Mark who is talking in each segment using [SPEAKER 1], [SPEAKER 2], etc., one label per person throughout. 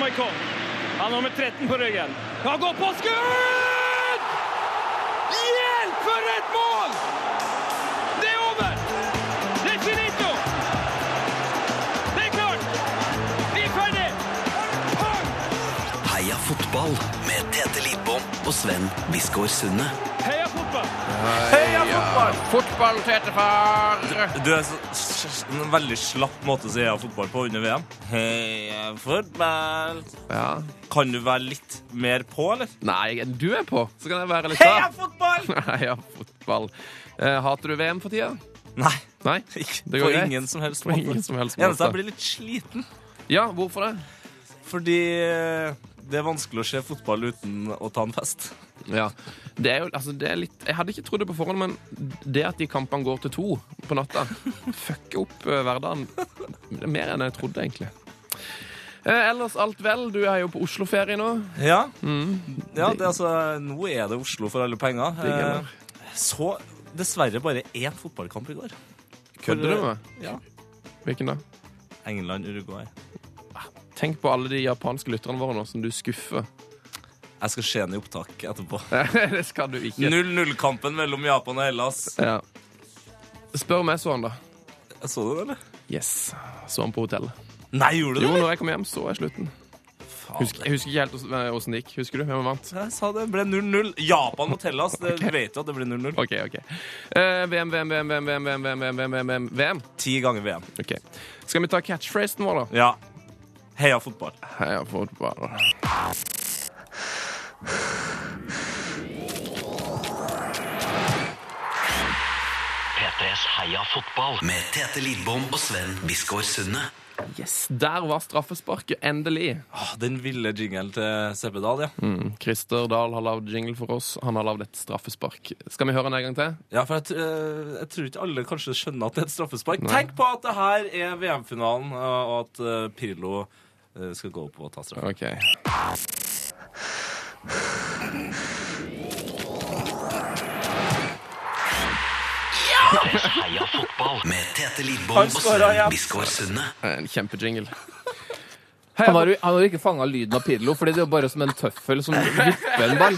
[SPEAKER 1] Boikov. Han har nummer 13 på ryggen. Han går på skudd! Hjelp, for et mål! Det er over! Det er finito! Det er klart! Vi er ferdig! Pang!
[SPEAKER 2] Heia fotball med Tete Lidbom og Sven Biskår Sunde.
[SPEAKER 1] Heia fotball!
[SPEAKER 3] Heia fotball! Fotball, tetefar!
[SPEAKER 4] Du er så, s- s- en veldig slapp måte å si heia fotball på under VM. Heia fotball.
[SPEAKER 3] Ja.
[SPEAKER 4] Kan du være litt mer på, eller?
[SPEAKER 3] Nei, du er på, så kan jeg være litt
[SPEAKER 4] Heia
[SPEAKER 3] av.
[SPEAKER 4] fotball!
[SPEAKER 3] Heia fotball. Eh, hater du VM for tida?
[SPEAKER 4] Nei.
[SPEAKER 3] Nei?
[SPEAKER 4] Ikke,
[SPEAKER 3] Det går
[SPEAKER 4] på
[SPEAKER 3] greit.
[SPEAKER 4] ingen som helst
[SPEAKER 3] På
[SPEAKER 4] måte.
[SPEAKER 3] ingen som helst måte.
[SPEAKER 4] Eneste jeg blir litt sliten,
[SPEAKER 3] Ja, hvorfor det?
[SPEAKER 4] fordi eh, det er vanskelig å se fotball uten å ta en fest.
[SPEAKER 3] Ja. Det er jo, altså, det er litt Jeg hadde ikke trodd det på forhånd, men det at de kampene går til to på natta, fucker opp eh, hverdagen mer enn jeg trodde, egentlig. Eh, ellers alt vel. Du er jo på Oslo-ferie nå.
[SPEAKER 4] Ja. ja det, er altså, nå er det Oslo for alle penger.
[SPEAKER 3] Digg, eller?
[SPEAKER 4] Eh, Så dessverre bare én fotballkamp i går. eh,
[SPEAKER 3] Kødder du med?
[SPEAKER 4] Ja.
[SPEAKER 3] Hvilken da?
[SPEAKER 4] England-Uruguay.
[SPEAKER 3] Tenk på alle de japanske lytterne våre nå som du skuffer.
[SPEAKER 4] Jeg skal se den i opptak etterpå.
[SPEAKER 3] det skal du ikke.
[SPEAKER 4] 0-0-kampen mellom Japan og Hellas.
[SPEAKER 3] Ja. Spør om jeg så han, da.
[SPEAKER 4] Jeg så du det, eller?
[SPEAKER 3] Yes. Så han på hotellet.
[SPEAKER 4] Nei, gjorde du
[SPEAKER 3] Jo,
[SPEAKER 4] det?
[SPEAKER 3] når jeg kom hjem, så jeg slutten. Husker, jeg husker ikke helt hvordan- eh, hvordan det gikk. Husker du hvem som vant?
[SPEAKER 4] Jeg sa det. Det ble 0-0. Japan mot Hellas. Det du vet jo at det blir 0-0.
[SPEAKER 3] OK, OK. Eh, VM, VM, VM, VM, VM, VM, VM, VM, VM, VM, VM.
[SPEAKER 4] Ti ganger VM.
[SPEAKER 3] Ok. Skal vi ta catchphrasen vår, da?
[SPEAKER 4] Ja. Heia fotball.
[SPEAKER 3] Heia fotball.
[SPEAKER 5] P3s Heia fotball.
[SPEAKER 2] Med Tete Lidbom og Sven Biskår Sunde.
[SPEAKER 3] Yes, Der var straffesparket endelig.
[SPEAKER 4] Åh, Ah, Den ville jingelen til Seppedal, ja.
[SPEAKER 3] Christer Dahl har lagd jingle for oss. Han har lagd et straffespark. Skal vi høre den en gang til?
[SPEAKER 4] Ja, for jeg, tr- eh, jeg tror ikke alle kanskje skjønner at det er et straffespark. Tenk på at det her er VM-finalen, eh, og at eh, Pirlo eh, skal gå opp og ta straff.
[SPEAKER 3] OK.
[SPEAKER 5] P3s Heia fotball.
[SPEAKER 2] Med Tete Lidbom
[SPEAKER 4] Han
[SPEAKER 2] og
[SPEAKER 4] skårer,
[SPEAKER 2] Sven
[SPEAKER 4] ja.
[SPEAKER 2] Biskår Sunde.
[SPEAKER 3] Eh, En kjempejingle.
[SPEAKER 6] Han har, jo- han har jo ikke fanga lyden av Pirlo, Fordi det er jo bare som en tøffel som vipper en ball.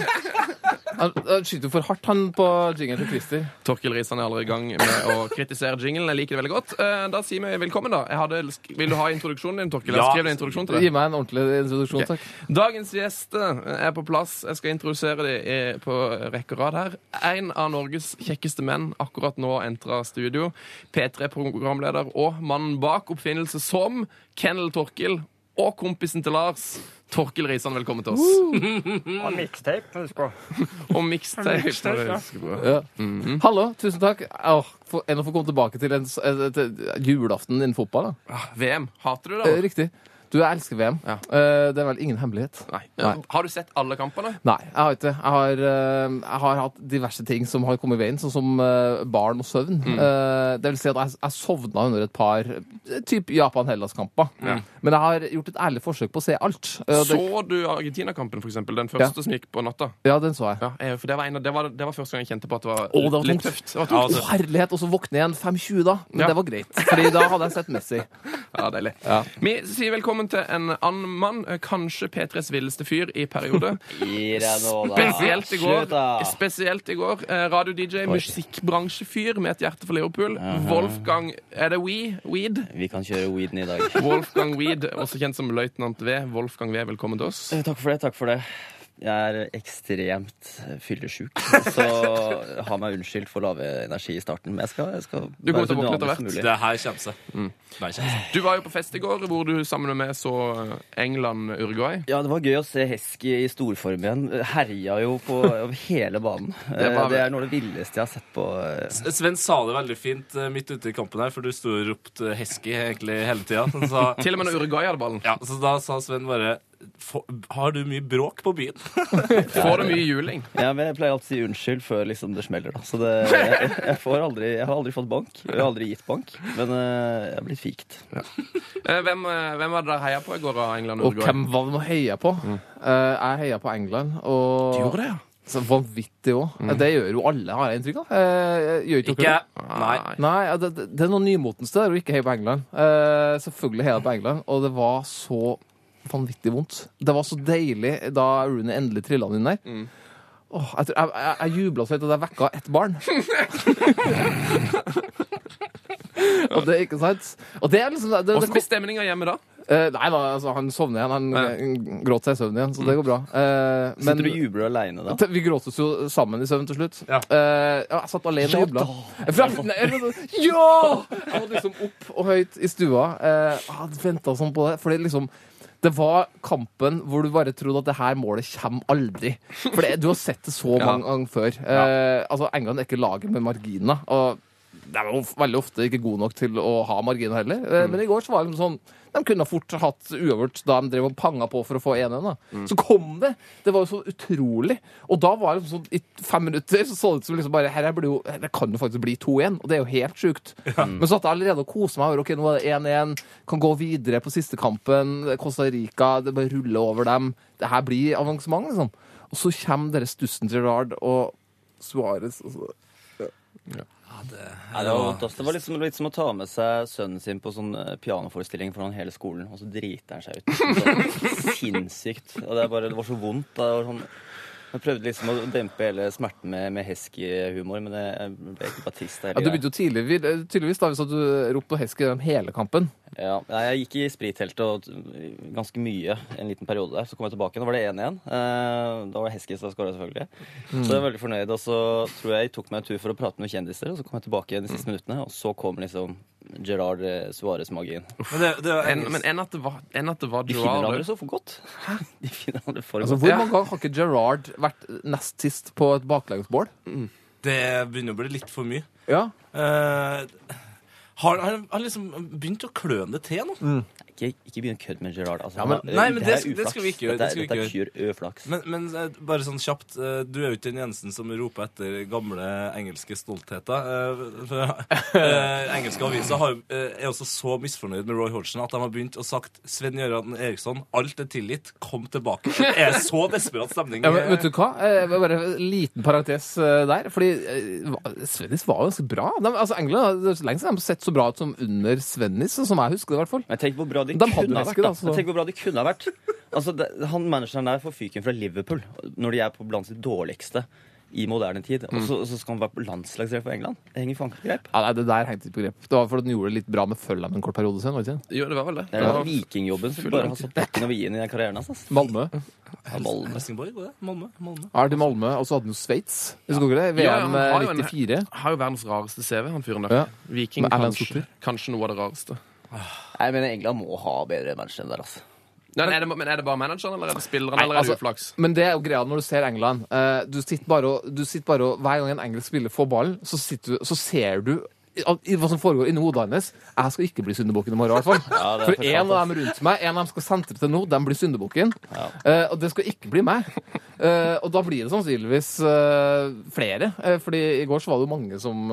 [SPEAKER 6] Han, han skyter jo for hardt, han, på jingelen til Christer.
[SPEAKER 3] Torkil Risan er allerede i gang med å kritisere jinglen. Jeg liker det veldig godt. Eh, Da sier vi velkommen, da. Jeg hadde, sk- vil du ha introduksjonen din, Torkil? Jeg
[SPEAKER 4] Ja.
[SPEAKER 3] skrev en introduksjon til
[SPEAKER 6] Gi
[SPEAKER 3] deg.
[SPEAKER 6] meg en ordentlig introduksjon, takk.
[SPEAKER 3] Dagens gjester er på plass. Jeg skal introdusere dem eh, på rekke og rad her. En av Norges kjekkeste menn akkurat nå entra studio. P3-programleder og mannen bak oppfinnelse som Kennel Torkil og kompisen til Lars. Torkil Risan, velkommen til oss. Og mixtape.
[SPEAKER 6] Ja. Hallo, tusen takk. Åh, for, enn å få komme tilbake til en, s- et, et, et julaften innen fotball. Da.
[SPEAKER 3] Ah, VM. Hater du det?
[SPEAKER 6] Eh,
[SPEAKER 3] eller?
[SPEAKER 6] Riktig. Du, jeg elsker VM.
[SPEAKER 3] Ja.
[SPEAKER 6] Eh, det er vel ingen hemmelighet.
[SPEAKER 3] Nei.
[SPEAKER 6] Nei.
[SPEAKER 3] Har du sett alle kampene?
[SPEAKER 6] Nei, jeg har ikke det. Jeg har, eh, jeg har hatt diverse ting som har kommet i veien, sånn som eh, barn og søvn.
[SPEAKER 3] Mm.
[SPEAKER 6] Eh, det vil si at jeg, jeg sovna under et par eh, typ Japan-Hellas-kamper. Men jeg har gjort et ærlig forsøk på å se alt. Eh, det,
[SPEAKER 3] Så du Argentina-kampen, for eksempel? Den første som gikk på natta?
[SPEAKER 6] ja, den så jeg.
[SPEAKER 3] Ja, jeg- for det var, en, av- det, var, det var første gang jeg kjente på at det var,
[SPEAKER 6] Å, det var
[SPEAKER 3] litt
[SPEAKER 6] tungt.
[SPEAKER 3] tøft. Det var
[SPEAKER 6] Å,
[SPEAKER 3] tungt.
[SPEAKER 6] herlighet! Og så våkne igjen 5.20, da. Men
[SPEAKER 3] Ja.
[SPEAKER 6] det var greit, Fordi da hadde jeg sett Messi.
[SPEAKER 3] Ja, deilig.
[SPEAKER 6] Ja.
[SPEAKER 3] Vi sier velkommen til en annen mann, eh, kanskje P3s villeste fyr i periode. Spesielt i går. Spesielt i går. eh, Radio-DJ, musikkbransjefyr med et hjerte for Liverpool. Wolfgang Er det We? Weed?
[SPEAKER 7] Vi kan kjøre weeden i dag.
[SPEAKER 3] Wolfgang Weed, også kjent som løytnant V. Wolfgang V, velkommen til oss.
[SPEAKER 7] Eh, Takk for det. takk for det. Jeg er ekstremt eh, fyllesjuk, så ha meg unnskyldt for lave energi i starten. Men jeg skal, jeg skal
[SPEAKER 3] Du kommer
[SPEAKER 7] være så
[SPEAKER 3] til å våkne etter
[SPEAKER 7] dynamisk som
[SPEAKER 3] hvert.
[SPEAKER 7] mulig.
[SPEAKER 4] Det her kommer seg. Det her kommer seg.
[SPEAKER 3] Du var jo på fest i går, hvor du sammen med meg så eh, England-Uruguay.
[SPEAKER 7] Ja, Det var gøy å se Hesky i storform igjen. Herja jo på over hele banen. Eh,
[SPEAKER 3] Det
[SPEAKER 7] Det,
[SPEAKER 3] var-
[SPEAKER 7] det er noe av det villeste jeg har sett på eh,
[SPEAKER 4] S- Sven sa det veldig fint eh, midt ute i kampen her, for du sto og ropte 'Hesky' egentlig hele tida. Så, sa-
[SPEAKER 3] Til og med når Uruguay hadde ballen.
[SPEAKER 4] ja, så da sa Sven bare "Få- Har du mye bråk på byen?
[SPEAKER 3] Får du mye juling?
[SPEAKER 7] Ja, men Jeg pleier alltid å si unnskyld før liksom det smeller, da. Så det, jeg, jeg, får aldri, jeg har aldri fått bank. Jeg har aldri gitt bank. Men eh, jeg er blitt fikt.
[SPEAKER 3] Eh, Hvem, eh, hvem var det dere heia på i går av England og
[SPEAKER 6] Og
[SPEAKER 3] Uruguay?
[SPEAKER 6] hvem var det man heia på? Eh, jeg heia på England. Og
[SPEAKER 3] gjorde det, Mm. ja?
[SPEAKER 6] Så vanvittig òg. Det gjør jo alle, har jeg inntrykk av. Eh, gjør ikke
[SPEAKER 4] Ikke
[SPEAKER 6] dere det?
[SPEAKER 4] jeg. Nei.
[SPEAKER 3] Ah.
[SPEAKER 6] Nei, ja, det, det- det er noe nymotens der å ikke heie på England. Eh, selvfølgelig heia jeg på England, og det var så vanvittig vondt. Det var så deilig da Rooney endelig trilla den inn der.
[SPEAKER 3] Mm.
[SPEAKER 6] Åh, jeg, tror- jeg, jeg, jeg jubla så høyt at jeg vekka ett barn. og det er ikke sant? Og det er liksom det, det,
[SPEAKER 3] Hvordan blir stemninga hjemme da?
[SPEAKER 6] Eh, nei da, altså, han sovner igjen. Han eh, gråt seg i søvn igjen, så det går bra. Eh, men
[SPEAKER 7] Sitter du og jubler aleine da?
[SPEAKER 6] vi gråtes jo sammen i søvn til slutt.
[SPEAKER 4] Ja.
[SPEAKER 6] Eh, ja, jeg satt alene og jubla. Fra- nei, jeg var sånn, Ja! Jeg var liksom opp og høyt i stua. Eh, jeg hadde venta sånn på det. Fordi liksom det var kampen hvor du bare trodde at det her målet kommer aldri. For det, du har sett det så mange ganger før. Eh, altså, England er ikke laget med marginer. Og de er jo f- veldig ofte ikke gode nok til å ha marginer heller. Eh, Men i går så var det liksom sånn De kunne fort hatt uavgjort da de drev og panga på for å få 1-1. da. Så kom det! Det var jo så utrolig. Og da var det liksom sånn I fem minutter så så det ut som liksom bare her, her, blir jo, her kan det faktisk bli 2-1, og det er jo helt sjukt. Men så satt jeg allerede og kosa meg over ok, nå er det 1-1, kan gå videre på siste kampen. Costa Rica, det bare ruller over dem. Det her blir avansement, liksom. Og så kommer dere stussen Gerrard og Suárez.
[SPEAKER 7] Nei, det var vondt, ass. Det var litt som, litt som å ta med seg sønnen sin på sånn eh, pianoforestilling foran hele skolen, og så driter han seg ut. Så sinnssykt. Og det, er bare, det var så vondt. Det var sånn, jeg prøvde liksom å dempe hele smerten med, med hesky-humor, men det jeg ble ikke bare trist.
[SPEAKER 6] Ja, du begynte jo tidlig, vi- tydeligvis da, hvis at du ropte og hesket gjennom hele kampen.
[SPEAKER 7] Ja, nei, jeg gikk i spritteltet og t- ganske mye en liten periode der. Så kom jeg tilbake, igjen, da var det 1-1. Eh, da var det Heskis som skåra, selvfølgelig.
[SPEAKER 4] Mm.
[SPEAKER 7] Så jeg var veldig fornøyd. Og så tror jeg jeg tok meg en tur for å prate med noen kjendiser, og så kom jeg tilbake igjen de
[SPEAKER 4] Mm.
[SPEAKER 7] siste minuttene, og så kom liksom Gerard eh, Suárez-magien.
[SPEAKER 4] Men det, det,
[SPEAKER 3] En, men enn at det var, enn at det var
[SPEAKER 7] De finner
[SPEAKER 3] Gerard
[SPEAKER 7] hverandre så for godt. De finner hverandre for
[SPEAKER 6] Altså,
[SPEAKER 7] godt.
[SPEAKER 6] Hvor
[SPEAKER 3] Ja.
[SPEAKER 6] mange ganger har ikke Gerrard vært nest sist på et baklengsmål?
[SPEAKER 4] det begynner å bli litt for mye.
[SPEAKER 6] Ja.
[SPEAKER 4] Eh, har han har liksom begynt å kløne til nå?
[SPEAKER 7] Ikke, ikke begynn å kødde med Gerard. Altså,
[SPEAKER 4] men-
[SPEAKER 7] han er-
[SPEAKER 4] nei, men
[SPEAKER 7] her
[SPEAKER 4] det sk-
[SPEAKER 7] er
[SPEAKER 4] det
[SPEAKER 7] uflaks.
[SPEAKER 4] skal vi ikke gjøre,
[SPEAKER 7] Dette
[SPEAKER 4] det skal vi
[SPEAKER 7] er, dette er
[SPEAKER 4] ikke
[SPEAKER 7] pure uflaks.
[SPEAKER 4] Men, men eh, bare sånn kjapt, eh, du er jo ikke den eneste som roper etter gamle engelske stoltheter. Eh, for, eh, engelske aviser har, jo- eh, er også så misfornøyd med Roy Hodgson at de har begynt å sagt Sven Gøran Eriksson, alt er tilgitt, kom tilbake. Det er så desperat stemning.
[SPEAKER 6] Ja, men, vet du hva? Eh, bare en liten parentes eh, der. Fordi eh, hva- Svennis var jo ganske bra. De, altså England det er så lenge siden de har sett så bra ut som under Svennis, sånn som jeg husker det i hvert fall.
[SPEAKER 7] Men tenk hvor bra de,
[SPEAKER 6] De hadde
[SPEAKER 7] kunne ha
[SPEAKER 6] vært
[SPEAKER 7] vært.
[SPEAKER 6] det,
[SPEAKER 7] Da.
[SPEAKER 6] altså.
[SPEAKER 7] Men Tenk hvor bra de kunne ha vært. Altså, det, han Manageren der får fyken fra Liverpool når de er på blant de dårligste i moderne tid. Og så, så skal han være på landslagsdel for England. Det henger faen ikke på greip.
[SPEAKER 6] Mm. Ja, nei, Det der hengte ikke på grep. Det var fordi de gjorde det litt bra med Følham en kort periode siden. var det ikke?
[SPEAKER 3] Jo, det var vel det.
[SPEAKER 7] Det er den vikingjobben som bare har stått dekken over i-en i den karrieren hans. ass. liksom.
[SPEAKER 6] Malmö.
[SPEAKER 7] Ja, Molde.
[SPEAKER 4] Helsingborg, går det? Malmö? Malmø.
[SPEAKER 6] Ja, til Malmö, Og så hadde han jo Sveits. Husker dere det?
[SPEAKER 3] Ja, ja,
[SPEAKER 6] VM
[SPEAKER 3] han har jo en-
[SPEAKER 6] 94.
[SPEAKER 3] Har jo verdens rareste CV, han fyren der.
[SPEAKER 6] Ja.
[SPEAKER 3] Viking,
[SPEAKER 6] Med Erlend
[SPEAKER 3] kanskje,
[SPEAKER 6] Sotter.
[SPEAKER 3] kanskje noe av det rareste.
[SPEAKER 7] Nei, jeg mener England må ha bedre manager enn der, altså.
[SPEAKER 3] Nei, men, er det, men er det bare manageren, eller er det spilleren,
[SPEAKER 6] Nei,
[SPEAKER 3] eller er det
[SPEAKER 6] altså-
[SPEAKER 3] uflaks?
[SPEAKER 6] Men det er jo greia når du ser England. Eh, Du sitter bare og, du sitter bare og Hver gang en engelsk spiller får ballen, så, sitter du, så ser du i- i hva som foregår inni hodet hans. Jeg skal ikke bli syndebukken i morgen, i hvert fall.
[SPEAKER 7] det er
[SPEAKER 6] For
[SPEAKER 7] for
[SPEAKER 6] en
[SPEAKER 7] sant,
[SPEAKER 6] av dem rundt meg, en av dem skal sentre til nå, dem blir syndebukken. Eh, og det skal ikke bli meg. Eh, og da blir det sannsynligvis eh, flere. Eh, fordi i går så var det jo mange som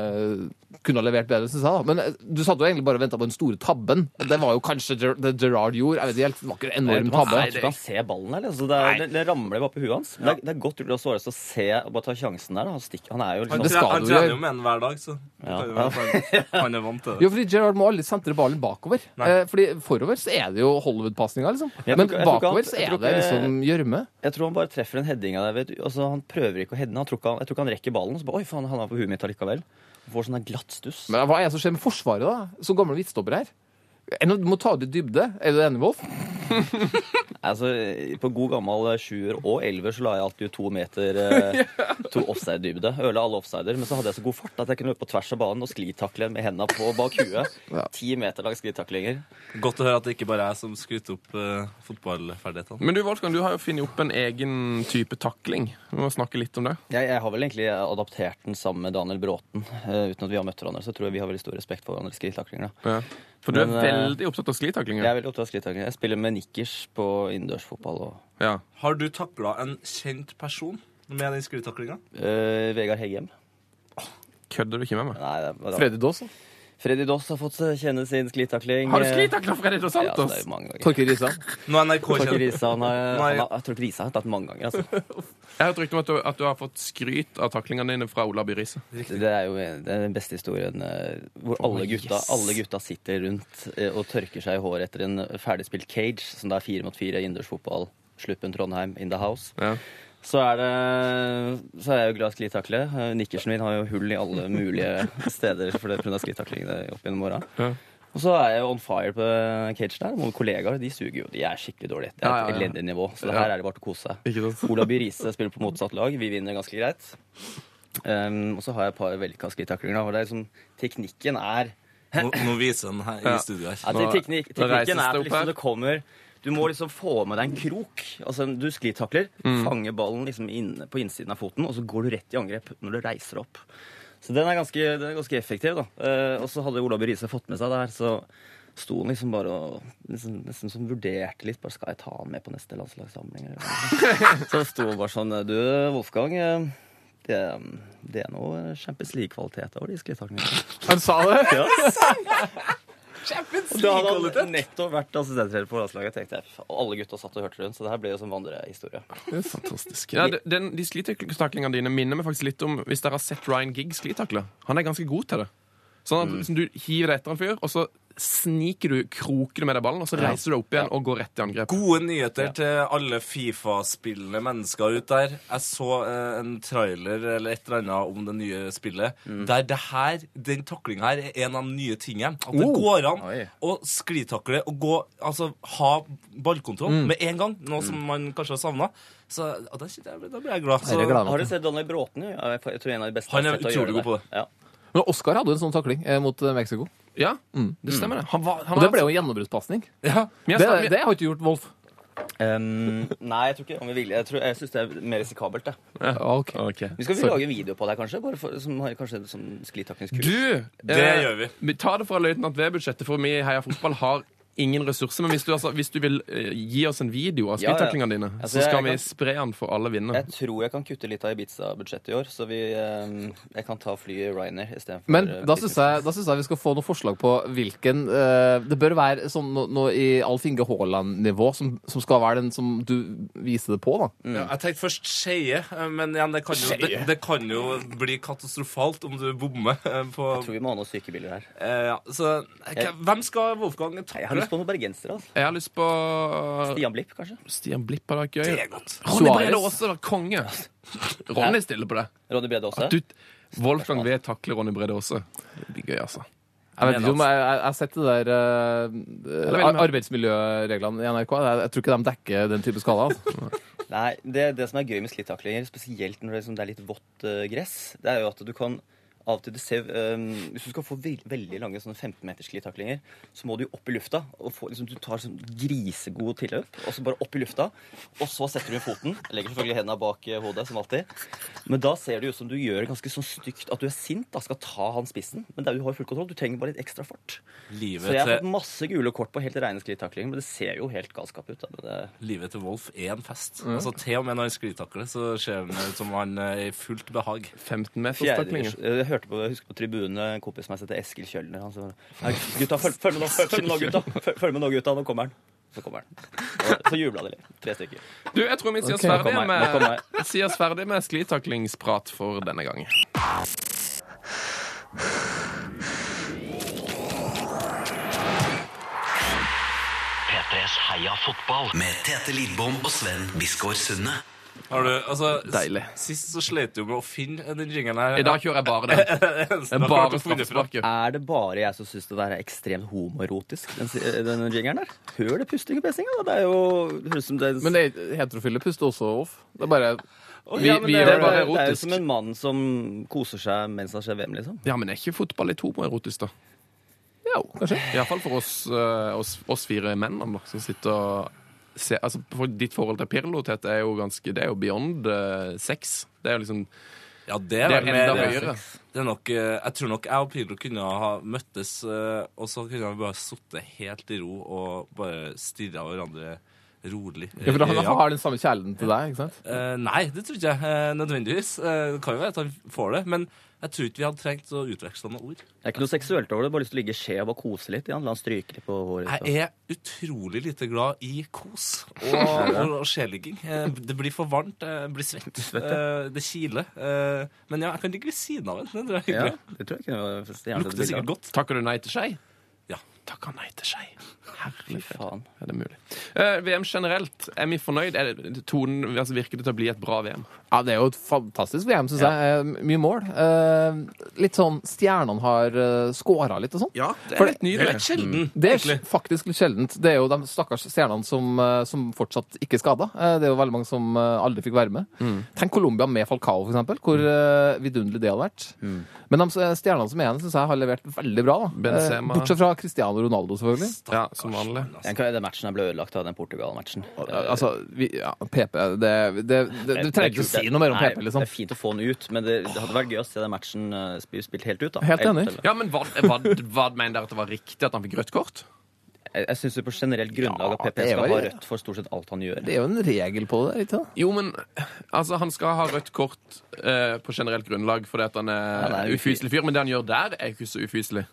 [SPEAKER 6] eh, kunne ha levert bedre, syns jeg. da. Men eh, du satt jo egentlig bare og venta på den store tabben. Det var jo kanskje Ger det Gerard gjorde. Jeg vet ikke helt, det var ikke en enorm tabbe.
[SPEAKER 7] Jeg tror ikke han ser ballen der. Altså, det, er, det, det ramler bare på huet hans. Det, er, det er godt gjort av Suárez å se og bare ta sjansen der. da. Han, stikker, han er jo
[SPEAKER 4] Han,
[SPEAKER 6] det
[SPEAKER 7] liksom
[SPEAKER 6] skal
[SPEAKER 4] tre- han
[SPEAKER 6] du
[SPEAKER 4] trener
[SPEAKER 6] gjøre.
[SPEAKER 4] jo med en hver dag, så det
[SPEAKER 7] Ja.
[SPEAKER 4] kan jo være at han- han er vant til det.
[SPEAKER 6] Jo, fordi Gerard må aldri sentre ballen bakover. Eh, fordi forover så er det jo Hollywood-pasninga, liksom.
[SPEAKER 7] Jeg tror
[SPEAKER 6] Men
[SPEAKER 7] ikke- jeg tror ikke
[SPEAKER 6] bakover
[SPEAKER 7] han-
[SPEAKER 6] så
[SPEAKER 7] jeg
[SPEAKER 6] er
[SPEAKER 7] tror
[SPEAKER 6] det
[SPEAKER 7] ikke-
[SPEAKER 6] liksom gjørme.
[SPEAKER 7] Jeg tror han bare treffer en heading av det. Vet du. Altså, han prøver ikke å heade den. Han tror ikke han, jeg tror ikke han rekker ballen. Så bare, Oi, faen, han er på huet mitt allikevel. Får sånn der glatt stuss.
[SPEAKER 6] Men hva er det som skjer med Forsvaret, da? Så gamle midtstoppere her. Eh, nå- Du må ta ut i dybde. Er du enig, Wolf?
[SPEAKER 7] Altså, på god gammel eh, sjuer og elver så la jeg alltid ut to meter eh, to offside-dybde. Ødela alle offsider, men så hadde jeg så god fart at jeg kunne løpe på tvers av banen og sklitakle med henda på bak huet. Ti meter lange sklitaklinger.
[SPEAKER 4] Godt å høre at det ikke bare er jeg som skryter opp eh, fotballferdighetene.
[SPEAKER 3] Men du, Wolfgang, du har jo funnet opp en egen type takling. Vi må snakke litt om det.
[SPEAKER 7] Jeg, jeg har vel egentlig adaptert den sammen med Daniel Bråten. eh, uten at vi har møtt hverandre, så tror jeg vi har veldig stor respekt for hverandres sklitaklinger. da.
[SPEAKER 3] For du er
[SPEAKER 7] Men, eh,
[SPEAKER 3] veldig opptatt av
[SPEAKER 7] Jeg
[SPEAKER 3] sklitaklinger.
[SPEAKER 7] er veldig opptatt av sklitaklinger. Jeg spiller med nikkers på innendørsfotball. og
[SPEAKER 3] Ja.
[SPEAKER 4] Har du takla en kjent person med den sklitaklinga?
[SPEAKER 7] eh, Vegard Heggem.
[SPEAKER 3] Kødder du ikke med meg?
[SPEAKER 7] Nei, det er bare
[SPEAKER 6] Freddy Daas. da.
[SPEAKER 7] Freddy Doss har fått kjenne sin sklitakling.
[SPEAKER 3] Har du sklitakla Freddy Dos
[SPEAKER 7] Ja, så
[SPEAKER 3] Santos?
[SPEAKER 7] det er jo mange ganger.
[SPEAKER 6] Torkil Risan.
[SPEAKER 4] Nå er NRK
[SPEAKER 7] Torkil
[SPEAKER 4] kjent.
[SPEAKER 7] Risa han har,
[SPEAKER 4] Nei.
[SPEAKER 7] han har, jeg tror ikke Risa har tatt mange ganger. Altså.
[SPEAKER 3] Jeg har hørt rykte om at du, at du har fått skryt av taklingene dine fra Ola By Riise.
[SPEAKER 7] Det er jo det er den beste historien eh, hvor alle gutta, alle gutta sitter rundt eh, og tørker seg i håret etter en ferdigspilt cage, som det er fire mot fire innendørsfotball. Sluppen Trondheim in the house.
[SPEAKER 3] Ja.
[SPEAKER 7] Så er, det, så er jeg jo glad i sklitakle. Eh, Nikkersen min har jo hull i alle mulige steder for det pga. sklitakling opp gjennom åra.
[SPEAKER 3] Ja.
[SPEAKER 7] Og så er jeg jo on fire på cage der. Mine kollegaer de suger jo. De er skikkelig dårlige. Det er
[SPEAKER 3] Ja,
[SPEAKER 7] et
[SPEAKER 3] ja, ja.
[SPEAKER 7] elendig nivå. Så det
[SPEAKER 3] Ja.
[SPEAKER 7] her er det bare til å kose seg.
[SPEAKER 3] Ikke sant?
[SPEAKER 7] Ola By Riise spiller på motsatt lag. Vi vinner ganske greit. Ehm, og så har jeg et par vellykka skrittaklinger. da, hvor det er Liksom, teknikken er
[SPEAKER 4] Eh, Nå, nå viser den her i
[SPEAKER 3] Ja.
[SPEAKER 4] studio her.
[SPEAKER 7] ja,
[SPEAKER 3] Nå-
[SPEAKER 7] teknikk,
[SPEAKER 3] nå reises
[SPEAKER 7] Teknikken er
[SPEAKER 3] det opp
[SPEAKER 7] at
[SPEAKER 3] her.
[SPEAKER 7] liksom, det kommer Du må liksom få med deg en krok. Altså, du sklitakler,
[SPEAKER 3] Mm.
[SPEAKER 7] fanger ballen liksom inne på innsiden av foten, og så går du rett i angrep når du reiser opp. Så den er ganske, den er ganske effektiv, da. Eh, og så hadde Ola By Riise fått med seg det her, så sto han liksom bare og liksom, nesten som vurderte litt. bare Skal jeg ta han med på neste landslagssamling? eller noe? så sto han bare sånn Du, Wolfgang. eh, Det, det er noe Champions League-kvalitet over de sklittaklingene.
[SPEAKER 6] Han sa det!
[SPEAKER 7] Og Da hadde han nettopp vært assistenttrener på landslaget. tenkte jeg. Og alle gutta satt og hørte rundt, så det her ble jo som vandrehistorie.
[SPEAKER 3] Fantastisk. Ja, de- den, de slitaklingene dine minner meg faktisk litt om hvis dere har sett Ryan Giggs slitakle. Han er ganske god til det. Sånn at sånn, du hiver deg etter en fyr, og så sniker du krokene med deg ballen, og så reiser du deg opp igjen og går rett i angrep.
[SPEAKER 4] Gode nyheter til alle Fifa-spillende mennesker ut der. Jeg så eh, en trailer eller et eller annet om det nye spillet. Der det her, den taklinga her er en av de nye tingene. At det
[SPEAKER 3] Oh.
[SPEAKER 4] går an
[SPEAKER 7] Oi.
[SPEAKER 4] å sklitakle og gå Altså ha ballkontroll med en gang. Noe som man kanskje har savna. Så ja, da, sitter jeg- da blir jeg glad. Så,
[SPEAKER 6] Jeg er glad.
[SPEAKER 7] Har du sett Daniel Bråten? jo? Ja, Jeg tror en av de beste
[SPEAKER 4] Han er
[SPEAKER 7] har sett å
[SPEAKER 4] utrolig
[SPEAKER 7] gjøre
[SPEAKER 4] god på
[SPEAKER 7] Ja.
[SPEAKER 6] Men Oskar hadde jo en sånn takling eh, mot eh, Mexico.
[SPEAKER 3] Ja, det stemmer det. Han var, han
[SPEAKER 6] Og det
[SPEAKER 3] var-
[SPEAKER 6] ble jo en gjennombruddspasning.
[SPEAKER 4] ja.
[SPEAKER 3] Men
[SPEAKER 6] Det,
[SPEAKER 3] jeg snak-
[SPEAKER 6] det har ikke gjort Wolf.
[SPEAKER 7] Ehm, nei, jeg tror ikke om vi vil. Jeg, tror- jeg syns det er mer risikabelt. Da.
[SPEAKER 3] altså-
[SPEAKER 6] Ok.
[SPEAKER 3] Ok.
[SPEAKER 7] Vi skal vel
[SPEAKER 6] Sorry.
[SPEAKER 7] lage en video på deg, kanskje? Bare for, som har kanskje som sklitaknisk kurs.
[SPEAKER 3] Du,
[SPEAKER 4] Det gjør vi.
[SPEAKER 3] Ta det fra løytnant V-budsjettet, for vi i Heia Fotball har ingen ressurser. Men hvis du, altså, hvis du vil eh, gi oss en video av
[SPEAKER 7] Ja, ja.
[SPEAKER 3] sklittaklingene dine,
[SPEAKER 7] Altså,
[SPEAKER 3] så skal
[SPEAKER 7] jeg
[SPEAKER 3] vi
[SPEAKER 7] kan-
[SPEAKER 3] spre den for alle vinnere.
[SPEAKER 7] Jeg tror jeg kan kutte litt av Ibiza-budsjettet i år, så vi, ehm, jeg kan ta flyet Ryanair istedenfor
[SPEAKER 6] Men da syns jeg, da synes jeg vi skal få noen forslag på hvilken eh, Det bør være sånn noe no, i Alf Inge Haaland-nivå, som, som skal være den som du viser det på, da.
[SPEAKER 4] Ja, jeg tenkte først Skeie, eh, men igjen, det kan, jo, det, det kan jo bli katastrofalt om du bommer eh, på
[SPEAKER 7] Jeg tror vi må ha noen sykebiler her.
[SPEAKER 4] eh, ja. Så eh, hvem skal Wolfgang
[SPEAKER 7] Jeg har lyst
[SPEAKER 4] takle?
[SPEAKER 7] på noen bergensere. Altså.
[SPEAKER 3] Jeg har lyst på
[SPEAKER 7] Stian Blipp, kanskje?
[SPEAKER 3] Stian Blipp hadde vært gøy.
[SPEAKER 4] Det er godt.
[SPEAKER 3] Ronny
[SPEAKER 6] Suarez.
[SPEAKER 3] Brede Aase var konge. Ronny stiller på det.
[SPEAKER 7] Ronny Brede Aase?
[SPEAKER 3] Du, Wolfgang V takler Ronny Brede Aase. Det blir gøy, altså.
[SPEAKER 6] Jeg vet ikke om jeg, jeg, jeg har sett det der eh,
[SPEAKER 3] vel, men-
[SPEAKER 6] ar- arbeidsmiljøreglene i NRK. Jeg, jeg tror ikke de dekker den type skala. Altså.
[SPEAKER 7] Nei, det, det som er gøy med slittaklinger, spesielt når det, liksom, det er litt vått eh, gress, det er jo at du kan av og til du ser, eh, Hvis du skal få ve- veldig lange sånne 15-meters slittaklinger, så må du jo opp i lufta. og få, liksom, Du tar sånn grisegod tilløp, og så bare opp i lufta. Og så setter du inn foten. Legger selvfølgelig hendene bak eh, hodet, som alltid. Men da ser det ut som du gjør det ganske sånn stygt at du er sint, da skal ta han spissen. Men det er, du har jo full kontroll. Du trenger bare litt ekstra fart. Så jeg
[SPEAKER 4] Livet til
[SPEAKER 7] har fått masse gule kort på helt rene skrittaklinger, men det ser jo helt galskap ut. Da. Men det,
[SPEAKER 4] Livet til Wolf er en fest. Altså, til og med når han sklitakler, så ser han ut som han er i fullt behag.
[SPEAKER 3] 15 meters
[SPEAKER 7] Fjerde,
[SPEAKER 3] taklinger.
[SPEAKER 7] jeg hørte på, jeg husker på tribunen en kompis som jeg heter Eskil Kjølner. Han sa «Nei, gutta, følg, følg med nå, følg, følg med nå, gutta! Følg, følg med nå, gutta, nå kommer han. Så kommer han. Og så jubla de litt. Tre stykker.
[SPEAKER 3] Du, jeg tror vi sier oss
[SPEAKER 6] Ok.
[SPEAKER 3] ferdig
[SPEAKER 7] Nå kommer jeg, nå kommer
[SPEAKER 3] med, sier oss ferdig med sklittaklingsprat for denne gang.
[SPEAKER 5] P3s Heia fotball.
[SPEAKER 2] Med Tete Lidbom og Sven Biskår Sunne.
[SPEAKER 4] Har du, altså, s-
[SPEAKER 3] Deilig.
[SPEAKER 4] Sist så slet du med å finne den jingelen her.
[SPEAKER 3] I dag kjører jeg bare den.
[SPEAKER 4] Det eneste jeg har klart
[SPEAKER 3] Bare
[SPEAKER 4] å finne fram.
[SPEAKER 3] straffesparket.
[SPEAKER 7] Er det bare jeg som syns det der er ekstremt homoerotisk, den, den jingeren der? Hør det pusting og pesinga, da. Det er jo det høres ut som det er-
[SPEAKER 6] Men det heterofile puster også off. Det er bare
[SPEAKER 4] Å,
[SPEAKER 3] Vi-
[SPEAKER 4] ja, men
[SPEAKER 3] vi-
[SPEAKER 4] det er
[SPEAKER 7] det er,
[SPEAKER 3] det var
[SPEAKER 7] bare, det er jo
[SPEAKER 3] erotisk.
[SPEAKER 7] som en mann som koser seg mens han ser VM, liksom.
[SPEAKER 3] Ja, men er ikke fotball litt homoerotisk, da?
[SPEAKER 6] Ja, kanskje.
[SPEAKER 3] Iallfall for oss, eh, oss, oss fire mennene da, som sitter og ser altså, for Ditt forhold til Pirlo Tete, er jo ganske Det er jo beyond eh, sex. Det er jo liksom
[SPEAKER 4] Ja, det er,
[SPEAKER 3] Det er
[SPEAKER 4] vel
[SPEAKER 3] enda
[SPEAKER 4] mer-
[SPEAKER 3] høyere.
[SPEAKER 4] Det er nok, eh, jeg tror nok jeg og Pirlo kunne ha møttes, eh, og så kunne vi bare sittet helt i ro og bare stirra hverandre rolig.
[SPEAKER 6] Ja, for han
[SPEAKER 4] Ja.
[SPEAKER 6] har den samme kjærligheten til deg, ikke sant?
[SPEAKER 4] Eh, nei, det tror ikke jeg eh, nødvendigvis. Eh, det kan jo være at han får det, men jeg tror ikke vi hadde trengt å utveksle noen ord.
[SPEAKER 7] Det er ikke noe seksuelt over det. Bare lyst til å ligge i skje og bare kose litt. Jan. La han stryke litt på håret. liksom. ditt,
[SPEAKER 4] Jeg er utrolig lite glad i kos og, og sjeligging. Eh, Det blir for varmt, jeg blir svett, eh, det kiler. Eh, Men ja, jeg kan ligge ved siden av en. Det tror jeg er
[SPEAKER 7] og- Ja,
[SPEAKER 4] hyggelig.
[SPEAKER 7] det tror jeg ikke noe stjerne til et
[SPEAKER 4] Lukter
[SPEAKER 7] bilde av.
[SPEAKER 4] sikkert godt.
[SPEAKER 3] Takker du nei til skei?
[SPEAKER 4] Ja.
[SPEAKER 3] Takker nei til skei.
[SPEAKER 7] Fy faen.
[SPEAKER 3] Er det mulig? Eh, VM generelt, er vi fornøyd? Er det, tonen, altså, virker det til å bli et bra VM?
[SPEAKER 6] Ja, det er jo et fantastisk VM, syns jeg. Eh, Mye mål. Eh, Litt sånn Stjernene har eh, scora litt og sånn.
[SPEAKER 3] Ja, det
[SPEAKER 6] For
[SPEAKER 3] er litt
[SPEAKER 4] Det er litt
[SPEAKER 3] nydelig.
[SPEAKER 4] sjelden.
[SPEAKER 6] Det er faktisk litt sjeldent. Det er jo de stakkars stjernene som, eh, som fortsatt ikke er skada. Eh, Det er jo veldig mange som eh, aldri fikk være med. Tenk Colombia med Falcao, for eksempel. Hvor eh, vidunderlig det hadde vært. Men de s- eh, stjernene som er igjen, syns jeg har levert veldig bra. da. Eh,
[SPEAKER 3] Benzema.
[SPEAKER 6] Bortsett fra Cristiano Ronaldo, selvfølgelig.
[SPEAKER 3] Ja, som vanlig.
[SPEAKER 7] Jeg kan- Den matchen her ble ødelagt av den Portugal-matchen.
[SPEAKER 6] Eh, Altså, vi, ja, PP det, det, det, Du trenger ikke å si noe mer om
[SPEAKER 7] Nei,
[SPEAKER 6] PP, liksom.
[SPEAKER 7] Det er fint å få den ut, men det, det hadde vært gøy å se den matchen eh, sp- spilt helt ut. da.
[SPEAKER 6] Helt enig.
[SPEAKER 7] til-
[SPEAKER 3] Ja, men hva, hva, hva mener dere at det var riktig at han fikk rødt kort?
[SPEAKER 7] Jeg, jeg syns på generelt grunnlag at
[SPEAKER 6] Ja,
[SPEAKER 7] PP
[SPEAKER 6] det
[SPEAKER 7] skal
[SPEAKER 6] var-
[SPEAKER 7] ha rødt for stort sett alt han gjør.
[SPEAKER 6] Det er jo en regel på det. ikke sant?
[SPEAKER 3] Jo, men altså, han skal ha rødt kort eh, på generelt grunnlag fordi at han er,
[SPEAKER 7] Han er
[SPEAKER 3] en ufyselig fyr, men det han gjør der, er jo ikke så ufyselig.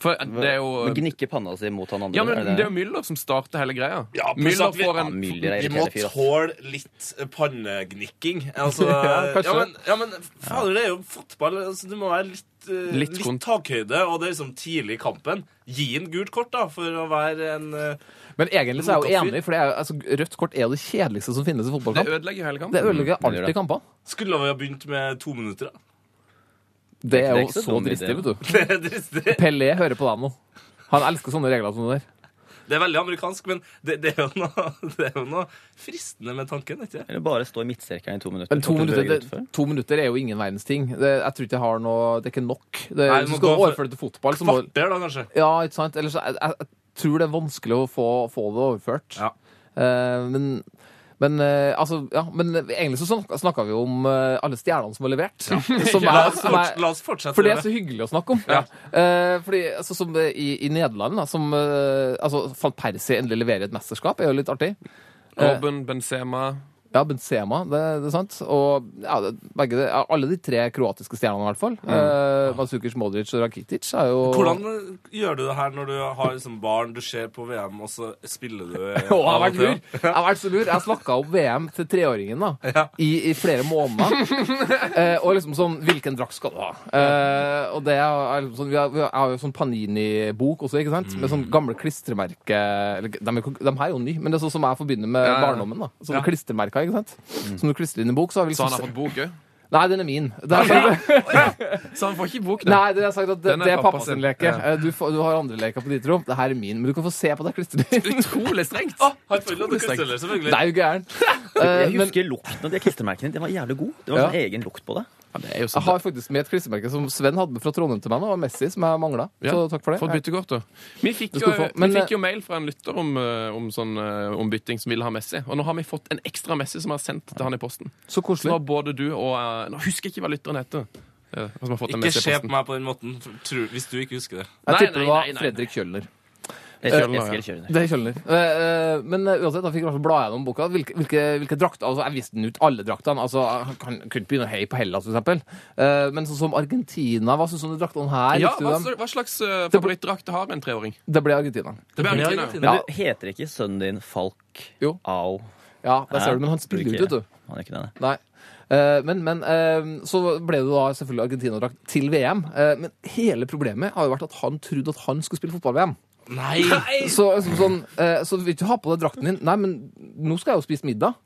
[SPEAKER 3] For eh, det er
[SPEAKER 7] Men
[SPEAKER 3] jo
[SPEAKER 7] gnikker panna si mot han andre.
[SPEAKER 3] ja, men
[SPEAKER 7] er
[SPEAKER 3] det er jo Müller som starter hele greia.
[SPEAKER 4] Ja, pluss
[SPEAKER 3] Müller
[SPEAKER 4] at vi-
[SPEAKER 3] får
[SPEAKER 7] ja,
[SPEAKER 3] en
[SPEAKER 7] Müller er
[SPEAKER 4] Vi må
[SPEAKER 7] irriterende fyr. ass.
[SPEAKER 4] tåle litt pannegnikking. Altså,
[SPEAKER 6] Ja,
[SPEAKER 4] ja,
[SPEAKER 6] kanskje.
[SPEAKER 4] men, ja, men fader, det er jo fotball. Altså, du må være litt, eh,
[SPEAKER 3] Litt
[SPEAKER 4] litt,
[SPEAKER 3] kont-
[SPEAKER 4] takhøyde, og det er liksom tidlig i kampen. Gi en gult kort, da, for å være en eh,
[SPEAKER 6] Men egentlig så er jeg jo
[SPEAKER 4] Motafyr.
[SPEAKER 6] enig, for det er, jo- altså, rødt kort er jo det kjedeligste som finnes i
[SPEAKER 3] Det
[SPEAKER 6] fotballkamp.
[SPEAKER 3] ødelegger hele
[SPEAKER 6] Det
[SPEAKER 3] kampen.
[SPEAKER 6] ødelegger
[SPEAKER 7] gjør
[SPEAKER 6] alltid
[SPEAKER 7] det.
[SPEAKER 6] kampene.
[SPEAKER 4] Skulle vi ha begynt med to minutter, da?
[SPEAKER 6] Det er
[SPEAKER 7] Det er
[SPEAKER 6] jo
[SPEAKER 7] ikke så
[SPEAKER 6] så
[SPEAKER 7] dum idé.
[SPEAKER 6] dristig, vet du.
[SPEAKER 4] Det er dristig.
[SPEAKER 6] Pelé hører på deg nå. Han elsker sånne regler som det der.
[SPEAKER 4] Det er veldig amerikansk, men det, det, er, jo noe, det er jo noe fristende med tanken, ikke
[SPEAKER 7] Eller bare stå i midtsekeren i to minutter.
[SPEAKER 6] Men to
[SPEAKER 7] Får ikke
[SPEAKER 6] minutter,
[SPEAKER 7] bevege
[SPEAKER 6] det,
[SPEAKER 7] ut før.
[SPEAKER 6] to minutter er jo ingen verdens ting. Det, jeg tror ikke jeg har noe Det er ikke nok. Det,
[SPEAKER 4] Nei,
[SPEAKER 6] hvis
[SPEAKER 4] må
[SPEAKER 6] du skal
[SPEAKER 4] gå for-
[SPEAKER 6] overføre det til fotball, så må
[SPEAKER 4] Kvarter, da, kanskje.
[SPEAKER 6] Ja, ikke sant? Ellers jeg, jeg, jeg tror det er vanskelig å få, få det overført.
[SPEAKER 4] Ja.
[SPEAKER 6] Eh, men men, eh, altså, ja, men egentlig så snak- snakka vi jo om eh, alle stjernene som har levert. Som
[SPEAKER 4] La
[SPEAKER 6] er,
[SPEAKER 4] oss,
[SPEAKER 6] som
[SPEAKER 4] forts-
[SPEAKER 6] er,
[SPEAKER 4] la oss fortsette.
[SPEAKER 6] For det er
[SPEAKER 4] med
[SPEAKER 6] så hyggelig å snakke om. Eh, fordi, altså, som eh, i, I Nederland, da, som eh, altså, Van Persie endelig leverer et mesterskap, er jo litt artig.
[SPEAKER 3] Mm. Robben, Benzema
[SPEAKER 6] Ja, Benzema, det, det er sant. Og ja, det, begge, de- ja, alle de tre kroatiske stjernene, i hvert fall.
[SPEAKER 3] Mm.
[SPEAKER 6] Eh, Mandzukic, Modric og Rakitic er jo
[SPEAKER 4] Hvordan eh, gjør du det her når du har liksom barn, du ser på VM, og så spiller du eh,
[SPEAKER 6] Å, jeg har
[SPEAKER 4] av og
[SPEAKER 6] vært
[SPEAKER 4] til,
[SPEAKER 6] lur! Jeg har vært så lur. Jeg snakka om VM til treåringen da, i, i flere måneder. Eh, og liksom sånn Hvilken drakt skal du ha? Eh, og det er, er liksom sånn, vi har, vi har, jeg har jo sånn Panini-bok også, ikke sant? Med sånn
[SPEAKER 3] Mm.
[SPEAKER 6] gamle klistremerker eller, de, er jo ikke- de her er jo nye, men det er sånn som jeg forbinder med
[SPEAKER 3] Ja, ja.
[SPEAKER 6] barndommen. da Sånne klistremerker, ikke sant? Som du klistrer inn i bok, så har vi
[SPEAKER 3] Så han
[SPEAKER 6] liksom
[SPEAKER 3] har fått bok òg?
[SPEAKER 6] Nei, den er min. Det er sånn,
[SPEAKER 3] Så han får ikke bok, da.
[SPEAKER 6] Nei, det er sagt at det,
[SPEAKER 3] Den er
[SPEAKER 6] det er
[SPEAKER 3] pappa
[SPEAKER 6] pappas
[SPEAKER 3] sin.
[SPEAKER 6] leke.
[SPEAKER 3] Ja.
[SPEAKER 6] Eh, Du, får, du har andre leker på ditt rom. Det her er min. Men du kan få se på det klistret.
[SPEAKER 3] Utrolig strengt.
[SPEAKER 4] Har full av kunstnerler,
[SPEAKER 6] Det
[SPEAKER 4] selvfølgelig.
[SPEAKER 6] er jo gæren. Eh,
[SPEAKER 7] Jeg
[SPEAKER 6] Men
[SPEAKER 7] husker lukten av de klistremerkene. dine. Den var jævlig god. Det var
[SPEAKER 6] Ja.
[SPEAKER 7] sånn egen lukt på det.
[SPEAKER 3] Det er jo
[SPEAKER 6] jeg har faktisk med et klistremerke som Sven hadde med fra Trondheim til meg. nå, Og Messi, som jeg mangla. Så takk for det.
[SPEAKER 3] Få et byttekort, da. Vi fikk,
[SPEAKER 6] Det
[SPEAKER 3] jo,
[SPEAKER 6] skal du få.
[SPEAKER 3] vi
[SPEAKER 6] Men, eh,
[SPEAKER 3] fikk jo mail fra en lytter om, eh, om sånn eh, om bytting som ville ha Messi. Og nå har vi fått en ekstra Messi som er sendt til han i posten.
[SPEAKER 6] eh, Så
[SPEAKER 3] Så nå
[SPEAKER 6] koselig.
[SPEAKER 3] har både du og eh, Nå husker jeg ikke hva lytteren heter. eh, som har fått en
[SPEAKER 4] Ikke
[SPEAKER 3] Messi i
[SPEAKER 4] se på
[SPEAKER 3] posten.
[SPEAKER 4] meg på den måten, for- tror, hvis du ikke husker det.
[SPEAKER 3] Nei,
[SPEAKER 6] Jeg tipper
[SPEAKER 3] nei,
[SPEAKER 6] det var
[SPEAKER 3] nei, nei,
[SPEAKER 6] Fredrik Kjøller.
[SPEAKER 7] Jeg
[SPEAKER 6] Eh,
[SPEAKER 3] Kjølen,
[SPEAKER 7] kjører,
[SPEAKER 3] ja.
[SPEAKER 7] jeg elsker kjølen.
[SPEAKER 6] Det er Kjøller. Eh, eh, Men eh, uansett, da fikk jeg i hvert fall bla gjennom boka. Hvilke, hvilke, hvilke drakter altså, Jeg visste den ut alle draktene. Altså, jeg kan, kunne ikke begynne å heie på Hellas, for eksempel. Eh, Men sånn som Argentina, hva syns du om de draktene her?
[SPEAKER 3] Ja,
[SPEAKER 6] Likte du
[SPEAKER 3] hva,
[SPEAKER 6] dem?
[SPEAKER 3] hva slags eh, favorittdrakt har en treåring?
[SPEAKER 6] Det ble Argentina.
[SPEAKER 3] Det blir Argentina.
[SPEAKER 7] Men du heter ikke sønnen din Falk
[SPEAKER 6] Jo.
[SPEAKER 7] Au?
[SPEAKER 6] Ja, der ser du, men han spiller
[SPEAKER 7] Ikke-
[SPEAKER 6] ut, vet du.
[SPEAKER 7] Han er ikke det, nei.
[SPEAKER 6] Nei. Eh, Men, men eh, så ble det da selvfølgelig Argentina-drakt til VM. Eh, Men hele problemet har jo vært at han trodde at han skulle spille fotball-VM.
[SPEAKER 4] Nei!
[SPEAKER 6] Så, liksom sånn, eh, så vil du ha på deg drakten din? Nei, men nå skal jeg jo spise middag.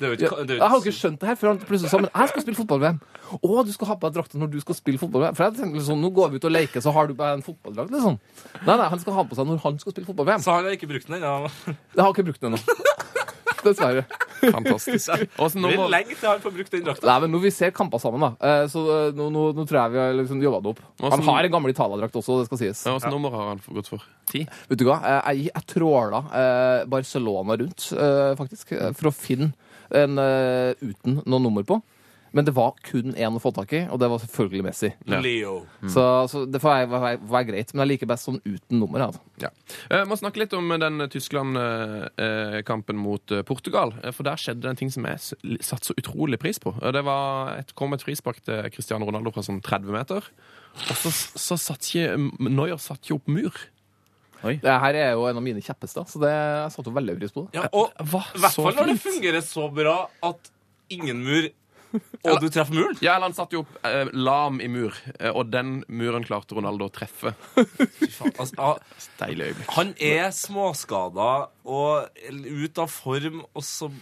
[SPEAKER 4] Det er jo
[SPEAKER 6] Jeg,
[SPEAKER 4] ikke, det
[SPEAKER 6] jeg
[SPEAKER 4] er
[SPEAKER 6] har
[SPEAKER 4] jo
[SPEAKER 6] jo ikke skjønt det her før han plutselig sa men jeg skal spille fotball-VM. Å, du skal ha på deg drakten når du skal spille fotball-VM. For jeg tenkte liksom, nå går vi ut og leker, så har du på deg en fotballdrakt, liksom. Nei, nei, han skal ha på seg når han skal spille fotball-VM.
[SPEAKER 4] Så han har ikke brukt den ennå.
[SPEAKER 6] Jeg har ikke brukt den ennå. Dessverre.
[SPEAKER 3] Fantastisk. Og så nå
[SPEAKER 4] Blir
[SPEAKER 3] må,
[SPEAKER 4] lenge til han får brukt den drakta.
[SPEAKER 6] Nei, men Når vi ser kamper sammen, da, eh, så eh, nå, nå, nå tror jeg vi har liksom jobba det opp.
[SPEAKER 3] Og
[SPEAKER 6] Han
[SPEAKER 3] så-
[SPEAKER 6] har en gammel Italia-drakt også, det skal sies.
[SPEAKER 3] ja, og så nummer har han gått for? Ti?
[SPEAKER 6] Vet du hva? Eh, Jeg, jeg tråla eh, Barcelona rundt, eh, faktisk, eh, for å finne en eh, uten noe nummer på. Men det var kun én å få tak i, og det var selvfølgelig Messi.
[SPEAKER 4] Leo.
[SPEAKER 6] Så, så det får være, være, være greit. Men det er like best sånn uten nummer. Altså.
[SPEAKER 3] Ja. Eh, må snakke litt om den Tyskland-kampen mot eh, Portugal. Eh, For der skjedde det en ting som jeg s- l- satte så utrolig pris på. Eh, Det var et, kom et frispark til Cristiano Ronaldo fra sånn 30 meter. Og så, så satt ikke M- Neuer satt ikke opp mur.
[SPEAKER 6] Det her er jo en av mine kjappeste, så det jeg satte jo veldig pris på. det
[SPEAKER 4] Ja, og
[SPEAKER 3] Hva?
[SPEAKER 4] i hvert
[SPEAKER 3] Så
[SPEAKER 4] fall når det
[SPEAKER 3] fint.
[SPEAKER 4] fungerer så bra at ingen mur Og du treffer muren.
[SPEAKER 3] Ja, eller han satt jo opp eh, lam i mur, eh, og den muren klarte Ronaldo å treffe.
[SPEAKER 4] Fy faen, altså, ja,
[SPEAKER 3] Deilig øyeblikk.
[SPEAKER 4] han er småskada og ut av form, og så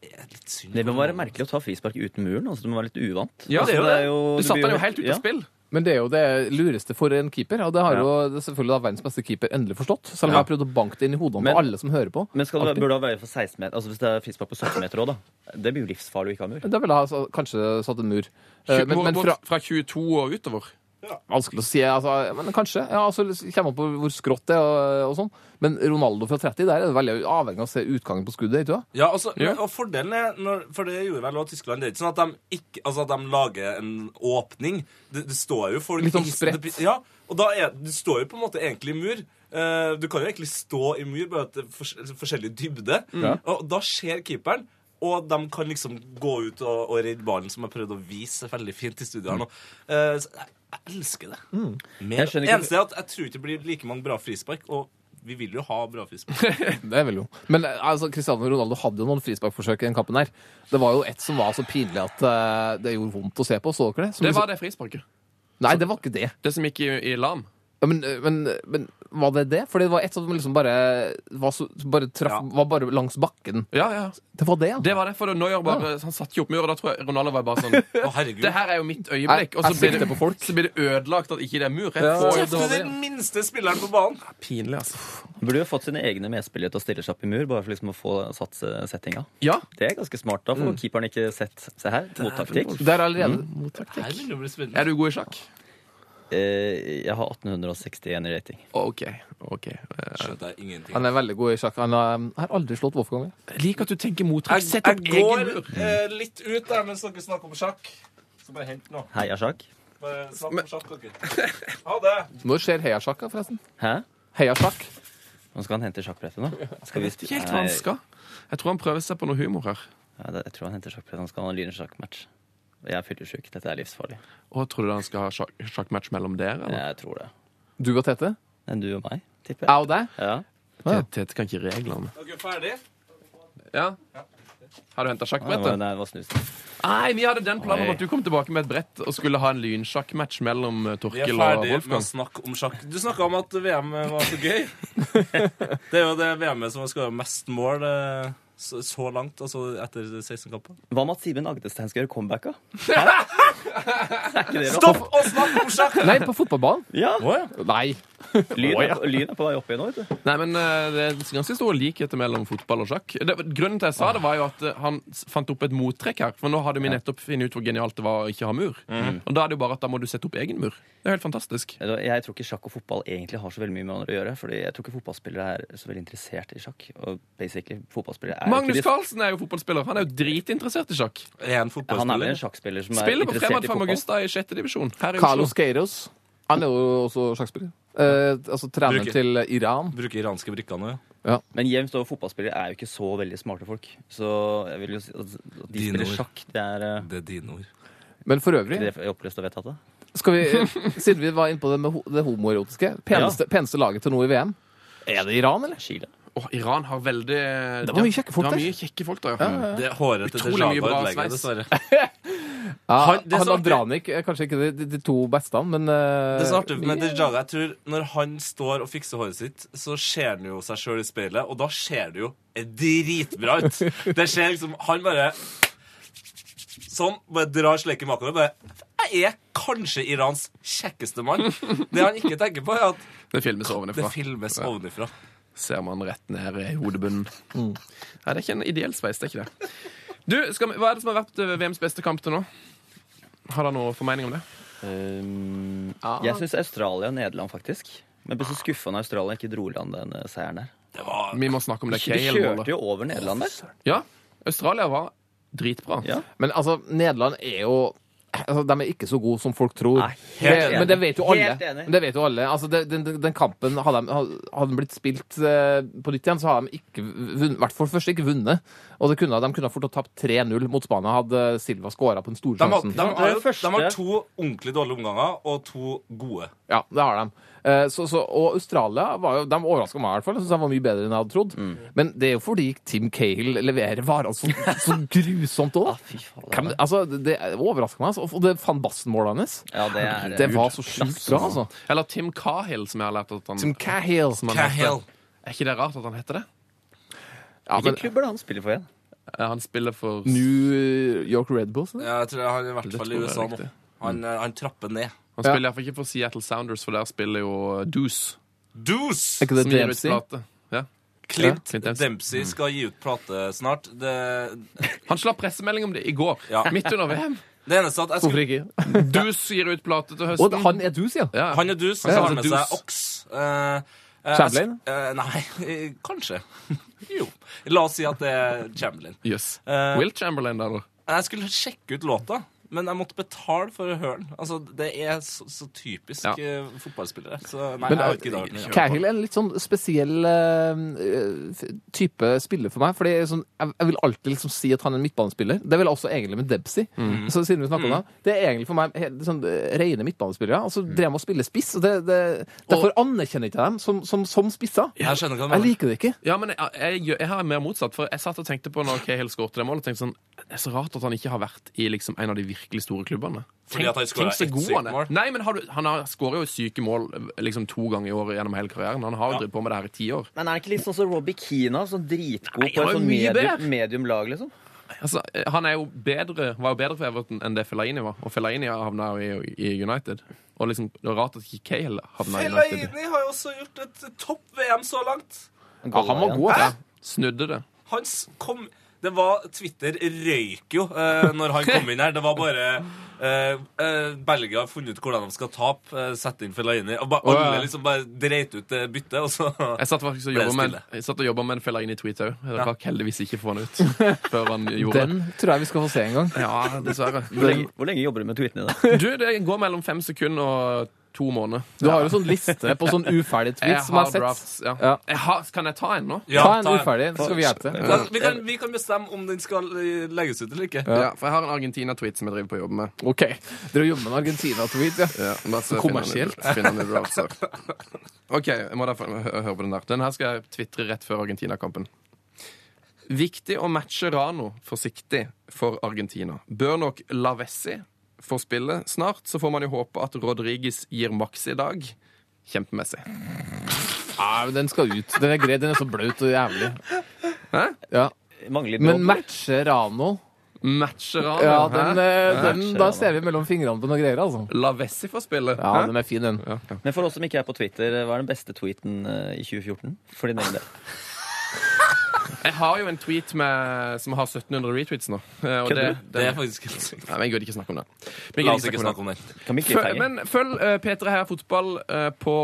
[SPEAKER 4] Det er litt synd.
[SPEAKER 7] Det må være merkelig å ta frispark uten muren. altså Det må være litt uvant.
[SPEAKER 3] Ja,
[SPEAKER 7] altså,
[SPEAKER 3] det er jo det.
[SPEAKER 7] er jo-
[SPEAKER 3] Du satte
[SPEAKER 7] blir
[SPEAKER 3] han jo helt ut av
[SPEAKER 7] ja.
[SPEAKER 3] spill.
[SPEAKER 6] Men det er jo det lureste for en keeper, og det har jo det er selvfølgelig da verdens beste keeper endelig forstått. Selv om jeg har prøvd å banke det inn i hodene
[SPEAKER 7] Men-
[SPEAKER 6] på alle som hører på.
[SPEAKER 7] Men skal det,
[SPEAKER 6] Alltid.
[SPEAKER 7] burde det være for 16 meter? Altså Hvis det er frispark på 17 meter òg, da. Det blir jo livsfarlig å ikke ha mur.
[SPEAKER 6] Da ville jeg altså, kanskje satt en mur. Eh,
[SPEAKER 3] Tju-
[SPEAKER 6] Men, men
[SPEAKER 3] bort
[SPEAKER 6] fra,
[SPEAKER 3] fra 22 og utover.
[SPEAKER 6] vanskelig å si. Altså, men kanskje. Ja, altså, Kommer an på hvor skrått det er. Og, og sånn. Men Ronaldo fra 30, der er det veldig avhengig av å se utgangen på skuddet. Ikke, sant?
[SPEAKER 4] Ja, altså,
[SPEAKER 3] Ja.
[SPEAKER 4] og fordelen er når, For det gjorde vel også Tyskland. Det er ikke sånn at de, ikke, altså at de lager en åpning. Det, det står jo folk
[SPEAKER 6] Litt sånn
[SPEAKER 4] i isen.
[SPEAKER 6] spredt.
[SPEAKER 4] Det blir- Ja, og da er, du står jo på en måte egentlig i mur. Eh, du kan jo egentlig stå i mur, bare at det er fors forskjellig dybde. Og da ser keeperen. Og de kan liksom gå ut og, og redde ballen, som jeg prøvde å vise veldig fint i studiet her nå. Eh, så jeg, jeg elsker det. Mer.
[SPEAKER 7] Jeg skjønner ikke-
[SPEAKER 4] Eneste er at jeg tror ikke det blir like mange bra frispark. Og vi vil jo ha bra frispark.
[SPEAKER 6] Det vil jo. Men eh, altså, Cristiano Ronaldo hadde jo noen frisparkforsøk i den kampen her. Det var jo ett som var så pinlig at eh, det gjorde vondt å se på. Så dere det? Som
[SPEAKER 3] Det
[SPEAKER 6] liksom-
[SPEAKER 3] var det frisparket.
[SPEAKER 6] Nei, det var ikke det.
[SPEAKER 3] Det som gikk i, i lam.
[SPEAKER 6] Ja, Men, eh, men, men var det det? For det var ett som liksom bare var, så, som bare traff,
[SPEAKER 4] Ja.
[SPEAKER 6] var bare langs bakken.
[SPEAKER 3] Ja, ja.
[SPEAKER 6] Det var det, ja.
[SPEAKER 3] Det var det, for Neuer bare, han satt jo opp mur, og da tror jeg Ronaldo var bare sånn
[SPEAKER 4] Å, herregud.
[SPEAKER 3] Det her er jo mitt øyeblikk. Og så
[SPEAKER 6] Jeg
[SPEAKER 3] blir,
[SPEAKER 6] sikter
[SPEAKER 3] det,
[SPEAKER 6] på folk.
[SPEAKER 3] så blir det ødelagt at ikke det er mur. Jeg
[SPEAKER 6] Ja,
[SPEAKER 3] får jo
[SPEAKER 6] det var
[SPEAKER 4] Treffer du
[SPEAKER 6] det,
[SPEAKER 4] den minste spilleren på banen?
[SPEAKER 3] pinlig, altså.
[SPEAKER 7] Han burde jo fått sine egne medspillere til å stille seg opp i mur, bare for liksom å få satt eh, settinga.
[SPEAKER 3] Ja.
[SPEAKER 7] Det er ganske smart, da, for
[SPEAKER 3] Mm.
[SPEAKER 7] keeperen ikke sett Se her, mottaktikk.
[SPEAKER 6] Det er allerede
[SPEAKER 4] Her vil det bli spennende.
[SPEAKER 3] Er du god i sjakk?
[SPEAKER 7] Eh, jeg har 1861 i rating.
[SPEAKER 3] OK. ok Eh,
[SPEAKER 4] skjønte jeg ingenting.
[SPEAKER 6] Han er veldig god i sjakk. Han har, har aldri slått Wolfgang. ja.
[SPEAKER 3] Jeg liker at du tenker mottrekk.
[SPEAKER 4] Jeg,
[SPEAKER 3] Sett
[SPEAKER 4] jeg
[SPEAKER 3] opp
[SPEAKER 4] går
[SPEAKER 3] egen mur.
[SPEAKER 4] eh, litt ut der mens dere snakker om sjakk. Så bare hent nå.
[SPEAKER 7] Heia sjakk.
[SPEAKER 4] Bare snakk om sjakk, dere. Ha det.
[SPEAKER 6] Når skjer heiasjakk, da, forresten?
[SPEAKER 7] Hæ?
[SPEAKER 6] Heiasjakk?
[SPEAKER 7] Nå skal han hente sjakkbrettet, nå. Skal vi
[SPEAKER 3] Vet ikke helt hva han skal. Jeg tror han prøver seg på noe humor her.
[SPEAKER 7] Ja, det- jeg tror han henter sjakkbrettet. Han skal ha en lynsjakkmatch. Jeg er fyllesyk. Dette er livsfarlig.
[SPEAKER 3] Og tror du han skal ha sjakk, sjakkmatch mellom dere? Eller?
[SPEAKER 7] Jeg tror det.
[SPEAKER 6] Du og Tete?
[SPEAKER 7] Men du og meg, tipper jeg.
[SPEAKER 6] Jeg og deg?
[SPEAKER 7] Ja.
[SPEAKER 6] Ja.
[SPEAKER 3] Tete kan ikke reglene.
[SPEAKER 4] Dere er ferdige?
[SPEAKER 3] Ja. Har du henta
[SPEAKER 7] Nei, det var,
[SPEAKER 3] sjakkbrettet?
[SPEAKER 7] nei, det var snus.
[SPEAKER 3] Nei, vi hadde den planen om
[SPEAKER 7] Oi.
[SPEAKER 3] at du kom tilbake med et brett og skulle ha en lynsjakkmatch mellom eh,
[SPEAKER 4] Vi er
[SPEAKER 3] Torkil og
[SPEAKER 4] ferdige med å
[SPEAKER 3] Wolfgang.
[SPEAKER 4] snakke om sjakk. Du snakka om at VM var så gøy. Det er jo det VM-et som har skåra mest mål eh, så, så langt, altså etter 16 kamper.
[SPEAKER 7] Hva med at Simen Agdestein skal gjøre comeback, da?
[SPEAKER 4] Stopp å snakke om sjakk!
[SPEAKER 6] Nei, på fotballbanen?
[SPEAKER 7] Ja!
[SPEAKER 4] Å, ja.
[SPEAKER 6] Nei.
[SPEAKER 7] Lyn er, på- lyn er på vei opp igjen nå, vet du.
[SPEAKER 3] Nei, men eh, Det er ganske store likheter mellom fotball og sjakk. Det, grunnen til jeg sa det, var jo at eh, han s- fant opp et mottrekk her. For nå hadde vi nettopp funnet ut hvor genialt det var å ikke ha mur. Og da er det jo bare at da må du sette opp egen mur. Det er helt fantastisk.
[SPEAKER 7] Vet du hva, Jeg tror ikke sjakk og fotball egentlig har så veldig mye med hverandre å gjøre. Fordi jeg tror ikke fotballspillere er så veldig interessert i sjakk. Og basically, fotballspillere er
[SPEAKER 3] Magnus
[SPEAKER 7] ikke
[SPEAKER 3] Carlsen er jo fotballspiller. Han er jo dritinteressert i sjakk.
[SPEAKER 4] Er han
[SPEAKER 7] de, Han er vel en
[SPEAKER 4] fotballspiller?
[SPEAKER 7] sjakkspiller som er
[SPEAKER 3] Spiller på
[SPEAKER 7] interessert
[SPEAKER 3] Fremad
[SPEAKER 7] i
[SPEAKER 3] Fram
[SPEAKER 7] fotball.
[SPEAKER 3] Augusta i sjette divisjon. Her i Oslo.
[SPEAKER 6] Carlos Queiroz. Han er jo også sjakkspiller. Eh, altså treneren
[SPEAKER 4] Bruker.
[SPEAKER 6] til Iran.
[SPEAKER 4] Bruker iranske brikker nå, ja.
[SPEAKER 7] Men jevnt over fotballspillere er jo ikke så veldig smarte folk. Så jeg vil jo si at at de
[SPEAKER 4] Dine
[SPEAKER 7] spiller
[SPEAKER 4] ord.
[SPEAKER 7] sjakk. Det er eh,
[SPEAKER 4] Det er dine ord.
[SPEAKER 6] Men for øvrig
[SPEAKER 7] ikke det jeg oppløst og vedtatt, da.
[SPEAKER 6] Skal vi, siden vi var inne på det med ho- det homoerotiske, peneste, peneste laget til nå i VM Er det Iran, eller?
[SPEAKER 7] Chile.
[SPEAKER 3] Åh, Iran har veldig
[SPEAKER 6] Det var mye kjekke folk
[SPEAKER 3] Det var
[SPEAKER 6] der.
[SPEAKER 3] mye kjekke folk der, ja.
[SPEAKER 4] Det er hårete til
[SPEAKER 3] Utrolig mye bra sveis.
[SPEAKER 4] Java-utlegget, dessverre.
[SPEAKER 6] Ja,
[SPEAKER 4] Han-
[SPEAKER 6] han
[SPEAKER 4] det som
[SPEAKER 6] og
[SPEAKER 4] er
[SPEAKER 6] Dranik er kanskje ikke de, de, de to beste, men eh,
[SPEAKER 4] Det er så artig med
[SPEAKER 6] mye-
[SPEAKER 4] Dejaga. Jeg tror Når han står og fikser håret sitt, så ser han jo seg sjøl i speilet, og da ser det jo dritbra ut. Det ser liksom Han bare Sånn. Bare drar sleket bakover. Bare Jeg er kanskje Irans kjekkeste mann. Det han ikke tenker på, er at
[SPEAKER 3] Det filmes ovenfra.
[SPEAKER 4] det filmes ovenifra.
[SPEAKER 3] ser man rett ned i hodebunnen.
[SPEAKER 6] Mm.
[SPEAKER 3] Nei, det er ikke en ideell sveis, det er ikke det. Du, skal vi, Hva er det som har vært eh, VMs beste kamp til nå? Har dere noe formening om det?
[SPEAKER 7] Um, Jeg syns Australia og Nederland, faktisk. Men jeg ble så skuffa når Australia ikke dro i land den eh, seieren der.
[SPEAKER 4] Det var
[SPEAKER 3] Vi må snakke om det
[SPEAKER 7] De kjørte
[SPEAKER 3] Cale-målet.
[SPEAKER 7] jo over Nederland der.
[SPEAKER 3] Ja, Australia var Dritbra.
[SPEAKER 7] Ja.
[SPEAKER 6] Men altså, Nederland er jo altså, De er ikke så gode som folk tror.
[SPEAKER 7] Nei, helt
[SPEAKER 6] det,
[SPEAKER 7] enig.
[SPEAKER 6] men det vet jo alle.
[SPEAKER 7] Helt enig.
[SPEAKER 6] Men det vet jo alle. Altså, det, den, den- den kampen hadde, de, hadde den blitt spilt eh, på nytt igjen, så hadde de ikke vunnet. I hvert fall først ikke vunnet. Og det kunne, de kunne ha fort ha tapt 3-0 mot Spania hadde Silva skåra på den store
[SPEAKER 4] De har,
[SPEAKER 6] sjansen.
[SPEAKER 4] de,
[SPEAKER 7] var
[SPEAKER 4] har,
[SPEAKER 7] jo første-
[SPEAKER 4] de har to ordentlig dårlige omganger og to gode.
[SPEAKER 6] Ja, det har de. Eh, Så, så, og Australia var jo, de overraska meg i hvert fall. Jeg synes de var mye bedre enn jeg hadde trodd. Men det er jo fordi Tim Cahill leverer varene så, så grusomt òg. altså, det overrasker meg. Altså. Og det Van Basten-målet hans
[SPEAKER 7] Ja, det er
[SPEAKER 6] Det var så sjukt bra, altså.
[SPEAKER 3] Eller Tim Cahill, som jeg har lært at han
[SPEAKER 6] Tim Cahill.
[SPEAKER 3] som han
[SPEAKER 4] Cahill.
[SPEAKER 3] heter. Er ikke det rart at han heter det?
[SPEAKER 6] Ja,
[SPEAKER 7] Hvilke
[SPEAKER 6] men,
[SPEAKER 7] klubber er det han spiller for igjen?
[SPEAKER 3] Eh, Han spiller for
[SPEAKER 6] New York Red Bulls? eller?
[SPEAKER 4] Ja, Jeg tror han er i hvert
[SPEAKER 3] Det
[SPEAKER 4] fall
[SPEAKER 3] tror
[SPEAKER 4] i
[SPEAKER 3] jeg er
[SPEAKER 4] USA nå.
[SPEAKER 3] riktig.
[SPEAKER 4] Han, eh, han trapper ned.
[SPEAKER 3] Han
[SPEAKER 6] Ja.
[SPEAKER 3] spiller iallfall ikke for Seattle Sounders, for der spiller jo eh, Deuce.
[SPEAKER 4] Deuce!
[SPEAKER 6] Er ikke det
[SPEAKER 3] Som gir ut
[SPEAKER 6] Dempsey?
[SPEAKER 3] plate. Ja. Mm.
[SPEAKER 4] Clint,
[SPEAKER 3] Clint Dempsey.
[SPEAKER 4] Dempsey skal gi ut plate snart. Det,
[SPEAKER 3] Han slapp pressemelding om det i går,
[SPEAKER 4] Ja.
[SPEAKER 3] midt under VM.
[SPEAKER 4] det eneste at jeg
[SPEAKER 6] Hvorfor
[SPEAKER 4] skulle
[SPEAKER 6] ikke?
[SPEAKER 3] Deuce gir ut plate til
[SPEAKER 6] Og
[SPEAKER 3] høsten.
[SPEAKER 6] han er du, sier han.
[SPEAKER 3] ja.
[SPEAKER 4] Han er dus,
[SPEAKER 3] Ja,
[SPEAKER 4] han har
[SPEAKER 3] han er
[SPEAKER 4] med seg
[SPEAKER 3] dus.
[SPEAKER 4] oks. Eh, eh,
[SPEAKER 6] Chamberlain?
[SPEAKER 4] eh, nei, eh, kanskje. jo. La oss si at det er Chamberlain.
[SPEAKER 3] Yes.
[SPEAKER 4] Eh,
[SPEAKER 3] Will Chamberlain, da, eller?
[SPEAKER 4] Jeg skulle sjekke ut låta, men jeg måtte betale for å høre den. Altså, det er så, så typisk
[SPEAKER 3] Ja. eh,
[SPEAKER 4] eh, fotballspillere. Så nei,
[SPEAKER 6] Men,
[SPEAKER 4] jeg har ikke hørt den. igjen.
[SPEAKER 6] Cahill er en litt sånn spesiell eh, f- type spiller for meg. Fordi sånn, jeg, jeg vil alltid liksom si at han er en midtbanespiller. Det vil jeg også egentlig med Debsey. Så siden vi snakker om det, det er egentlig for meg helt, sånn, eh, rene midtbanespillere. Altså, drev med å spille spiss. Og det, det, derfor anerkjenner jeg ikke dem som, som, som spisser.
[SPEAKER 4] Jeg skjønner hva du
[SPEAKER 6] Jeg
[SPEAKER 4] mener.
[SPEAKER 6] liker det ikke.
[SPEAKER 3] Ja, men jeg, jeg, gjør- jeg har mer motsatt. For jeg satt og tenkte på når Cahill skåret det målet, tenkte sånn Det er så rart at han ikke har vært i liksom en av de virkelig store klubbene.
[SPEAKER 4] Fordi at han skåret
[SPEAKER 3] tenk så
[SPEAKER 4] ett
[SPEAKER 3] god
[SPEAKER 4] sykt
[SPEAKER 3] han er.
[SPEAKER 4] mål.
[SPEAKER 3] Nei, men har du, han har skårer jo syke mål liksom to ganger i året gjennom hele karrieren. Han har jo drevet på med det her i ti år.
[SPEAKER 7] Men er det ikke litt sånn som Robbie Keane, sånn dritgod
[SPEAKER 3] Nei, han
[SPEAKER 7] på
[SPEAKER 3] er
[SPEAKER 7] et sånn
[SPEAKER 3] mye bedre.
[SPEAKER 7] medium, medium lag, liksom?
[SPEAKER 3] Altså, eh, han er jo bedre, var jo bedre for Everton enn det Fellaini var. Og Fellaini havna jo i, i United. Og liksom, det var rart at ikke Cahill havna i United.
[SPEAKER 4] Fellaini har jo også gjort et topp-VM så langt.
[SPEAKER 6] Ja, han var god. altså.
[SPEAKER 3] Snudde det.
[SPEAKER 4] Han s- kom Det var Twitter røyk jo eh, når han kom inn her. Det var bare eh, eh, Belgia har funnet ut hvordan de skal tape, eh, sette inn Fellaini og bare,
[SPEAKER 3] Å, ja.
[SPEAKER 4] Alle liksom bare dreit ut det byttet, og så
[SPEAKER 3] Jeg satt faktisk og
[SPEAKER 4] Ble det
[SPEAKER 3] jobbet med,
[SPEAKER 4] stille.
[SPEAKER 3] jeg satt og jobbet med en Fellaini-tweet òg. Jeg rakk heldigvis ikke få han ut før han gjorde det.
[SPEAKER 6] Den tror jeg vi skal få se en gang.
[SPEAKER 3] Ja, dessverre.
[SPEAKER 7] Hvor lenge, hvor lenge jobber du med tweetene da?
[SPEAKER 3] Du, det går mellom fem sekunder og to måneder.
[SPEAKER 6] Du har jo sånn liste på sånn uferdig tweet som jeg har sett.
[SPEAKER 3] ja.
[SPEAKER 6] Ja.
[SPEAKER 3] Jeg har, kan jeg ta en nå?
[SPEAKER 4] Ja,
[SPEAKER 6] Ta en
[SPEAKER 4] ta en.
[SPEAKER 6] uferdig, så skal vi hjelpe til.
[SPEAKER 4] Da- vi, kan, vi kan bestemme om den skal eh, legges ut eller ikke.
[SPEAKER 3] Ja. for jeg har en Argentina-tweet som jeg driver på jobb med.
[SPEAKER 6] OK. Dere jobber med en Argentina-tweet, ja.
[SPEAKER 3] Ja, bare så
[SPEAKER 6] Kommersielt.
[SPEAKER 3] finner den i browser. OK, jeg må derfor hø- høre på den der. Den her skal jeg tvitre rett før Argentina-kampen. Viktig å matche Rano forsiktig for Argentina. Bør nok Lavessi få spille snart, så får man jo håpe at Rodriguez gir maks i dag. Kjempemessig.
[SPEAKER 6] Nei, men den skal ut. Den er grei. Den er så blaut og jævlig.
[SPEAKER 3] Hæ?
[SPEAKER 6] Ja.
[SPEAKER 7] Mangler litt
[SPEAKER 6] Men
[SPEAKER 7] bråk.
[SPEAKER 6] matche Rano
[SPEAKER 3] Matche Rano?
[SPEAKER 6] Ja,
[SPEAKER 3] hæ?
[SPEAKER 6] den, eh, den
[SPEAKER 7] Matche
[SPEAKER 6] Da
[SPEAKER 7] Rano.
[SPEAKER 6] ser vi mellom fingrene på noen greier, altså.
[SPEAKER 3] Lavessi får spille.
[SPEAKER 6] Ja,
[SPEAKER 3] Hæ?
[SPEAKER 6] den er fin, den.
[SPEAKER 7] Men for oss som ikke er på Twitter, eh, hva er den beste tweeten eh, i 2014? For din egen del.
[SPEAKER 3] Jeg har jo en tweet med, som har 1700 retweets nå. eh, Og det,
[SPEAKER 4] Det
[SPEAKER 3] det,
[SPEAKER 4] er faktisk helt sykt.
[SPEAKER 3] nei, men jeg gidder ikke snakke om det.
[SPEAKER 4] La
[SPEAKER 3] Vi gidder
[SPEAKER 4] oss ikke snakke om det.
[SPEAKER 7] Kan vi ikke
[SPEAKER 3] Føl,
[SPEAKER 7] feie?
[SPEAKER 3] men følg uh, P3 Heia Fotball eh, på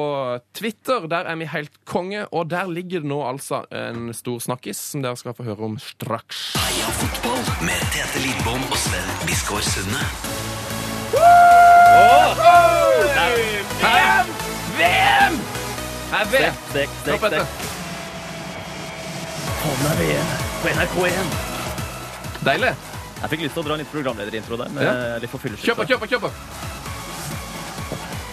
[SPEAKER 3] Twitter. Der er vi helt konge, og der ligger det nå altså en stor snakkis som dere skal få høre om straks.
[SPEAKER 2] Heia fotball med Tete Lidbom og Sven Biskår Sunde.
[SPEAKER 3] Jeg vet!
[SPEAKER 7] Stek, stek,
[SPEAKER 3] Stopp dette.
[SPEAKER 7] stek. Hånda VM på NRK1.
[SPEAKER 3] Deilig.
[SPEAKER 7] Jeg fikk lyst til å dra en liten programlederintro der. Men
[SPEAKER 3] Ja.
[SPEAKER 7] eh, litt for fyllesyk,
[SPEAKER 3] Kjøp og
[SPEAKER 7] da.
[SPEAKER 3] kjøp og kjøp. og.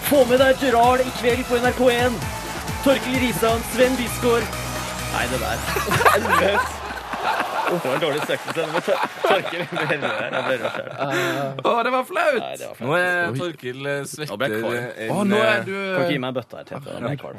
[SPEAKER 7] Få med deg Gerard i kveld på NRK1. Torkil Risan, Sven Bisgaard. Nei, det der er løs. Det var en dårlig søkelse. men Tor- Torkil jeg ble rød her. Jeg ble rød selv.
[SPEAKER 3] Å, det var flaut!
[SPEAKER 7] Nei, det var feil.
[SPEAKER 4] Nå er Torkil eh,
[SPEAKER 7] Nå ble
[SPEAKER 4] svetter
[SPEAKER 7] jeg kvalm.
[SPEAKER 4] en,
[SPEAKER 3] Å, nå
[SPEAKER 4] eh,
[SPEAKER 3] er du
[SPEAKER 7] Kan ikke gi meg en bøtte her, Tete. Da blir jeg kvalm.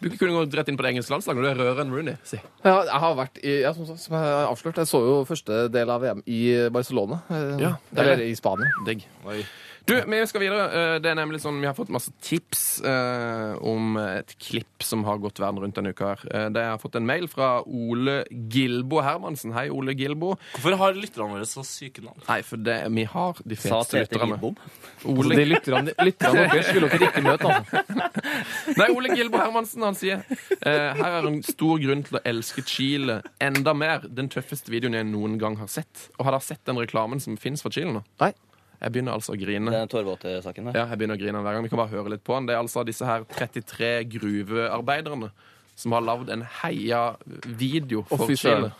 [SPEAKER 3] Du kunne gått rett inn på det engelske landslaget, og du er rødere enn Rooney. Si.
[SPEAKER 6] Ja, jeg har vært i ja, som, sagt, som jeg har avslørt, jeg så jo første del av VM i Barcelona. eh,
[SPEAKER 3] Ja, det er
[SPEAKER 6] Eller
[SPEAKER 3] det.
[SPEAKER 6] i Spania.
[SPEAKER 3] Digg.
[SPEAKER 4] Oi.
[SPEAKER 3] Du, vi skal videre. Eh, Det er nemlig sånn, Vi har fått masse tips eh, om et klipp som har gått verden rundt denne uka. her. Eh, det jeg har fått en mail fra Ole Gilbo Hermansen. Hei, Ole Gilbo.
[SPEAKER 4] Hvorfor har lytterne våre så syke navn?
[SPEAKER 3] Nei, for det, vi har de
[SPEAKER 7] Sa
[SPEAKER 3] feteste
[SPEAKER 7] Tete
[SPEAKER 3] lytterne.
[SPEAKER 7] Lidbom.
[SPEAKER 6] Så de
[SPEAKER 3] Ole,
[SPEAKER 6] lytterne lytterne dere skulle dere ikke møte, altså.
[SPEAKER 3] nei, Ole Gilbo Hermansen han sier eh, her er en stor grunn til å elske Chile enda mer. Den tøffeste videoen jeg noen gang har sett. Og har dere sett den reklamen som fins for Chile nå?
[SPEAKER 6] Nei.
[SPEAKER 3] Jeg begynner altså å grine.
[SPEAKER 7] Den tårevåte saken der.
[SPEAKER 3] Ja, jeg begynner å grine hver gang. Vi kan bare høre litt på den. Det er altså disse her 33 gruvearbeiderne som har lagd en heia-video for
[SPEAKER 6] fy
[SPEAKER 3] Chile.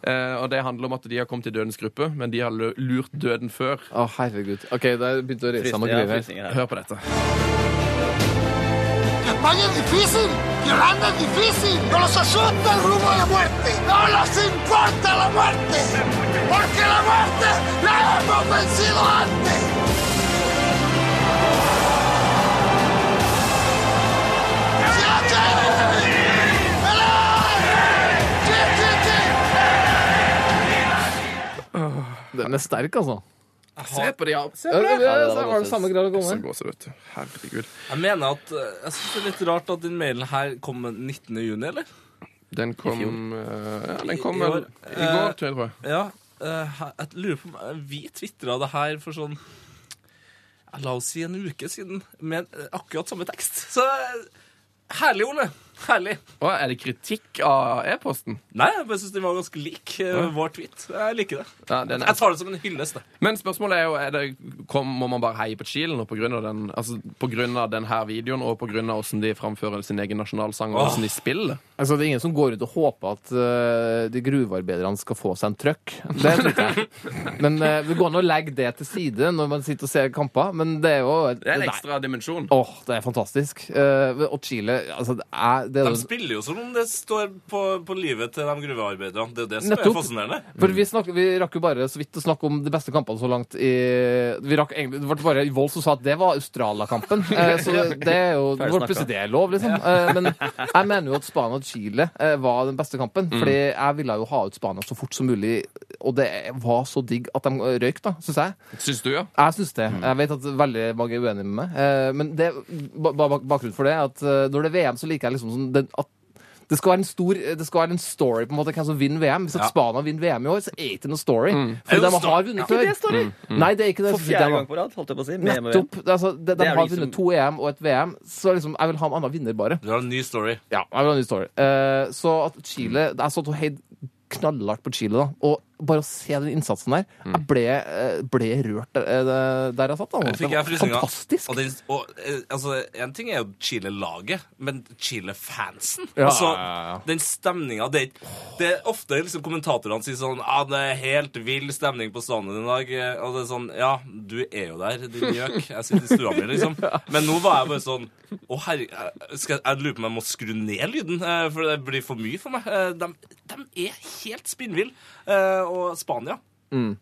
[SPEAKER 6] søren.
[SPEAKER 3] Eh, og det handler om at de har kommet i dødens gruppe, men de har lø- lurt døden før.
[SPEAKER 6] Å, herregud. OK, der begynte å reise seg med
[SPEAKER 7] Ja,
[SPEAKER 6] griner.
[SPEAKER 7] frysninger her.
[SPEAKER 3] Hør på dette.
[SPEAKER 8] España es difícil, y Holanda es difícil. No los asusta el rumbo de la muerte. No les importa la muerte. Porque la muerte la hemos vencido antes. ¡Siete! ¡Alá! ¡Sí, sí, sí!
[SPEAKER 6] Den er sterk, altså.
[SPEAKER 3] Se på de her. Se
[SPEAKER 6] Ja, det, det,
[SPEAKER 7] Ja, det var
[SPEAKER 6] var det samme grad å
[SPEAKER 3] Så
[SPEAKER 6] komme med.
[SPEAKER 3] gåser det ut. Herregud.
[SPEAKER 4] Jeg mener at eh, Jeg synes det er litt rart at den mailen her kom 19. juni, eller?
[SPEAKER 3] Den kom eh, Ja, den kom
[SPEAKER 4] I- i
[SPEAKER 3] vel
[SPEAKER 4] år. eh,
[SPEAKER 3] i går, tror jeg. tror jeg.
[SPEAKER 4] Ja. eh, her- jeg lurer på om eh, Vi tvitra det her for sånn ja, La oss si en uke siden, med eh, akkurat samme tekst. Så eh, herlig, Ole. Herlig.
[SPEAKER 3] Å, er det kritikk av e-posten?
[SPEAKER 4] Nei, jeg bare syns den var ganske lik eh,
[SPEAKER 3] Ja.
[SPEAKER 4] vår tweet. Jeg liker det.
[SPEAKER 3] Ja, den er-
[SPEAKER 4] Jeg tar det som en hyllest. det.
[SPEAKER 3] Men spørsmålet er jo er det, kom, Må man bare heie på Chile nå pga. Den, altså, på grunn av den her videoen og pga. hvordan de framfører sin egen nasjonalsang og hvordan de spiller?
[SPEAKER 6] Altså, det er ingen som går ut og håper at eh, de gruvearbeiderne skal få seg en trøkk. Det tror ikke jeg. Men eh, det går an å legge det til side når man sitter og ser kamper, men det er jo
[SPEAKER 3] Det er en
[SPEAKER 6] Nei.
[SPEAKER 3] ekstra dimensjon.
[SPEAKER 6] Åh, det er fantastisk. Eh, og Chile altså, det er, det er
[SPEAKER 4] De spiller jo som om det står på, på livet til de gruvearbeiderne. Det er jo det som
[SPEAKER 6] Nettopp.
[SPEAKER 4] er fascinerende.
[SPEAKER 6] For vi, snakker, vi rakk jo bare så vidt å snakke om de beste kampene så langt i vi rakk, egentlig, Det ble bare Vold som sa at det var Australia-kampen. Eh, så det er jo det var
[SPEAKER 7] snakka.
[SPEAKER 6] plutselig det er lov, liksom. Eh, men jeg mener jo at Spania og Chile eh, var den beste kampen. Fordi jeg ville jo ha ut Spania så fort som mulig, og det var så digg at de røyk, da, syns jeg.
[SPEAKER 3] Syns du, ja?
[SPEAKER 6] Jeg syns det. Jeg vet at veldig mange er uenige med meg. Eh, Men det, ba- ba- bakgrunnen for det er at eh, når det er VM, så liker jeg liksom sånn den, at det skal, være en stor, eh, det skal være en story på en måte hvem som vinner VM. Hvis at Spania vinner VM i år, så er det ikke noe story.
[SPEAKER 4] Er
[SPEAKER 6] For
[SPEAKER 4] det
[SPEAKER 6] de
[SPEAKER 4] noe
[SPEAKER 6] har vunnet før. Nei, det er ikke det.
[SPEAKER 7] For fjerde gang på rad, holdt jeg på å si. Med
[SPEAKER 6] Nettopp. Det er Altså, de,
[SPEAKER 7] Det
[SPEAKER 6] de
[SPEAKER 7] er
[SPEAKER 6] har
[SPEAKER 7] liksom-
[SPEAKER 6] vunnet to EM og et VM, så liksom, jeg vil ha en annen vinner, bare.
[SPEAKER 4] Du har en ny story.
[SPEAKER 6] Ja, jeg vil ha en ny story. Eh, så at Chile Jeg satt og heid knallhardt på Chile, da. Og bare å se den innsatsen der
[SPEAKER 4] Mm.
[SPEAKER 6] Jeg ble, eh, ble rørt der, eh, der jeg satt. da.
[SPEAKER 4] Fikk jeg frysninger.
[SPEAKER 6] fantastisk.
[SPEAKER 4] Og det, og, eh, altså, en ting er jo Chile-laget, men Chile-fansen
[SPEAKER 6] Ja,
[SPEAKER 4] altså,
[SPEAKER 6] ja, ja, ja.
[SPEAKER 4] Den stemninga det, er- det er ofte liksom kommentatorene sier sånn ah, 'Det er helt vill stemning på stadion i dag.' eh, Og det er sånn Ja, du er jo der, din gjøk. Jeg sitter i stua mi, liksom. Men nå var jeg bare sånn Å, herre jeg- skal, Jeg lurer på om jeg må skru ned lyden, eh, for det blir for mye for meg. Eh, De, de er helt spinnville. Eh, Og Spania
[SPEAKER 6] Mm.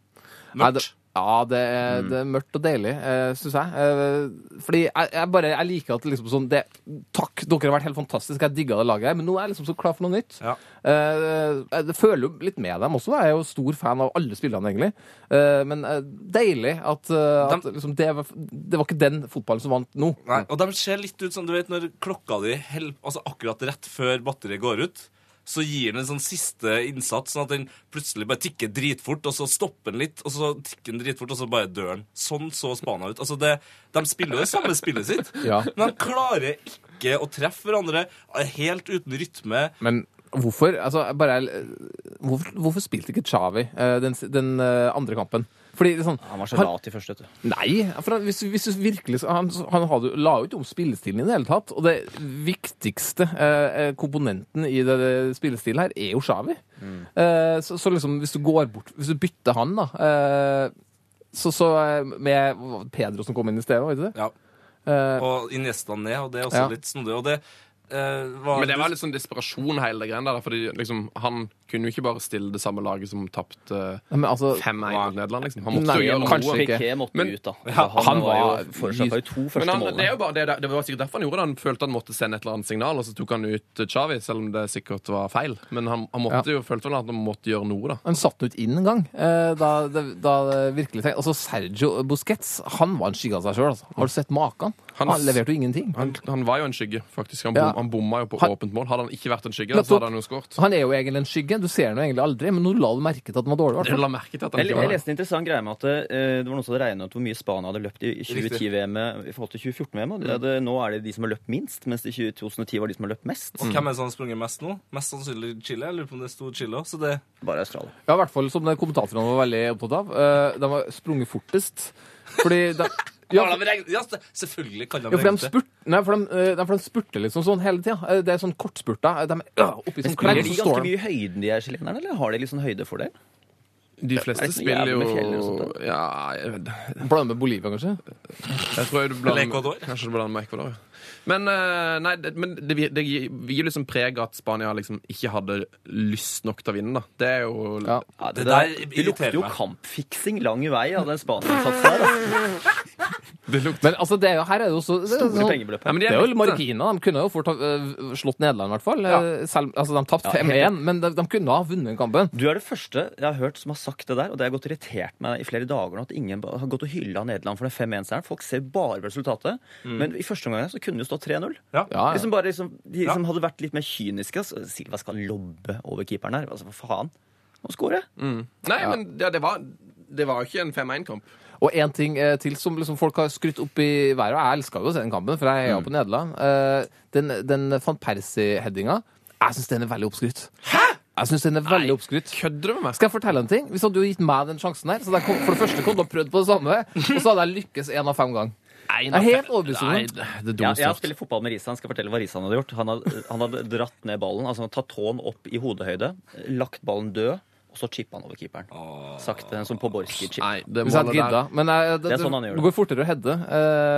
[SPEAKER 6] Nei, det,
[SPEAKER 4] Mørkt. Mm.
[SPEAKER 6] ja, det er, det er mørkt og deilig, eh, syns jeg. Eh, fordi jeg, jeg bare jeg liker at liksom sånn det, Takk, dere har vært helt fantastiske, jeg digga det laget her, men nå er jeg liksom så klar for noe nytt.
[SPEAKER 4] Ja.
[SPEAKER 6] Eh, jeg føler jo litt med dem også. da. Jeg er jo stor fan av alle spillerne, egentlig. Eh, men eh, deilig at, eh, at
[SPEAKER 4] Dem-
[SPEAKER 6] liksom, det, var, det var ikke den fotballen som vant nå.
[SPEAKER 4] Nei, og de ser litt ut som du vet når klokka di hel- altså akkurat rett før batteriet går ut, så gir den en sånn siste innsats, sånn at den plutselig bare tikker dritfort, og så stopper den litt, og så tikker den dritfort, og så bare dør den. Sånn så Spania ut. Altså, det, de spiller jo det samme spillet sitt,
[SPEAKER 6] Ja.
[SPEAKER 4] men de klarer ikke å treffe hverandre helt uten rytme.
[SPEAKER 6] Men hvorfor altså, jeg bare, hvorfor, hvorfor spilte ikke Chavi eh, den, den eh, andre kampen? Fordi det er sånn,
[SPEAKER 7] Han var så lat i første, vet du.
[SPEAKER 6] Nei, for han, hvis, hvis du virkelig, han, han hadde, la jo ikke om spillestilen i det hele tatt. Og det viktigste eh, komponenten i det, det spillestilen her er jo Xavi. Eh, så, så liksom, hvis du går bort Hvis du bytter han, da eh, så, så eh, med Pedro som kom inn i stedet, var det ikke det?
[SPEAKER 4] Ja,
[SPEAKER 6] Eh,
[SPEAKER 4] og Iniesta ned, og det er også
[SPEAKER 6] Ja.
[SPEAKER 4] litt snodig. Og det eh, var,
[SPEAKER 3] Men det var litt sånn desperasjon, hele det greia der. Fordi liksom, han kunne jo ikke bare stille det samme laget som tapte
[SPEAKER 6] men altså,
[SPEAKER 3] 5-1 mot Nederland, liksom. Han
[SPEAKER 6] Nei,
[SPEAKER 3] måtte jo gjøre
[SPEAKER 6] kanskje
[SPEAKER 3] noe.
[SPEAKER 6] ikke.
[SPEAKER 7] Piqué måtte
[SPEAKER 3] Men-
[SPEAKER 7] ut, da.
[SPEAKER 6] han
[SPEAKER 7] han, var
[SPEAKER 6] var-
[SPEAKER 7] jo forårsaka i to
[SPEAKER 3] Men
[SPEAKER 7] første
[SPEAKER 3] han, det, er
[SPEAKER 7] målene.
[SPEAKER 3] jo bare det, der- det var sikkert derfor han gjorde det. Han følte han måtte sende et eller annet signal, og så tok han ut Chavi, selv om det sikkert var feil. Men han, han måtte jo, følte vel at han måtte gjøre noe, da.
[SPEAKER 6] Han satte ut inn en gang. Eh, da, det, da det virkelig tenkte. Altså Sergio Busquets han var en skygge av seg sjøl. Altså. Har du sett maken?
[SPEAKER 3] Han,
[SPEAKER 6] Han leverte jo ingenting.
[SPEAKER 3] han, han var jo en skygge, faktisk. Han,
[SPEAKER 6] Ja.
[SPEAKER 3] bom, han bomma jo på
[SPEAKER 6] Han-
[SPEAKER 3] åpent mål. Hadde han ikke vært en skygge,
[SPEAKER 6] Nettopp.
[SPEAKER 3] så hadde han jo skåret.
[SPEAKER 6] Han er jo egentlig en skygge. Du ser ham egentlig aldri, men nå la du merke til at den var dårlig. i hvert
[SPEAKER 3] Jeg
[SPEAKER 6] fall.
[SPEAKER 3] la merke til at han
[SPEAKER 7] Jeg,
[SPEAKER 3] ikke
[SPEAKER 7] jeg
[SPEAKER 3] var der.
[SPEAKER 7] leste en interessant greie med at eh, det var noen som hadde regnet ut hvor mye Spania hadde løpt i 2010-VM-et i forhold til 2014-VM. og de hadde- Nå er det de som har løpt minst, mens i 2010 var de som har løpt mest.
[SPEAKER 4] Og hvem er det som har sprunget mest nå? Mest sannsynlig Chile. Jeg lurer på om det sto Chile også, så det
[SPEAKER 7] Bare Australia.
[SPEAKER 6] Ja, i hvert fall som den kommentatoren var veldig opptatt av. eh, de var sprunget fortest. Fordi de, ja,
[SPEAKER 4] Har de regnet- Ja, se- selvfølgelig kan de
[SPEAKER 6] ja, for de
[SPEAKER 4] regne til.
[SPEAKER 6] spurt, nei, for de, eh, de, for de spurte liksom sånn hele tida. Det er sånn kortspurta. De er øh, oppi sånn
[SPEAKER 7] Spiller
[SPEAKER 6] klegg,
[SPEAKER 7] de
[SPEAKER 6] så
[SPEAKER 7] ganske
[SPEAKER 6] står de
[SPEAKER 7] mye i høyden, de her chilenerne, eller har de litt sånn høydefordel?
[SPEAKER 3] De fleste
[SPEAKER 7] det så
[SPEAKER 3] spiller
[SPEAKER 7] jævlig med fjell eller
[SPEAKER 3] jo
[SPEAKER 7] sånt
[SPEAKER 3] Ja, jeg vet det.
[SPEAKER 6] Blander med Bolivia, kanskje?
[SPEAKER 3] Jeg tror jeg du
[SPEAKER 4] Eller
[SPEAKER 3] blander
[SPEAKER 4] Ecuador.
[SPEAKER 3] Kanskje du blander med Ecuador. Men, eh, nei, det, men det, vi- det gir vi gir liksom preg av at Spania liksom ikke hadde lyst nok til å vinne, da. Det er jo
[SPEAKER 6] Ja.
[SPEAKER 7] Ja,
[SPEAKER 4] Det der
[SPEAKER 7] det lukter
[SPEAKER 4] irriterer
[SPEAKER 7] jo
[SPEAKER 4] meg.
[SPEAKER 7] kampfiksing lang vei av den Spania-satsen her. altså.
[SPEAKER 3] Det lukter
[SPEAKER 6] Men altså, det er jo, her er det jo så det er
[SPEAKER 7] Store
[SPEAKER 6] sånn-
[SPEAKER 7] pengebeløp
[SPEAKER 3] Ja,
[SPEAKER 7] her.
[SPEAKER 3] men de
[SPEAKER 6] Det
[SPEAKER 3] er
[SPEAKER 6] er jo
[SPEAKER 3] bitte.
[SPEAKER 6] marginer. De kunne jo fort ha øh, slått Nederland, i hvert fall. Eh, Selv, altså, de tapte
[SPEAKER 7] Ja,
[SPEAKER 6] 5-1,
[SPEAKER 7] helt
[SPEAKER 6] men de, de kunne ha vunnet kampen.
[SPEAKER 7] Du er det første jeg har hørt som har sagt det der, og det har gått irritert meg i flere dager nå, at ingen har gått og hylla Nederland for den 5-1-seieren. Folk ser bare på resultatet. Men i første omgang her så kunne det jo stå 3-0.
[SPEAKER 4] Mm. Ja.
[SPEAKER 6] Ja, ja.
[SPEAKER 7] Liksom bare liksom, de
[SPEAKER 4] Ja.
[SPEAKER 7] som hadde vært litt mer kyniske. Altså, Silva skal lobbe over keeperen her. Altså, for faen. Og skåre.
[SPEAKER 3] Nei, men ja, det var det var jo ikke en 5-1-kamp.
[SPEAKER 6] Og én ting eh, til som liksom folk har skrytt opp i været, og jeg elska jo å se den kampen, for
[SPEAKER 3] Mm.
[SPEAKER 6] jeg heia på Nederland. Eh, den, den van Persie-headinga, jeg syns den er veldig oppskrytt. Hæ?! Jeg synes den er veldig oppskrytt.
[SPEAKER 3] Kødder du med meg?
[SPEAKER 6] Skal jeg fortelle en ting? Hvis hadde du gitt meg den sjansen her, så hadde jeg kom, for det første kom du og prøvd på det samme, og så hadde jeg lykkes én av fem ganger. Jeg er helt overbevist om
[SPEAKER 3] Nei,
[SPEAKER 6] det.
[SPEAKER 3] det det er
[SPEAKER 7] Ja,
[SPEAKER 3] dummeste
[SPEAKER 7] jeg
[SPEAKER 3] jeg
[SPEAKER 7] har
[SPEAKER 3] har
[SPEAKER 7] spilt fotball med Risan. Skal fortelle hva Risan hadde gjort. Han hadde, han hadde dratt ned ballen, altså han hadde tatt tåen opp i hodehøyde, lagt ballen død, og så chippa han over keeperen. Sakte, som på
[SPEAKER 3] spilt.
[SPEAKER 7] Borski-chip.
[SPEAKER 3] Nei, det
[SPEAKER 6] Hvis
[SPEAKER 3] målet
[SPEAKER 6] jeg hadde
[SPEAKER 3] der
[SPEAKER 6] gidda. Men jeg, det,
[SPEAKER 7] Det er sånn han gjør det.
[SPEAKER 6] går fortere å heade.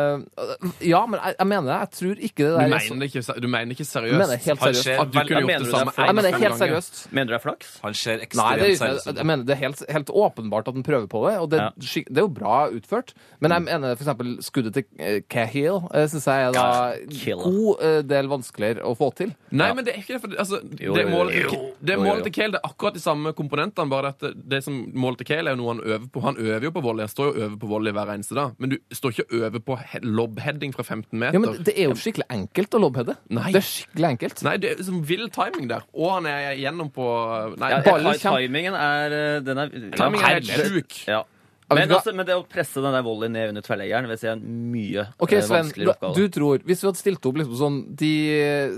[SPEAKER 6] Eh, ja, men jeg, jeg mener det. Jeg tror ikke det
[SPEAKER 3] du
[SPEAKER 6] der
[SPEAKER 3] mener, det ikke, se- du mener ikke seriøst
[SPEAKER 6] Jeg mener det helt
[SPEAKER 4] Han
[SPEAKER 6] seriøst. Ah,
[SPEAKER 4] ser
[SPEAKER 3] at du
[SPEAKER 4] veldig-
[SPEAKER 3] kunne
[SPEAKER 7] mener
[SPEAKER 3] gjort
[SPEAKER 7] du
[SPEAKER 3] det
[SPEAKER 7] det
[SPEAKER 3] samme
[SPEAKER 7] er
[SPEAKER 6] Jeg mener det
[SPEAKER 3] fem
[SPEAKER 6] helt
[SPEAKER 3] ganger?
[SPEAKER 6] seriøst.
[SPEAKER 7] Mener du det er flaks?
[SPEAKER 4] Han ser ekstremt
[SPEAKER 6] Nei, det er,
[SPEAKER 4] seriøs
[SPEAKER 6] jeg
[SPEAKER 4] ut.
[SPEAKER 6] mener det er helt, helt åpenbart at han prøver på det, og det,
[SPEAKER 7] Ja.
[SPEAKER 6] er skik- det er jo bra utført. Men jeg mener for eksempel skuddet til eh, Cahill eh, synes jeg er da
[SPEAKER 7] Cahill.
[SPEAKER 6] god eh, del vanskeligere å få til.
[SPEAKER 3] Nei, men det er ikke det. For, altså,
[SPEAKER 7] Jo,
[SPEAKER 3] det
[SPEAKER 7] jo,
[SPEAKER 3] målet,
[SPEAKER 7] jo.
[SPEAKER 3] til- det
[SPEAKER 7] Jo, jo,
[SPEAKER 3] målet
[SPEAKER 7] jo.
[SPEAKER 3] til Kale det er akkurat de samme komponentene, bare at det, det som målet til Kale er jo noe han øver på. Han øver jo på volley. Han står jo og øver på volley hver eneste dag. Men du står ikke og øver på he- lobheading fra 15 meter.
[SPEAKER 6] Ja, men det er jo skikkelig enkelt å lobheade.
[SPEAKER 3] Nei.
[SPEAKER 6] Det er skikkelig enkelt.
[SPEAKER 3] Nei, det er liksom vill timing der. Og han er gjennom på Nei,
[SPEAKER 7] Ja,
[SPEAKER 6] Ballen
[SPEAKER 7] ja, ti-
[SPEAKER 6] kjem-
[SPEAKER 7] Timingen er eh, den er,
[SPEAKER 3] timing er helt
[SPEAKER 7] Herre-
[SPEAKER 3] sjuk.
[SPEAKER 7] Ja.
[SPEAKER 6] Ja,
[SPEAKER 7] Men,
[SPEAKER 6] vet du hva?
[SPEAKER 7] altså, men det å presse den der volleyen ned under tverrleggeren vil jeg si er en mye
[SPEAKER 6] Ok,
[SPEAKER 7] eh,
[SPEAKER 6] Sven,
[SPEAKER 7] vanskeligere
[SPEAKER 6] da-
[SPEAKER 7] oppgave.
[SPEAKER 6] du tror, hvis vi hadde stilt opp liksom sånn de eh,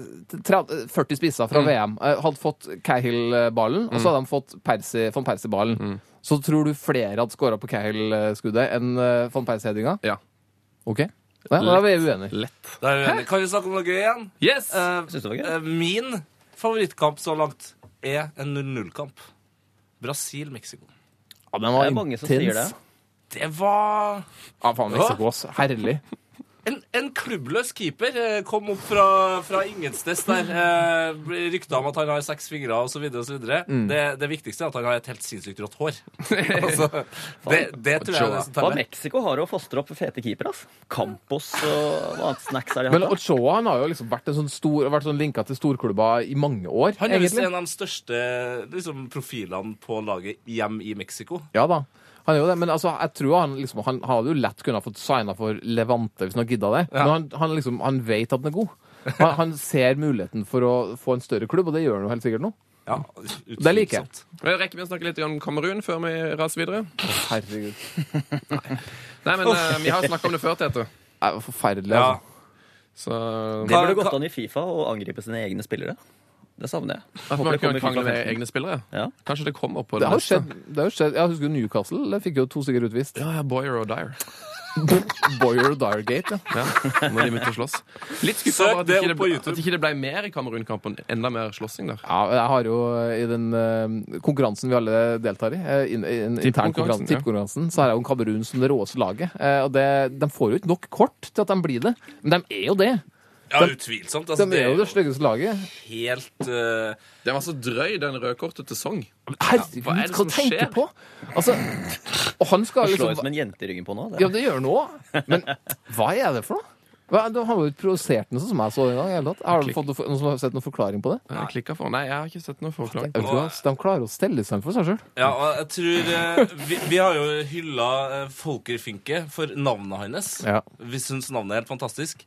[SPEAKER 6] 30, 40 spisser fra VM, eh, hadde fått Cahill-ballen, og så hadde de fått Persi, van Persie-ballen, så tror du flere hadde skåra på Cahill-skuddet enn eh, van Persie-headinga?
[SPEAKER 3] Ja.
[SPEAKER 6] Ok. Ja, da er vi uenige.
[SPEAKER 4] Da er vi uenige. Kan vi snakke om noe gøy igjen?
[SPEAKER 3] Yes!
[SPEAKER 4] Eh,
[SPEAKER 7] Synes du det var gøy?
[SPEAKER 4] eh, min favorittkamp så langt er en 0-0-kamp. Brasil-Mexico.
[SPEAKER 6] Ja, den
[SPEAKER 7] det
[SPEAKER 6] var
[SPEAKER 7] er mange som sier det.
[SPEAKER 6] intens.
[SPEAKER 4] Det var
[SPEAKER 6] Ja, faen, Mexico, ass. Herlig.
[SPEAKER 4] En, en klubbløs keeper eh, kom opp fra, fra ingensteds der. Eh, ble Rykter om at han har seks fingre osv. Mm. Det, det viktigste er at han har et helt sinnssykt rått hår. altså, det, det tror jeg er det som
[SPEAKER 7] Hva
[SPEAKER 4] teller.
[SPEAKER 7] Mexico har å fostre opp fete keepere, altså. Campos og hva annet snacks er de hatt?
[SPEAKER 6] Men
[SPEAKER 7] da?
[SPEAKER 6] Ochoa han har jo liksom vært, en sånn stor, vært sånn linka til storklubber i mange år,
[SPEAKER 4] Han er visst
[SPEAKER 6] egentlig.
[SPEAKER 4] en av de største liksom, profilene på laget hjem i Mexico.
[SPEAKER 6] Ja da. Han er jo det, men altså, jeg tror han, liksom, han hadde jo lett kunnet ha fått signa for Levante hvis han hadde gidda det. Men han, han, liksom, han vet at han er god. Han, han ser muligheten for å få en større klubb, og det gjør han jo helt sikkert nå.
[SPEAKER 4] Ja,
[SPEAKER 6] Det liker jeg.
[SPEAKER 4] utvilsomt.
[SPEAKER 3] Rekker vi å snakke litt om Kamerun før vi raser videre?
[SPEAKER 6] Herregud.
[SPEAKER 3] Nei, men eh, vi har snakka om det før, Tete.
[SPEAKER 6] Det er jo forferdelig.
[SPEAKER 4] Ja.
[SPEAKER 6] Altså.
[SPEAKER 3] Så
[SPEAKER 7] Det burde
[SPEAKER 4] Hva-
[SPEAKER 7] gått an i Fifa å angripe sine egne spillere. Det savner jeg.
[SPEAKER 3] At
[SPEAKER 7] Håper
[SPEAKER 3] man
[SPEAKER 7] det
[SPEAKER 3] kan
[SPEAKER 7] kommer i
[SPEAKER 3] krangle
[SPEAKER 7] FIFA
[SPEAKER 3] med
[SPEAKER 7] 15.
[SPEAKER 3] egne spillere?
[SPEAKER 7] Ja.
[SPEAKER 3] Kanskje det kommer på
[SPEAKER 6] Det har jo
[SPEAKER 3] neste?
[SPEAKER 6] skjedd. Det har jo skjedd. Jeg husker Newcastle. Der fikk jo to stykker utvist.
[SPEAKER 3] Ja, ja, Boyer og Dyer.
[SPEAKER 6] Boyer og Diregate. Ja.
[SPEAKER 3] Ja, når de begynte å slåss. Litt skuffa
[SPEAKER 4] Søk
[SPEAKER 3] over at
[SPEAKER 4] det
[SPEAKER 3] ikke det
[SPEAKER 4] opp på
[SPEAKER 3] ble-
[SPEAKER 4] YouTube.
[SPEAKER 3] at ikke det ble mer i Kamerun-kampen. Enda mer slåssing der.
[SPEAKER 6] Ja, jeg har jo eh, i den eh, konkurransen vi alle deltar i, eh, in, in,
[SPEAKER 3] Tippkonkurransen,
[SPEAKER 6] intern konkurransen,
[SPEAKER 3] ja.
[SPEAKER 6] tippkonkurransen, så har jeg jo Kamerun som det råeste laget. Eh, og det, de får jo ikke nok kort til at de blir det, men de er jo det.
[SPEAKER 4] Ja, utvilsomt. Altså,
[SPEAKER 6] De er jo det styggeste laget.
[SPEAKER 4] helt eh,
[SPEAKER 3] Den var så drøy, den rødkortet til Song.
[SPEAKER 6] Herregud,
[SPEAKER 3] hva
[SPEAKER 6] hva
[SPEAKER 3] er det som
[SPEAKER 6] tenker
[SPEAKER 3] skjer?
[SPEAKER 6] du på? Altså, og han skal
[SPEAKER 7] Slår ut som
[SPEAKER 6] liksom
[SPEAKER 7] en jente i ryggen på nå. Det.
[SPEAKER 6] Ja, det gjør han òg. Men hva er det for noe? Hva, du har jo ikke provosert noe som er så i gang. i hele tatt. Har du fått noe, for- noen som har sett noen forklaring på det?
[SPEAKER 3] Jeg klikket for. Nei, jeg har ikke sett noe forklaring.
[SPEAKER 6] Jeg vet ikke hva, De klarer å stelle seg for seg sjøl.
[SPEAKER 4] Ja, og jeg tror eh, vi, vi har jo hylla eh, Folker Finke for navnet hans.
[SPEAKER 6] Ja.
[SPEAKER 4] Vi syns navnet er helt fantastisk.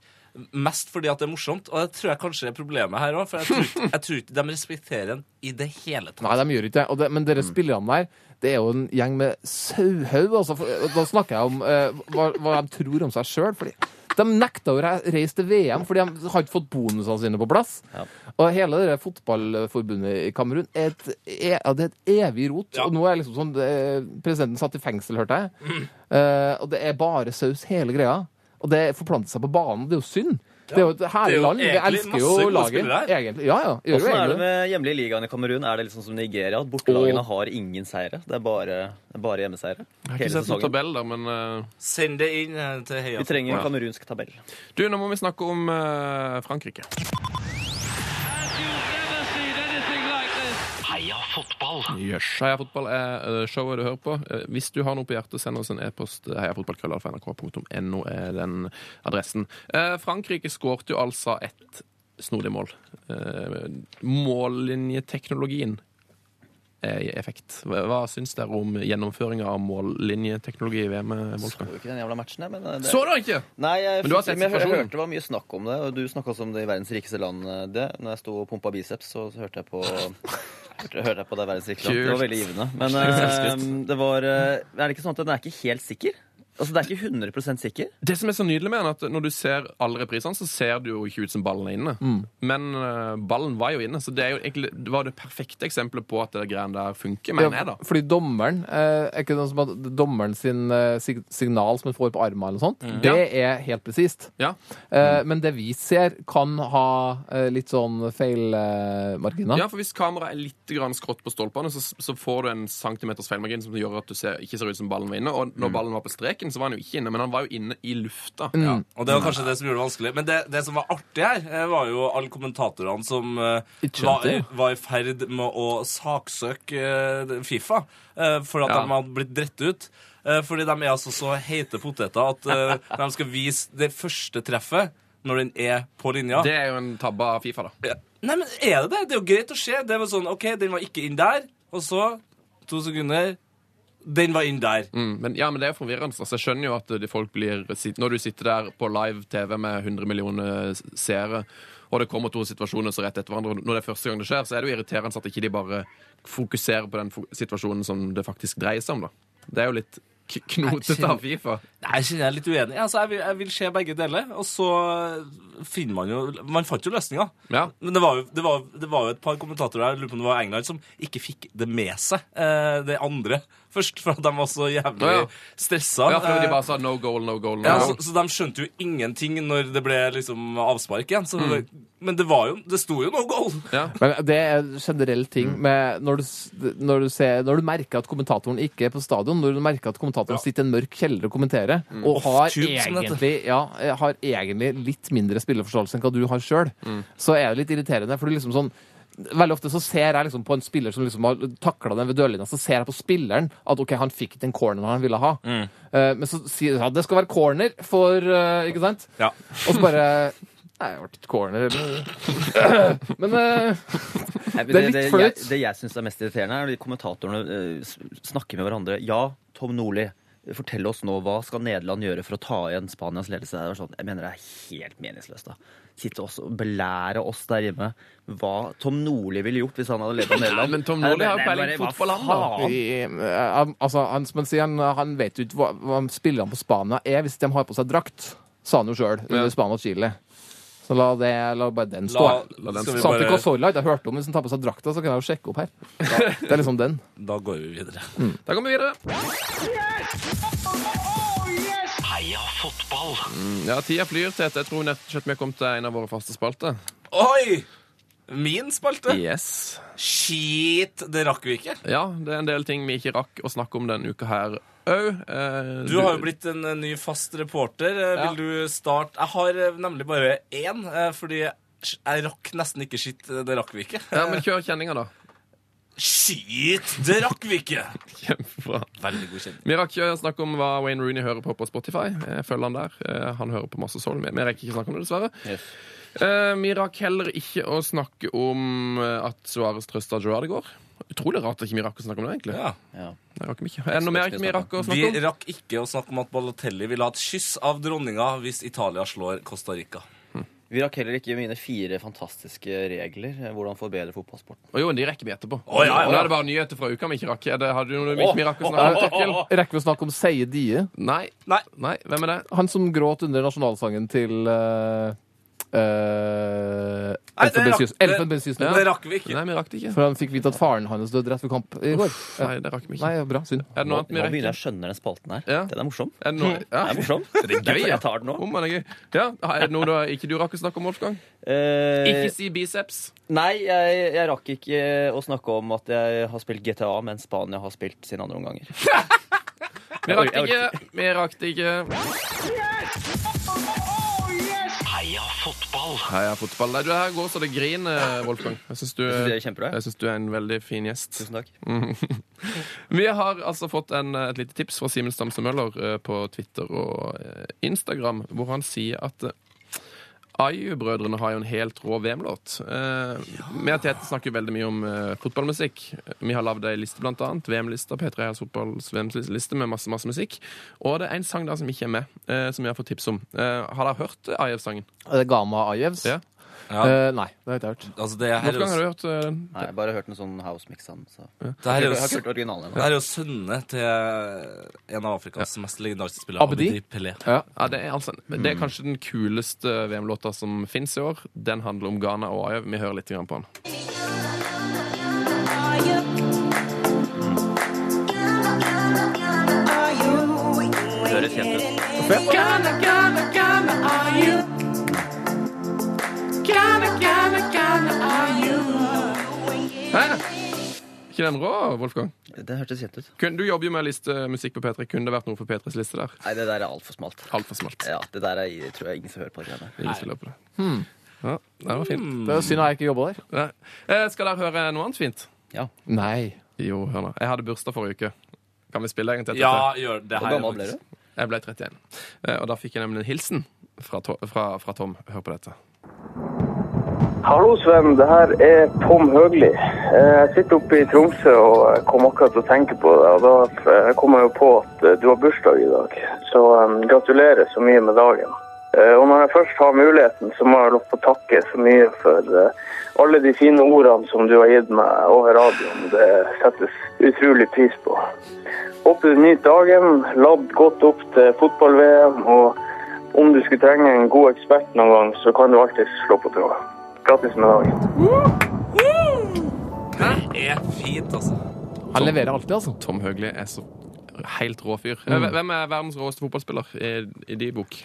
[SPEAKER 4] Mest fordi at det er morsomt, og det tror jeg kanskje er problemet her òg. For jeg tror, ikke- jeg tror ikke de respekterer den i det hele tatt.
[SPEAKER 6] Nei, de gjør ikke det. Og det men
[SPEAKER 4] Mm.
[SPEAKER 6] dere spillerne der, det er jo en gjeng med sauhaug. Altså, For- og da snakker jeg om eh, hva, hva de tror om seg sjøl. De nekta å re- reise til VM fordi de har ikke fått bonusene sine på plass. Og hele det der fotballforbundet i Kamerun er et, er, ja, det er et evig rot. Og nå er liksom sånn det- Presidenten satt i fengsel, hørte jeg.
[SPEAKER 4] Mm.
[SPEAKER 6] Eh, og det er bare saus, hele greia. Og det forplanter seg på banen. Det er jo synd. Det er jo et herlig
[SPEAKER 4] jo
[SPEAKER 6] land. Vi
[SPEAKER 4] egentlig
[SPEAKER 6] elsker
[SPEAKER 4] masse
[SPEAKER 6] jo
[SPEAKER 4] gode
[SPEAKER 6] laget.
[SPEAKER 4] spillere her.
[SPEAKER 6] Egentlig. Ja, ja. Gjør jo
[SPEAKER 7] Åssen er
[SPEAKER 6] egentlig
[SPEAKER 7] det
[SPEAKER 6] det.
[SPEAKER 7] med hjemlige ligaen i Kamerun? Er det liksom som Nigeria? At bortelagene har ingen seire? Det er bare, det er bare
[SPEAKER 3] Jeg
[SPEAKER 7] hjemmeseiere?
[SPEAKER 3] har
[SPEAKER 7] Hele
[SPEAKER 3] ikke sett noen
[SPEAKER 7] sesongen.
[SPEAKER 3] tabell der, men eh,
[SPEAKER 4] Send det inn eh, til Heia.
[SPEAKER 7] Vi trenger en kamerunsk tabell.
[SPEAKER 3] Du, nå må vi snakke om eh, Frankrike.
[SPEAKER 1] You've never seen anything like this.
[SPEAKER 5] Heia fotball!
[SPEAKER 3] Yes. Heia fotball er eh, showet du hører på. Eh, Hvis du har noe på hjertet, send oss en e-post. eh, Heiafotballkrøllalfa.nrk.no er den adressen. Eh, Frankrike skårte jo altså et snodig mål. Eh, Mållinjeteknologien er i effekt. Hva hva syns dere om gjennomføringa av mållinjeteknologi i VM? eh,
[SPEAKER 7] Så
[SPEAKER 3] Wolfgang?
[SPEAKER 7] jo ikke den jævla matchen, jeg, men eh, det...
[SPEAKER 3] Så du ikke?
[SPEAKER 7] Nei, jeg,
[SPEAKER 3] Men du har sett
[SPEAKER 7] men jeg, jeg
[SPEAKER 3] situasjonen?
[SPEAKER 7] hørte det var mye snakk om det, og du snakka også om det i verdens rikeste land. eh, Det. Når jeg sto og pumpa biceps, så hørte jeg på hørte, hørte jeg på det verdens rikeste land. Det var
[SPEAKER 3] Kult.
[SPEAKER 7] veldig givende. Men eh, det var eh, Er det ikke sånn at den er ikke helt sikker? Altså, Det er ikke 100 sikker.
[SPEAKER 3] Det som er så nydelig med den, er at når du ser alle reprisene, så ser det jo ikke ut som ballen er inne. Men eh, ballen var jo inne, så det, er jo egentlig, det var det perfekte eksempelet på at det greiene der funker, mener jeg, da.
[SPEAKER 6] Ja, fordi dommeren eh, Er ikke det noe som at dommeren sin eh, sig signal som man får på armen eller noe sånt, det er helt presist.
[SPEAKER 3] Mm. Ja.
[SPEAKER 6] Eh, men det vi ser, kan ha eh, litt sånn feilmarginer. Eh, marginer.
[SPEAKER 3] ja, for hvis kameraet er litt grann skrått på stolpene, så, så får du en centimeters feilmargin som gjør at du ser, ikke ser ut som ballen var inne. Og når ballen var på streken, så var han jo ikke inne, men han var jo inne i lufta. Ja.
[SPEAKER 4] Og det var kanskje det som gjorde det vanskelig. Men det, det som var artig her, eh, var jo alle kommentatorene som eh,
[SPEAKER 6] Ikke
[SPEAKER 4] var,
[SPEAKER 6] skjønte,
[SPEAKER 4] var i ferd med å saksøke eh, Fifa eh, for at
[SPEAKER 3] Ja.
[SPEAKER 4] de hadde blitt dritt ut. Eh, Fordi de er altså så heite poteter at eh, de skal vise det første treffet når den er på linja.
[SPEAKER 3] Det er jo en tabbe av Fifa, da.
[SPEAKER 4] Ja. Nei, men er det det? Det er jo greit å se. Det var sånn, OK, den var ikke inn der. Og så, to sekunder Den var inn der.
[SPEAKER 3] Mm, Men, ja, men det er jo forvirrende. Altså, jeg skjønner jo at de folk blir sit- Når du sitter der på live TV med 100 millioner seere, og det kommer to situasjoner så rett etter hverandre, og når det er første gang det skjer, så er det jo irriterende at ikke de bare fokuserer på den fo- situasjonen som det faktisk dreier seg om, da. Det er jo litt k- knotete av Fifa.
[SPEAKER 4] Nei, jeg kjenner jeg er litt uenig. Altså, jeg, vil, jeg vil se begge deler, og så finner man jo Man fant jo løsninga.
[SPEAKER 3] Ja.
[SPEAKER 4] Men det var, jo, det, var, det var jo et par kommentatorer her, jeg lurer på om det var England, som ikke fikk det med seg, eh, det andre, først. For at de var så jævlig
[SPEAKER 3] Å, ja.
[SPEAKER 4] stressa.
[SPEAKER 3] Og i hvert fall de bare sa no goal, no goal, no
[SPEAKER 4] Ja,
[SPEAKER 3] goal.
[SPEAKER 4] så, så de skjønte jo ingenting når det ble liksom avspark igjen.
[SPEAKER 3] Mm.
[SPEAKER 4] Så, Men det var jo Det sto jo no goal!
[SPEAKER 6] Men det er en generell ting
[SPEAKER 4] Mm.
[SPEAKER 6] med når du, s- når, du ser, når du merker at kommentatoren ikke er på stadion, når du merker at kommentatoren sitter i en mørk kjeller og kommenterer, og har
[SPEAKER 4] Off-tube, Mm. som det heter.
[SPEAKER 6] egentlig, ja, eh, har egentlig litt mindre spilleforståelse enn hva du har sjøl,
[SPEAKER 4] Mm.
[SPEAKER 6] så er det litt irriterende. For du liksom sånn Veldig ofte så ser jeg liksom på en spiller som liksom har takla den ved dørlinja, så ser jeg på spilleren at ok, han fikk den corneren han ville ha.
[SPEAKER 4] Mm.
[SPEAKER 6] Eh, men så sier de at det skal være corner for eh, Ikke sant?
[SPEAKER 4] Ja.
[SPEAKER 6] Og så bare Nei, det ble ikke corner. Eller. men eh,
[SPEAKER 7] Nei, men
[SPEAKER 6] Det er litt
[SPEAKER 7] det,
[SPEAKER 6] flaut.
[SPEAKER 7] jeg- Det jeg syns er mest irriterende, er når de kommentatorene eh, s- snakker med hverandre. Ja, Tom Nordli, fortell oss nå hva skal Nederland gjøre for å ta igjen Spanias ledelse? Det er sånn, jeg mener det er helt meningsløst. da. Sitte oss og belære oss der hjemme hva Tom Nordli ville gjort hvis han hadde ledet Nederland.
[SPEAKER 3] men Tom
[SPEAKER 7] Nei, det
[SPEAKER 3] Nordli har jo
[SPEAKER 7] mener jeg
[SPEAKER 3] peiling på
[SPEAKER 7] bare,
[SPEAKER 3] fotball,
[SPEAKER 7] hva
[SPEAKER 3] han, da.
[SPEAKER 7] faen?
[SPEAKER 6] I- eh, altså, han, som han, sier, han, han vet jo ikke hva, hva spillerne på Spania er hvis de har på seg drakt, sa han jo sjøl, under Spania og Chile. Så la, det, la bare den stå.
[SPEAKER 4] La- la den stå.
[SPEAKER 6] Santi Cazorla har jeg hørt om. Hvis han tar på seg drakta, så kan jeg jo sjekke opp her. Det er liksom den.
[SPEAKER 4] Da går vi videre.
[SPEAKER 3] Da går vi videre.
[SPEAKER 5] Heia fotball!
[SPEAKER 3] Mm, Ja, tida flyr, Tete. Jeg tror vi nettopp vi kom til en av våre faste spalter.
[SPEAKER 4] Oi! Min spalte.
[SPEAKER 3] Yes.
[SPEAKER 4] Shit! Det rakk vi ikke.
[SPEAKER 3] Ja, det er en del ting vi ikke rakk å snakke om denne uka her òg. Eh,
[SPEAKER 4] Du har jo blitt en eh, ny fast reporter. Eh,
[SPEAKER 3] Ja.
[SPEAKER 4] Vil du starte Jeg har eh, nemlig bare én, eh, fordi jeg rakk nesten ikke shit. eh, Det rakk vi ikke.
[SPEAKER 3] Ja, men kjør kjenninga, da.
[SPEAKER 4] Skit! Det rakk vi ikke!
[SPEAKER 3] Kjempebra.
[SPEAKER 4] Veldig god kjenning.
[SPEAKER 3] Vi rakk ikke å snakke om hva Wayne Rooney hører på på Spotify. Eh, Følg han der. Eh, Han hører på masse soul. Vi vi rekker ikke å snakke om det, dessverre. Eh, Vi rakk heller ikke å snakke om eh, at Suárez trøsta Gerard i går. Utrolig rart at ikke vi rakk å snakke om det, egentlig.
[SPEAKER 4] Ja.
[SPEAKER 3] Det rakk vi ikke. Er det noe mer ikke vi rakk å snakke
[SPEAKER 4] Vi
[SPEAKER 3] om?
[SPEAKER 4] rakk ikke å snakke om at Balotelli vil ha et kyss av dronninga hvis Italia slår Costa Rica.
[SPEAKER 7] Vi rakk heller ikke mine fire fantastiske regler. eh, Hvordan forbedre fotballsporten.
[SPEAKER 3] Å jo, de rekker vi etterpå.
[SPEAKER 4] Å, ja, ja.
[SPEAKER 3] Nå er det bare nyheter fra uka vi ikke rakk. Er det, har du noe vi ikke rakk å snakke om? Torkil?
[SPEAKER 6] Rekker vi å snakke om Seie Die?
[SPEAKER 3] Nei.
[SPEAKER 4] Nei.
[SPEAKER 3] Nei. Hvem er det?
[SPEAKER 6] Han som gråt under nasjonalsangen til uh, uh,
[SPEAKER 4] Nei, det rakk-
[SPEAKER 6] Elfenbenskysten.
[SPEAKER 4] Det rakk vi ikke.
[SPEAKER 3] Nei, vi rakk det ikke.
[SPEAKER 6] For han fikk vite at faren hans døde rett ved kamp i går. Ja.
[SPEAKER 3] Nei, det rakk vi
[SPEAKER 6] Nei,
[SPEAKER 3] ikke.
[SPEAKER 6] bra. Synd.
[SPEAKER 3] Er det noe
[SPEAKER 7] Nå, nå
[SPEAKER 3] annet vi
[SPEAKER 7] begynner jeg
[SPEAKER 3] rekker?
[SPEAKER 7] å skjønne den spalten her.
[SPEAKER 3] Ja.
[SPEAKER 7] Den er morsom.
[SPEAKER 3] Er det noe? Ja.
[SPEAKER 7] Den er morsom.
[SPEAKER 3] Det er gøy,
[SPEAKER 7] Jeg tar den nå.
[SPEAKER 3] Om han er gøy. Ja, er det noe du ikke du rakk å snakke om, Wolfgang?
[SPEAKER 7] Eh,
[SPEAKER 3] Ikke si biceps.
[SPEAKER 7] Nei, jeg, jeg rakk ikke eh, å snakke om at jeg har spilt GTA, men Spania har spilt sine andre omganger.
[SPEAKER 3] Vi rakk det ikke. Vi rakk det ikke.
[SPEAKER 5] Heia fotball!
[SPEAKER 3] Heia fotball. Nei, du er her går så det griner, Wolfgang. Jeg syns du,
[SPEAKER 7] synes det er kjempebra.
[SPEAKER 3] jeg synes du er en veldig fin gjest.
[SPEAKER 7] Tusen takk.
[SPEAKER 3] Vi har altså fått en, et lite tips fra Simen Stamse Møller eh, på Twitter og eh, Instagram, hvor han sier at IU-brødrene har jo en helt rå VM-låt. Eh, Vi og Tete snakker jo veldig mye om eh, fotballmusikk. Vi har lagd ei liste, blant annet. VM-lista. P3 Heia Fotballs VM-liste med masse, masse musikk. Og det er en sang der som ikke er med, eh, som vi har fått tips om. Eh, har dere hørt eh, IU-sangen?
[SPEAKER 6] Er det Gama Ajevs?
[SPEAKER 3] Ja.
[SPEAKER 4] Ja.
[SPEAKER 6] Eh, nei, det har jeg ikke hørt.
[SPEAKER 4] Altså, det her er
[SPEAKER 3] Wolfgang,
[SPEAKER 4] jo,
[SPEAKER 3] har du hørt eh, den?
[SPEAKER 7] Nei, jeg har bare hørt en sånn house-mix av den. så-
[SPEAKER 4] det her
[SPEAKER 7] Jeg
[SPEAKER 4] er
[SPEAKER 7] har ikke
[SPEAKER 4] jo,
[SPEAKER 7] hørt originalen
[SPEAKER 4] det
[SPEAKER 7] ennå.
[SPEAKER 4] her er jo sønnene til eh, en av Afrikas mest legendariske spillere,
[SPEAKER 6] Abedi?
[SPEAKER 4] Abedi Pelé.
[SPEAKER 3] Ja, det er, altså, det
[SPEAKER 4] Mm.
[SPEAKER 3] er kanskje den kuleste VM-låta som fins i år. Den handler om Ghana og Ayew. Vi hører litt grann på den.
[SPEAKER 7] Det høres kjent ut.
[SPEAKER 3] Hæ? Ikke den rå, Wolfgang?
[SPEAKER 7] Det hørtes kjent ut.
[SPEAKER 3] Kun, du jobber jo med listemusikk på P3. Kunne det vært noe for P3s liste der?
[SPEAKER 7] Nei, det der er altfor smalt.
[SPEAKER 3] Altfor smalt.
[SPEAKER 7] Ja, det der er, tror jeg ingen som hører på. det greiene.
[SPEAKER 3] Ingen som løper det. Ja, det var fint.
[SPEAKER 6] Det er jo synd at jeg ikke jobba der.
[SPEAKER 3] Nei. Eh, skal dere høre noe annet fint?
[SPEAKER 7] Ja.
[SPEAKER 6] Nei.
[SPEAKER 3] Jo, hør nå. Jeg hadde bursdag forrige uke. Kan vi spille egentlig?
[SPEAKER 4] Ja, gjør det
[SPEAKER 7] Hvor
[SPEAKER 4] her.
[SPEAKER 7] gammel ble du?
[SPEAKER 3] Jeg ble 31. Eh, og da fikk jeg nemlig en hilsen fra, to fra, fra Tom. Hør på dette.
[SPEAKER 9] Hallo, Sven. Det her er Tom Høgli. Eh, Jeg sitter oppe i Tromsø og eh, kom akkurat til å tenke på det. Og da eh, kom jeg jo på at eh, du har bursdag i dag. Så eh, gratulerer så mye med dagen. Eh, Og når jeg først har muligheten, så må jeg lov til å takke så mye for eh, alle de fine ordene som du har gitt meg over radioen. Det settes utrolig pris på. Håper du nyter dagen. Ladd godt opp til fotball-VM. Og om du skulle trenge en god ekspert noen gang, så kan du alltid slå på tråden. Grattis med dagen.
[SPEAKER 4] Det er fint, altså.
[SPEAKER 6] Han leverer alltid, altså.
[SPEAKER 3] Tom Høgli er så helt rå fyr. Eh, Hvem er verdens råeste fotballspiller i, i de bok?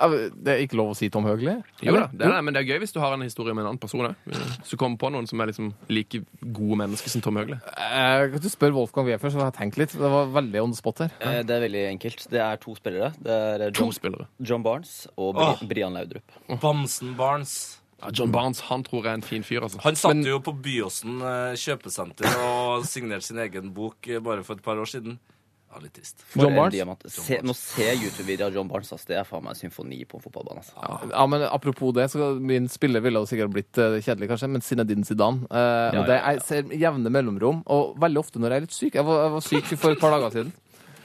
[SPEAKER 6] Ja, Det er ikke lov å si Tom Høgli?
[SPEAKER 3] Jo da, det er det, men det er gøy hvis du har en historie med en annen person. eh. Hvis du kommer på noen som er liksom like gode mennesker som Tom Høgli.
[SPEAKER 6] Eh, Du spør Wolfgang Wefer, så har jeg tenkt litt. Det var veldig on the spot her.
[SPEAKER 7] Eh, Det er veldig enkelt. Det er to spillere. Det er eh,
[SPEAKER 3] To
[SPEAKER 7] John,
[SPEAKER 3] spillere.
[SPEAKER 7] John Barnes og Bri Brian Laudrup.
[SPEAKER 4] Bamsen Barnes.
[SPEAKER 3] Ja, mm. John Barnes han tror jeg er en fin fyr, altså.
[SPEAKER 4] Han satt jo på Byåsen eh, kjøpesenter og signerte sin egen bok eh, bare for et par år siden. Ja, litt trist.
[SPEAKER 7] For
[SPEAKER 6] John
[SPEAKER 7] en
[SPEAKER 6] Barnes?
[SPEAKER 7] diamant. Se, nå ser YouTube-videoer av John Barnes. Ass. Det er faen meg en symfoni på en fotballbane. Ass.
[SPEAKER 6] Ja, men Apropos det, så min spiller ville jo sikkert blitt eh, kjedelig, kanskje, men Zinedine Zidane. Eh,
[SPEAKER 7] Ja,
[SPEAKER 6] og
[SPEAKER 7] ja,
[SPEAKER 6] det
[SPEAKER 7] ja.
[SPEAKER 6] jeg ser med jevne mellomrom, og veldig ofte når jeg er litt syk. Jeg var, jeg var syk for et par dager siden.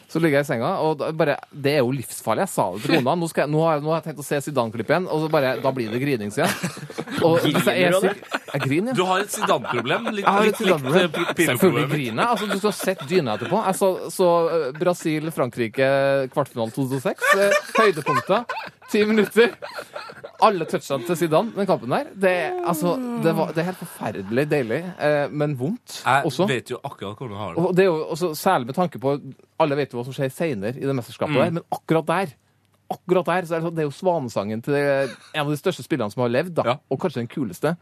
[SPEAKER 6] Så ligger jeg i senga, og da bare, det er jo livsfarlig. Jeg sa det til kona. Nå, skal jeg, nå, har, jeg, nå har jeg tenkt å se Zidane-klipp igjen, og så bare, da blir det grinings igjen. Og, hvis jeg,
[SPEAKER 7] Griner
[SPEAKER 6] er
[SPEAKER 7] du av
[SPEAKER 6] syk, jeg griner, ja.
[SPEAKER 4] Du har et Zidane-problem. Litt,
[SPEAKER 6] Jeg har
[SPEAKER 4] litt,
[SPEAKER 6] et
[SPEAKER 4] litt,
[SPEAKER 6] Zidane-problem.
[SPEAKER 4] eh,
[SPEAKER 6] Selvfølgelig
[SPEAKER 4] pirreproblem.
[SPEAKER 6] griner jeg. Altså, du skulle ha sett dyna etterpå. Jeg så, så eh, Brasil-Frankrike kvartfinale 2006. eh, Høydepunkter. Ti minutter. Alle touchene til Zidane den kampen der. Det, er- altså, det, var, det er helt forferdelig deilig, eh, men vondt
[SPEAKER 4] Jeg
[SPEAKER 6] også.
[SPEAKER 4] vet jo akkurat hvordan du har det.
[SPEAKER 6] Og det er jo også, Særlig med tanke på Alle vet jo hva som skjer seinere i det mesterskapet,
[SPEAKER 4] Mm.
[SPEAKER 6] der, men akkurat der akkurat der, så er det, sånn- det er jo svanesangen til en av de største spillerne som har levd, da,
[SPEAKER 4] Ja.
[SPEAKER 6] og kanskje den kuleste.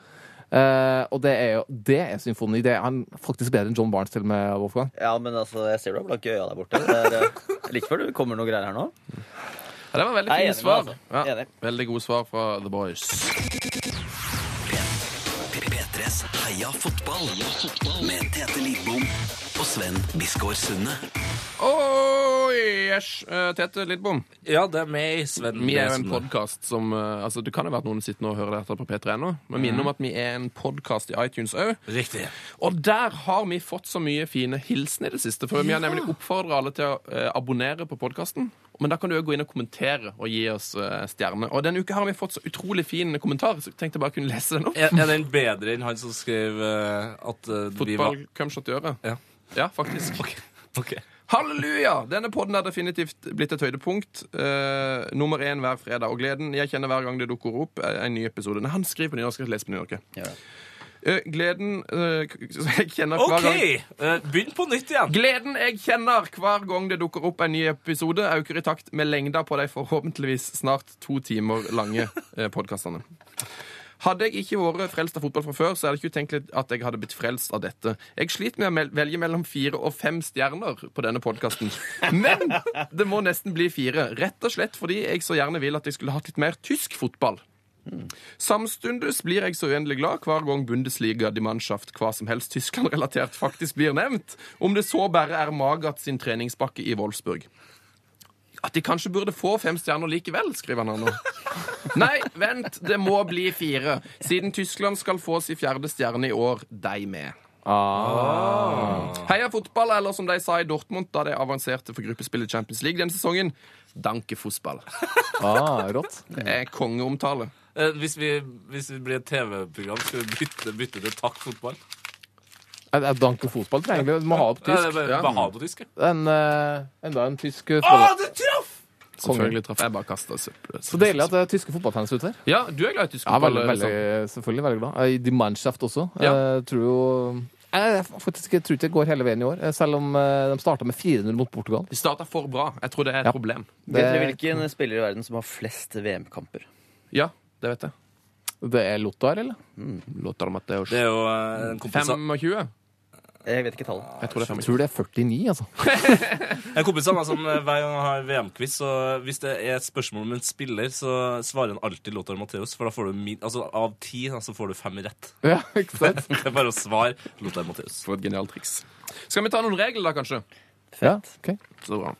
[SPEAKER 6] Eh, og det er jo det er symfoni. Det er han faktisk bedre enn John Barnes, til og med, Wolfgang.
[SPEAKER 7] Ja, men altså, jeg ser du har blanke øya der borte. Det er, eh, like før det kommer noen greier her nå.
[SPEAKER 3] Ja, det var veldig
[SPEAKER 7] Jeg er
[SPEAKER 3] fine
[SPEAKER 7] enig med
[SPEAKER 3] svar.
[SPEAKER 7] deg, altså.
[SPEAKER 3] Ja,
[SPEAKER 7] Enig.
[SPEAKER 3] veldig gode svar fra The Boys.
[SPEAKER 2] P3. Les Heia fotball med Tete Lidbom og Sven Biskår Sunde.
[SPEAKER 3] Oi, æsj. Eh, Tete Lidbom,
[SPEAKER 4] Ja, det er meg, Sven.
[SPEAKER 3] vi er jo en
[SPEAKER 4] Bresund.
[SPEAKER 3] podkast som eh, altså Det kan jo være at noen sitter nå og hører dette på P3 nå, men minner om at vi er en podkast i iTunes òg.
[SPEAKER 4] Riktig.
[SPEAKER 3] Og der har vi fått så mye fine hilsen i det siste. For vi har nemlig oppfordra alle til å eh, abonnere på podkasten. Men da kan du jo gå inn og kommentere og gi oss eh, stjerner. Og denne uka har vi fått så utrolig fin kommentar, så jeg tenkte jeg bare kunne lese den opp.
[SPEAKER 4] Er, er den bedre enn han som skrev eh, at eh, vi var
[SPEAKER 3] Fotball come shot i øret.
[SPEAKER 4] Ja.
[SPEAKER 3] Ja, faktisk.
[SPEAKER 4] Ok.
[SPEAKER 3] Halleluja! Denne podden er definitivt blitt et høydepunkt. Eh, nummer én hver fredag. Og gleden jeg kjenner hver gang det dukker opp er en ny episode. Nei, han skriver på nynorsk. Jeg skal lese på nynorsk.
[SPEAKER 7] Ja.
[SPEAKER 3] Eh, gleden eh, k- som jeg kjenner hver
[SPEAKER 4] OK!
[SPEAKER 3] gang
[SPEAKER 4] eh, begynn på nytt igjen.
[SPEAKER 3] Gleden jeg kjenner hver gang det dukker opp en ny episode, øker i takt med lengda på de forhåpentligvis snart to timer lange eh, podkastene. Hadde jeg ikke vært frelst av fotball fra før, så er det ikke utenkelig at jeg hadde blitt frelst av dette. Jeg sliter med å mel- velge mellom fire og fem stjerner på denne podkasten. Men det må nesten bli fire. Rett og slett fordi jeg så gjerne vil at jeg skulle hatt litt mer tysk fotball. Samstundes blir jeg så uendelig glad hver gang Bundesliga, Die Mannschaft, hva som helst Tyskland-relatert faktisk blir nevnt, om det så bare er Magat sin treningsbakke i Wolfsburg. At de kanskje burde få fem stjerner likevel, skriver han her nå. Nei, vent, det må bli fire, siden Tyskland skal få sin fjerde stjerne i år, deg med.
[SPEAKER 4] Ah.
[SPEAKER 3] Heia fotball, eller som de sa i Dortmund da de avanserte for gruppespillet i Champions League denne sesongen, danke fotball.
[SPEAKER 6] Ah, rått.
[SPEAKER 3] Det er kongeomtale.
[SPEAKER 4] Eh, hvis, vi, hvis vi blir et TV-program, skal vi bytte, bytte til Takk fotball?
[SPEAKER 6] Nei, det er Danke fotball, tror jeg egentlig. Du må ha det på
[SPEAKER 4] Nei, Eh, det er
[SPEAKER 6] tysk.
[SPEAKER 4] bare,
[SPEAKER 3] ja.
[SPEAKER 4] bare ha Ah! det på tysk. ja.
[SPEAKER 6] En, eh, enda en tysk eh,
[SPEAKER 4] Å,
[SPEAKER 6] fotball.
[SPEAKER 4] du traff!
[SPEAKER 3] Selvfølgelig traff jeg bare kasta søppel.
[SPEAKER 6] Så deilig at det er tyske fotballfans ute her.
[SPEAKER 3] Ja, du er glad i tysk
[SPEAKER 6] Ja,
[SPEAKER 3] fotball.
[SPEAKER 6] veldig, veldig,
[SPEAKER 3] Øystein.
[SPEAKER 6] selvfølgelig veldig glad. Eh, I Die Mannschaft også.
[SPEAKER 3] Ja.
[SPEAKER 6] Eh, tror jo Nei, jeg er faktisk, jeg tror ikke det går hele veien i år, eh, selv om eh, de starta med 4-0 mot Portugal.
[SPEAKER 3] De starta for bra. Jeg tror det er et
[SPEAKER 6] Ja.
[SPEAKER 3] problem.
[SPEAKER 6] Det,
[SPEAKER 7] Vet dere hvilken spiller i verden som har flest VM-kamper?
[SPEAKER 3] Ja, det vet jeg.
[SPEAKER 6] det er Lothar, eller?
[SPEAKER 3] Låter om at det er
[SPEAKER 4] Det er jo eh, en, kompis,
[SPEAKER 3] 25?
[SPEAKER 7] Jeg vet ikke tallet.
[SPEAKER 3] Jeg tror det er
[SPEAKER 6] Jeg
[SPEAKER 3] 25.
[SPEAKER 6] tror det er 49, altså.
[SPEAKER 4] en kompis av meg som eh, hver gang han har VM-quiz, så hvis det er et spørsmål om en spiller, så svarer han alltid Lothar Matheus, for da får du min, altså, av ti da, så får du fem rett.
[SPEAKER 6] Ja, ikke sant?
[SPEAKER 4] Det er bare å svare Lothar Matheus.
[SPEAKER 3] For et genialt triks. Skal vi ta noen regler, da, kanskje?
[SPEAKER 6] Ja, ok.
[SPEAKER 3] Så bra.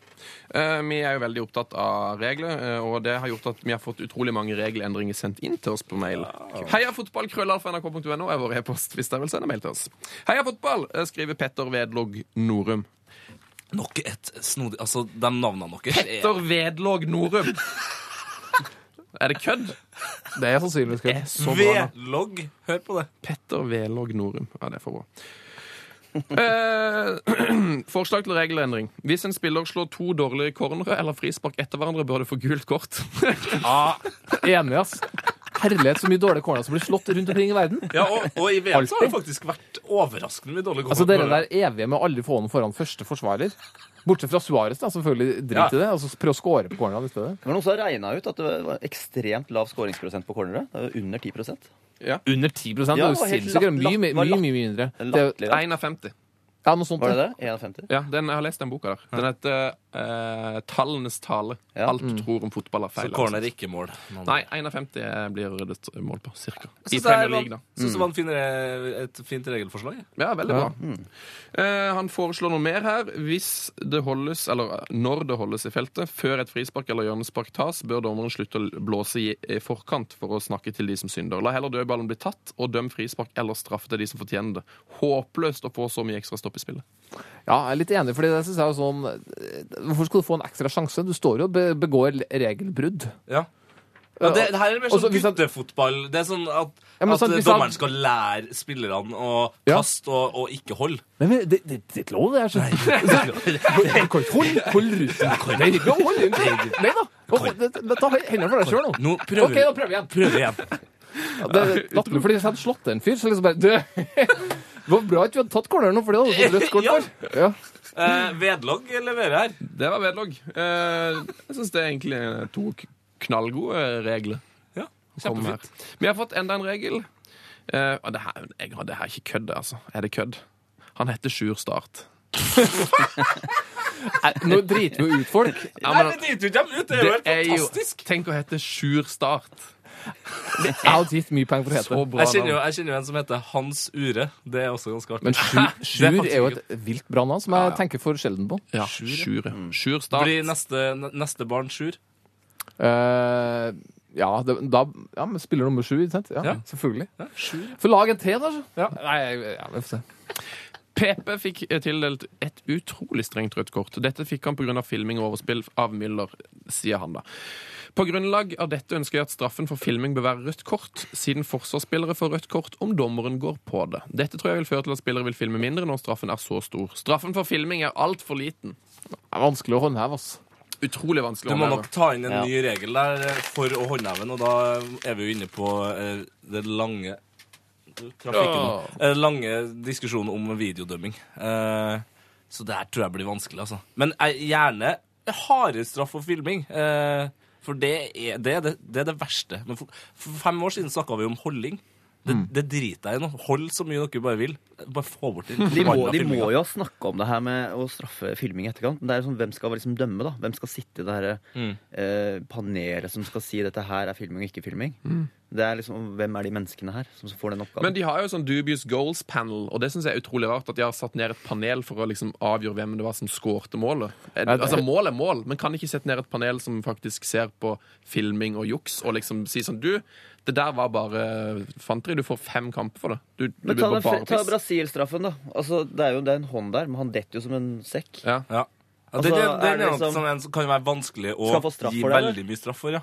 [SPEAKER 3] Eh, vi er jo veldig opptatt av regler, eh, og det har gjort at vi har fått utrolig mange regelendringer sendt inn til oss på mail. Heia fotball, krøllalfa.nrk.no er vår e-post hvis dere vil sende mail til oss. Heia fotball, eh, skriver Petter Vedlog Norum.
[SPEAKER 4] Nok et snodig Altså, de navnene deres er
[SPEAKER 3] Petter Vedlog Norum! Er det kødd?
[SPEAKER 6] Det er sannsynligvis
[SPEAKER 3] Det er
[SPEAKER 6] godt.
[SPEAKER 3] så bra. navn.
[SPEAKER 4] Vedlogg. Hør på det.
[SPEAKER 3] Petter Velåg Norum. Ja, det er for bra. Eh, forslag til regelendring. Hvis en spiller slår to dårlige cornere eller frispark etter hverandre, bør det få gult kort.
[SPEAKER 6] Enig, ass. Herlighet, så mye dårlige corner som blir slått rundt omkring i verden.
[SPEAKER 4] Ja, og, og i VM så har det
[SPEAKER 6] Alltid.
[SPEAKER 4] faktisk vært overraskende mye dårlig
[SPEAKER 6] Altså, dere der evige med å aldri få noen foran første forsvarer. Bortsett fra Suárez, da. Selvfølgelig drit
[SPEAKER 4] Ja.
[SPEAKER 6] i det. Altså, prøv å score på cornerne i stedet.
[SPEAKER 7] Det var noen som har regna ut at det var ekstremt lav skåringsprosent på cornere. Det er jo under 10
[SPEAKER 6] Under 10 det
[SPEAKER 7] Ja, det
[SPEAKER 6] er jo
[SPEAKER 7] var helt
[SPEAKER 6] sinnssykt. Det er Mye,
[SPEAKER 7] latt-
[SPEAKER 6] mye,
[SPEAKER 7] var
[SPEAKER 6] mye,
[SPEAKER 7] latt-
[SPEAKER 6] mye mindre. Det, er jo-
[SPEAKER 7] Latterlig. da.
[SPEAKER 3] 1 av 50.
[SPEAKER 6] ja, noe sånt.
[SPEAKER 7] Var det
[SPEAKER 6] ja.
[SPEAKER 7] det? 51?
[SPEAKER 3] Ja, den, jeg har lest den boka der. Den heter eh, 'Tallenes tale'.
[SPEAKER 7] Ja.
[SPEAKER 3] Alt du tror om fotball er feil. altså.
[SPEAKER 4] Så corner er ikke mål.
[SPEAKER 3] Nei, 1 av 50 blir ryddet mål på, cirka. I
[SPEAKER 4] Jeg syns det,
[SPEAKER 3] Premier
[SPEAKER 4] er-
[SPEAKER 3] League, da.
[SPEAKER 4] synes det var en fin, re- et fint regelforslag. jeg.
[SPEAKER 3] Ja, veldig bra. Eh, han foreslår noe mer her. Hvis det holdes, eller eh, når det holdes i feltet, før et frispark eller hjørnespark tas, bør dommeren slutte å blåse i i forkant for å snakke til de som synder. La heller dødballen bli tatt, og døm frispark eller straff til de som fortjener det. Håpløst å få så mye ekstra stopp i spillet.
[SPEAKER 6] Ja, jeg er litt enig, fordi det synes jeg er sånn eh, Hvorfor skal du få en ekstra sjanse? Du står jo og be- begår regelbrudd.
[SPEAKER 4] Ja. Ja, det, det her er mer
[SPEAKER 6] Og så
[SPEAKER 4] sånn
[SPEAKER 6] hvis han-
[SPEAKER 4] guttefotball. Det er sånn at,
[SPEAKER 6] Ja, men
[SPEAKER 4] at
[SPEAKER 6] sånn,
[SPEAKER 4] eh,
[SPEAKER 6] hvis han-
[SPEAKER 4] dommeren skal lære spillerne å
[SPEAKER 6] Ja.
[SPEAKER 4] kaste og, og ikke holde.
[SPEAKER 6] Men, men det, det, det er ikke lov, det her. så- Hold, hold, hold ruta. Nei, det er ikke lov. Hold den. Nei da. Hold- det- det- Ta hendene for deg sjøl nå.
[SPEAKER 4] Nå prøver
[SPEAKER 6] OK, da prøver vi igjen.
[SPEAKER 4] prøver igjen.
[SPEAKER 6] Ja, det er latterlig, fordi hvis jeg hadde slått en fyr, så liksom bare Du! Det var bra at vi hadde tatt corneren nå, for det hadde du fått rødt kort for. Ja.
[SPEAKER 4] Eh, vedlogg leverer her.
[SPEAKER 3] Det var vedlogg. Eh, jeg syns det er egentlig to k- knallgode regler.
[SPEAKER 4] Ja,
[SPEAKER 3] å komme med her. Vi har fått enda en regel. Eh, og det her, jeg, har- det her er ikke kødd, altså. Er det kødd? Han heter Sjur Start.
[SPEAKER 6] Nei, Nå driter vi jo ut folk.
[SPEAKER 3] Ja,
[SPEAKER 4] Nei,
[SPEAKER 3] men-
[SPEAKER 4] det driter jo ikke dem ut! Det er jo helt
[SPEAKER 3] Det er jo-
[SPEAKER 4] fantastisk.
[SPEAKER 3] Tenk å hete Sjur Start.
[SPEAKER 6] Jeg hadde gitt mye penger for å hete
[SPEAKER 3] Så
[SPEAKER 6] det.
[SPEAKER 3] bra
[SPEAKER 4] Jeg kjenner, jo,
[SPEAKER 3] navn.
[SPEAKER 4] jeg kjenner jo en som heter Hans Ure. Det er også ganske
[SPEAKER 6] Men
[SPEAKER 4] artig.
[SPEAKER 6] Sjur,
[SPEAKER 3] Det er
[SPEAKER 6] sjur
[SPEAKER 3] faktisk
[SPEAKER 6] er jo et vilt bra navn som jeg tenker for sjelden på.
[SPEAKER 3] Ja, Sjur. ja. Sjur Start.
[SPEAKER 4] Blir neste, neste barn Sjur?
[SPEAKER 6] Eh, ja, det, da ja, men spiller nummer sju, ikke sant? Ja,
[SPEAKER 4] Ja.
[SPEAKER 6] Selvfølgelig.
[SPEAKER 4] Ja, Sjur.
[SPEAKER 6] Få lage en til, da. så. Nei, ja, vi får se.
[SPEAKER 3] PP fikk eh, tildelt et utrolig strengt rødt kort. Dette fikk han pga. filming og overspill av Müller, sier han da. På grunnlag av dette ønsker jeg at straffen for filming bør være rødt kort, siden forsvarsspillere får rødt kort om dommeren går på det. Dette tror jeg vil føre til at spillere vil filme mindre når straffen er så stor. Straffen for filming er altfor liten.
[SPEAKER 6] Det er vanskelig å håndheve, ass.
[SPEAKER 3] Utrolig vanskelig
[SPEAKER 4] Du
[SPEAKER 3] å
[SPEAKER 4] må
[SPEAKER 3] håndheve.
[SPEAKER 4] nok ta inn en
[SPEAKER 7] Ja.
[SPEAKER 4] ny regel der eh, for å håndheve den, og da er vi jo inne på eh, det lange
[SPEAKER 3] Ja.
[SPEAKER 4] trafikken. Eh, lange diskusjonen om videodømming. Eh, så det her tror jeg blir vanskelig, altså. Men eh, gjerne hardere straff for filming. Eh, for det er det, er det, det er det verste. Men for, for fem år siden snakka vi om holding. Det,
[SPEAKER 7] Mm.
[SPEAKER 4] det driter jeg i nå. Hold så mye dere bare vil. Bare få bort den
[SPEAKER 7] De må,
[SPEAKER 4] forbanna
[SPEAKER 7] de må
[SPEAKER 4] filmingen.
[SPEAKER 7] jo snakke om det her med å straffe filming i etterkant. Det er sånn, Hvem skal liksom dømme, da? Hvem skal sitte i det her
[SPEAKER 3] Mm.
[SPEAKER 7] eh, panelet som skal si dette her er filming og ikke filming? Det er liksom, Hvem er de menneskene her som får den oppgaven?
[SPEAKER 3] Mm. Men de har jo sånn dubious goals panel, og det syns jeg er utrolig rart at de har satt ned et panel for å liksom avgjøre hvem det var som skårte målet. Eh,
[SPEAKER 6] det-
[SPEAKER 3] Altså, mål er mål, men kan ikke sette ned et panel som faktisk ser på filming og juks, og liksom si sånn Du, det der var bare fanteri. Du får fem kamper for det. Du, du
[SPEAKER 7] Men ta,
[SPEAKER 3] blir
[SPEAKER 7] den,
[SPEAKER 3] bare
[SPEAKER 7] fre- ta
[SPEAKER 3] piss.
[SPEAKER 7] Brasil-straffen, da. Altså, det er jo det er en hånd der, men han detter jo som en sekk.
[SPEAKER 3] Ja.
[SPEAKER 4] Ja. Ja,
[SPEAKER 7] Altså,
[SPEAKER 4] det, det, det
[SPEAKER 7] er
[SPEAKER 4] er
[SPEAKER 7] det
[SPEAKER 4] noe
[SPEAKER 7] liksom-
[SPEAKER 4] som en som kan være vanskelig å
[SPEAKER 7] Skal han få straff
[SPEAKER 4] gi
[SPEAKER 7] for det, eller?
[SPEAKER 4] veldig mye straff for. ja.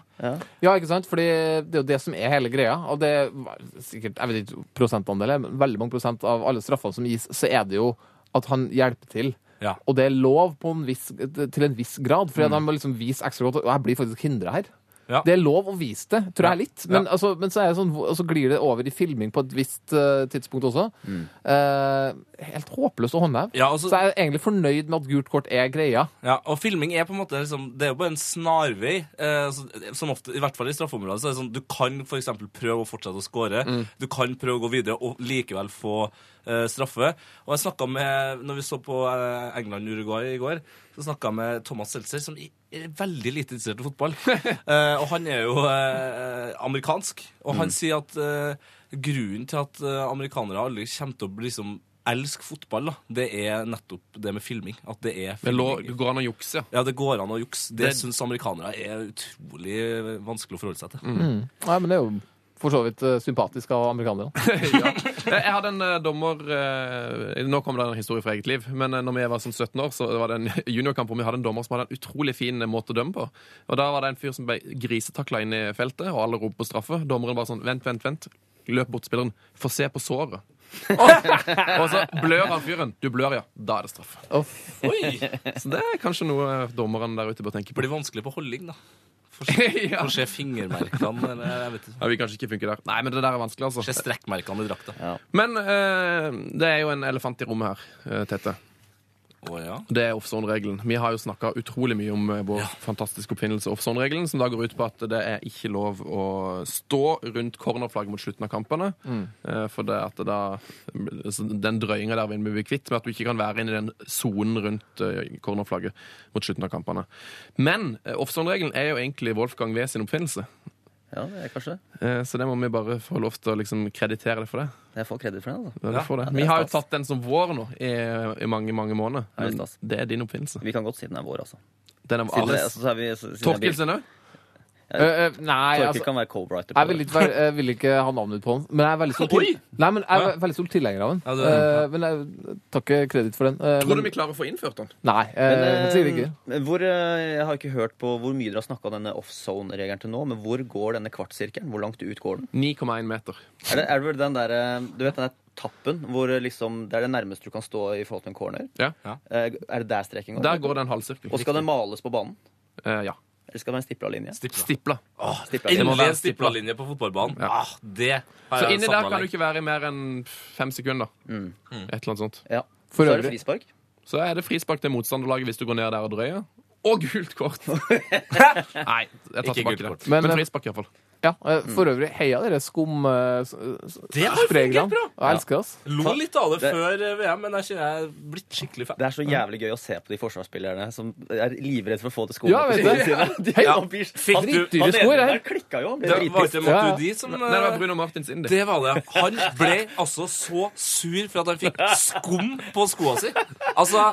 [SPEAKER 6] Ja, ikke sant? Fordi det er jo det som er hele greia. Og det er sikkert, jeg vet ikke prosentandel, men veldig mange prosent av alle straffene som gis, så er det jo at han hjelper til.
[SPEAKER 4] Ja.
[SPEAKER 6] Og det er lov på en viss, til en viss grad, for han må liksom vise ekstra godt. Og jeg blir faktisk hindra her.
[SPEAKER 4] Ja.
[SPEAKER 6] Det er lov å vise det, tror jeg litt. Men,
[SPEAKER 4] Ja.
[SPEAKER 6] altså, men så, er det sånn, og så glir det over i filming på et visst eh, tidspunkt også. Eh, helt håpløst å håndheve.
[SPEAKER 4] Ja, altså-
[SPEAKER 6] så jeg er egentlig fornøyd med at gult kort er greia.
[SPEAKER 4] Ja, og filming er på en måte liksom, Det er jo bare en snarvei. Eh, så- som ofte, I hvert fall i straffeområdet. så er det sånn, Du kan for eksempel prøve å fortsette å score.
[SPEAKER 3] Mm.
[SPEAKER 4] Du kan prøve å gå videre og likevel få eh, straffe. Og jeg snakket med, når vi så på eh, England-Uruguay i går, så snakka jeg med Thomas Seltzer, som i- er veldig lite interessert i fotball. eh, og han er jo eh, amerikansk, og
[SPEAKER 3] Mm.
[SPEAKER 4] han sier at eh, grunnen til at eh, amerikanere aldri kommer til å bli liksom elske fotball, da, det er nettopp det med filming. At det er
[SPEAKER 3] Det, lå,
[SPEAKER 4] filming.
[SPEAKER 3] det går an å jukse, ja.
[SPEAKER 4] Ja, det går an å jukse. Det,
[SPEAKER 3] Det-
[SPEAKER 4] synes syns amerikanere er utrolig vanskelig å forholde seg til.
[SPEAKER 6] Nei, men det er jo for så vidt eh, sympatisk av amerikanerne.
[SPEAKER 3] ja. Jeg hadde en eh, dommer eh, Nå kommer det en historie fra eget liv. Men eh, når vi var sånn 17 år, så var det en juniorkamp hvor vi hadde en dommer som hadde en utrolig fin eh, måte å dømme på. Og Da var det en fyr som ble grisetakla inn i feltet, og alle ropte på straffe. Dommeren bare sånn Vent, vent, vent. Løp bort til spilleren. Få se på såret. og så blør han fyren. Du blør, ja. Da er det straff.
[SPEAKER 6] Uff.
[SPEAKER 4] Oi!
[SPEAKER 3] Så det er kanskje noe eh, dommeren der ute bør tenke på.
[SPEAKER 4] Blir vanskelig på holding, da. Få se,
[SPEAKER 3] ja.
[SPEAKER 4] får se fingermerkene, eller jeg vet ikke.
[SPEAKER 3] Ja, vi kanskje ikke funker der. Nei, men det der er vanskelig, altså.
[SPEAKER 4] Se strekkmerkene i drakta. Å
[SPEAKER 3] Men eh, det er jo en elefant i rommet her, eh, Tete.
[SPEAKER 4] ja.
[SPEAKER 3] Det er offzone-regelen. Vi har jo snakka utrolig mye om eh, vår fantastiske oppfinnelse offzone-regelen, som da går ut på at det er ikke lov å stå rundt cornerflagget mot slutten av kampene. Eh, For det at det da så Den drøyinga der vil vi bli kvitt, med at du ikke kan være inne i den sonen rundt eh, cornerflagget mot slutten av kampene. Men eh, offzone-regelen er jo egentlig Wolfgang V sin oppfinnelse,
[SPEAKER 7] Ja, det er kanskje det.
[SPEAKER 3] Eh, så det må vi bare få lov til å liksom kreditere det for det.
[SPEAKER 7] Jeg får kreditt for det. altså.
[SPEAKER 3] Ja, du får det.
[SPEAKER 7] det er
[SPEAKER 3] Vi har jo
[SPEAKER 7] stas.
[SPEAKER 3] tatt den som vår nå i, i mange, mange måneder.
[SPEAKER 7] Ja, det er
[SPEAKER 3] Men
[SPEAKER 7] stas.
[SPEAKER 3] det er din oppfinnelse.
[SPEAKER 7] Vi kan godt si den er vår, altså.
[SPEAKER 3] Den er
[SPEAKER 7] Siden det,
[SPEAKER 3] alles.
[SPEAKER 7] altså så er vi, så, siden jeg blir-
[SPEAKER 3] Torkelsen òg?
[SPEAKER 6] Eh, eh, nei,
[SPEAKER 7] Torkel
[SPEAKER 6] altså
[SPEAKER 7] kan være co-writer. på
[SPEAKER 6] Jeg
[SPEAKER 7] det.
[SPEAKER 6] vil ikke, være, jeg vil ikke ha navnet ditt på den, men jeg er veldig stor, til,
[SPEAKER 4] Oi!
[SPEAKER 6] nei, men jeg er veldig stor tilhenger av den.
[SPEAKER 4] Ja, det er-
[SPEAKER 6] Eh, men jeg tar ikke kreditt for den. Eh,
[SPEAKER 3] Tror du
[SPEAKER 6] men,
[SPEAKER 3] vi klarer å få innført den?
[SPEAKER 6] nei, eh,
[SPEAKER 7] Men, eh,
[SPEAKER 6] sikkert ikke.
[SPEAKER 7] men hvor, eh, jeg har ikke hørt på hvor mye dere har snakka om denne offzone-regelen til nå, men hvor går denne kvartsirkelen? Hvor langt ut går den?
[SPEAKER 3] 9,1 meter.
[SPEAKER 7] Er det, er det vel den der, eh, du vet den der tappen hvor eh, liksom, det er det nærmeste du kan stå i forhold til en corner?
[SPEAKER 3] Ja.
[SPEAKER 7] Eh, Er det der streken går?
[SPEAKER 3] Der går det en halvsirkel.
[SPEAKER 7] Og skal den males på banen?
[SPEAKER 3] Eh, ja.
[SPEAKER 7] Eller skal det være en stipla linje?
[SPEAKER 4] Stipla.
[SPEAKER 3] Stipla.
[SPEAKER 7] Stipla linje.
[SPEAKER 4] Endelig
[SPEAKER 3] være
[SPEAKER 4] en stipla linje på fotballbanen. Ah, det har
[SPEAKER 3] Så
[SPEAKER 4] jeg
[SPEAKER 3] inni der kan du
[SPEAKER 4] savnet lenge.
[SPEAKER 3] ikke være i mer enn fem sekunder.
[SPEAKER 7] Mm.
[SPEAKER 3] Et eller annet sånt.
[SPEAKER 7] Ja.
[SPEAKER 6] For
[SPEAKER 7] Så er det
[SPEAKER 6] øvrig-
[SPEAKER 7] frispark.
[SPEAKER 3] Så er det frispark til motstanderlaget hvis du går ned der og drøyer. Og gult kort! Nei, jeg tar
[SPEAKER 4] Ikke
[SPEAKER 3] tilbake
[SPEAKER 4] gult
[SPEAKER 3] det.
[SPEAKER 4] kort.
[SPEAKER 3] Men,
[SPEAKER 6] Men-
[SPEAKER 7] eh,
[SPEAKER 3] frispark, iallfall.
[SPEAKER 6] Ja, eh, For øvrig, heia dere skum... eh, s- s-
[SPEAKER 4] Det har
[SPEAKER 6] spregran.
[SPEAKER 4] fungert bra!
[SPEAKER 6] Jeg elsker oss.
[SPEAKER 4] Lo litt av det,
[SPEAKER 7] Det-
[SPEAKER 4] før eh, VM, men jeg kjenner jeg er blitt skikkelig fan.
[SPEAKER 7] Det er så jævlig gøy å se på de forsvarsspillerne som er livredd for å få til skoene.
[SPEAKER 6] Ja, vet du.
[SPEAKER 7] De,
[SPEAKER 6] Hei,
[SPEAKER 7] han blir-
[SPEAKER 4] Fikk
[SPEAKER 7] han-
[SPEAKER 4] du-
[SPEAKER 7] han
[SPEAKER 6] dyre sko,
[SPEAKER 7] ene
[SPEAKER 6] det
[SPEAKER 7] der
[SPEAKER 6] her.
[SPEAKER 7] klikka jo, han ble
[SPEAKER 4] Det var
[SPEAKER 7] dritpissed.
[SPEAKER 4] ikke
[SPEAKER 6] Ja, ja.
[SPEAKER 4] Matu Di som
[SPEAKER 3] Nei, det var
[SPEAKER 4] eh,
[SPEAKER 3] Bruno Martin sin, det.
[SPEAKER 4] Det var det. Han ble altså så sur for at han fikk skum på skoa si. Altså,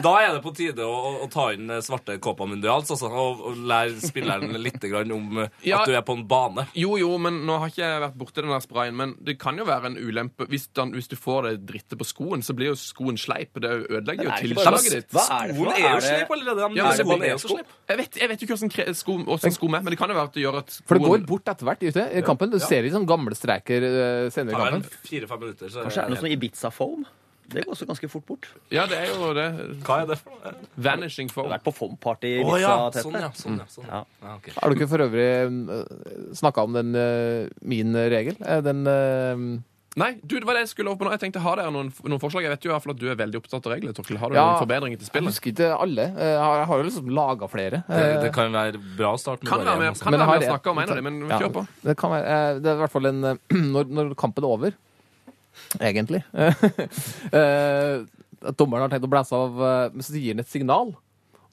[SPEAKER 4] da er det på tide å, å- å ta inn eh, svarte Copa Mundials altså, og, og lære spilleren litt grann om eh,
[SPEAKER 3] Ja.
[SPEAKER 4] at du er på en bane.
[SPEAKER 3] Jo, jo, men nå har ikke jeg vært borti den der sprayen, men det kan jo være en ulempe. Hvis, den, hvis du får det drittet på skoen, så blir jo skoen sleip. Det ødelegger jo
[SPEAKER 7] er ikke bare-
[SPEAKER 3] tilslaget ditt.
[SPEAKER 7] Hva er det
[SPEAKER 4] Skoen
[SPEAKER 7] for noe?
[SPEAKER 4] er jo
[SPEAKER 7] Er det-
[SPEAKER 4] sleip allerede.
[SPEAKER 3] Ja,
[SPEAKER 4] De
[SPEAKER 3] men
[SPEAKER 4] nye
[SPEAKER 3] det
[SPEAKER 4] skoene
[SPEAKER 3] bare-
[SPEAKER 4] er jo så sleip.
[SPEAKER 3] Jeg vet, jeg vet jo ikke hvordan kre- sko, hvordan sko er, men det kan jo være at det gjør at skoen
[SPEAKER 6] For det går bort etter hvert ute i kampen. Du ser litt sånn gamle streiker eh, senere i
[SPEAKER 4] Ja, men
[SPEAKER 6] kampen.
[SPEAKER 4] Fire-fem minutter, så
[SPEAKER 7] Kanskje er det noe sånn Ibiza-foam? Det går også ganske fort bort.
[SPEAKER 3] Ja, det er jo det.
[SPEAKER 4] Hva er det for noe?
[SPEAKER 3] Vanishing
[SPEAKER 7] Du har
[SPEAKER 3] form.
[SPEAKER 7] vært på foam-party i
[SPEAKER 4] Å
[SPEAKER 7] Ibiza,
[SPEAKER 4] ja,
[SPEAKER 7] Tete.
[SPEAKER 4] sånn ja. Sånn, ja, sånn. ja.
[SPEAKER 7] Ja.
[SPEAKER 4] ok.
[SPEAKER 6] Har du ikke for øvrig snakka om den eh, min regel? Eh, Den eh,
[SPEAKER 3] Nei, du, det var det jeg skulle over på nå. Jeg tenkte, Har dere noen, noen forslag? Jeg vet jo i hvert fall at du er veldig opptatt av regler. Torkel. Har du
[SPEAKER 6] Ja.
[SPEAKER 3] noen forbedringer til
[SPEAKER 6] Jeg
[SPEAKER 3] spillet?
[SPEAKER 6] husker ikke alle. Eh, Jeg har, jeg har jo liksom laga flere.
[SPEAKER 4] Det,
[SPEAKER 6] Eh,
[SPEAKER 4] det kan være bra å starte med bare
[SPEAKER 3] Kan være
[SPEAKER 4] en,
[SPEAKER 3] med,
[SPEAKER 4] altså.
[SPEAKER 3] kan være
[SPEAKER 6] Men
[SPEAKER 3] med
[SPEAKER 6] jeg
[SPEAKER 3] å
[SPEAKER 6] har-
[SPEAKER 3] snakke om en av dem, men
[SPEAKER 6] Eh, Ja,
[SPEAKER 3] kjør på.
[SPEAKER 6] Det, kan være, eh, det er i hvert fall en eh, når, når kampen er over, egentlig eh, At dommeren har tenkt å blæse av, eh, men så gir han et signal.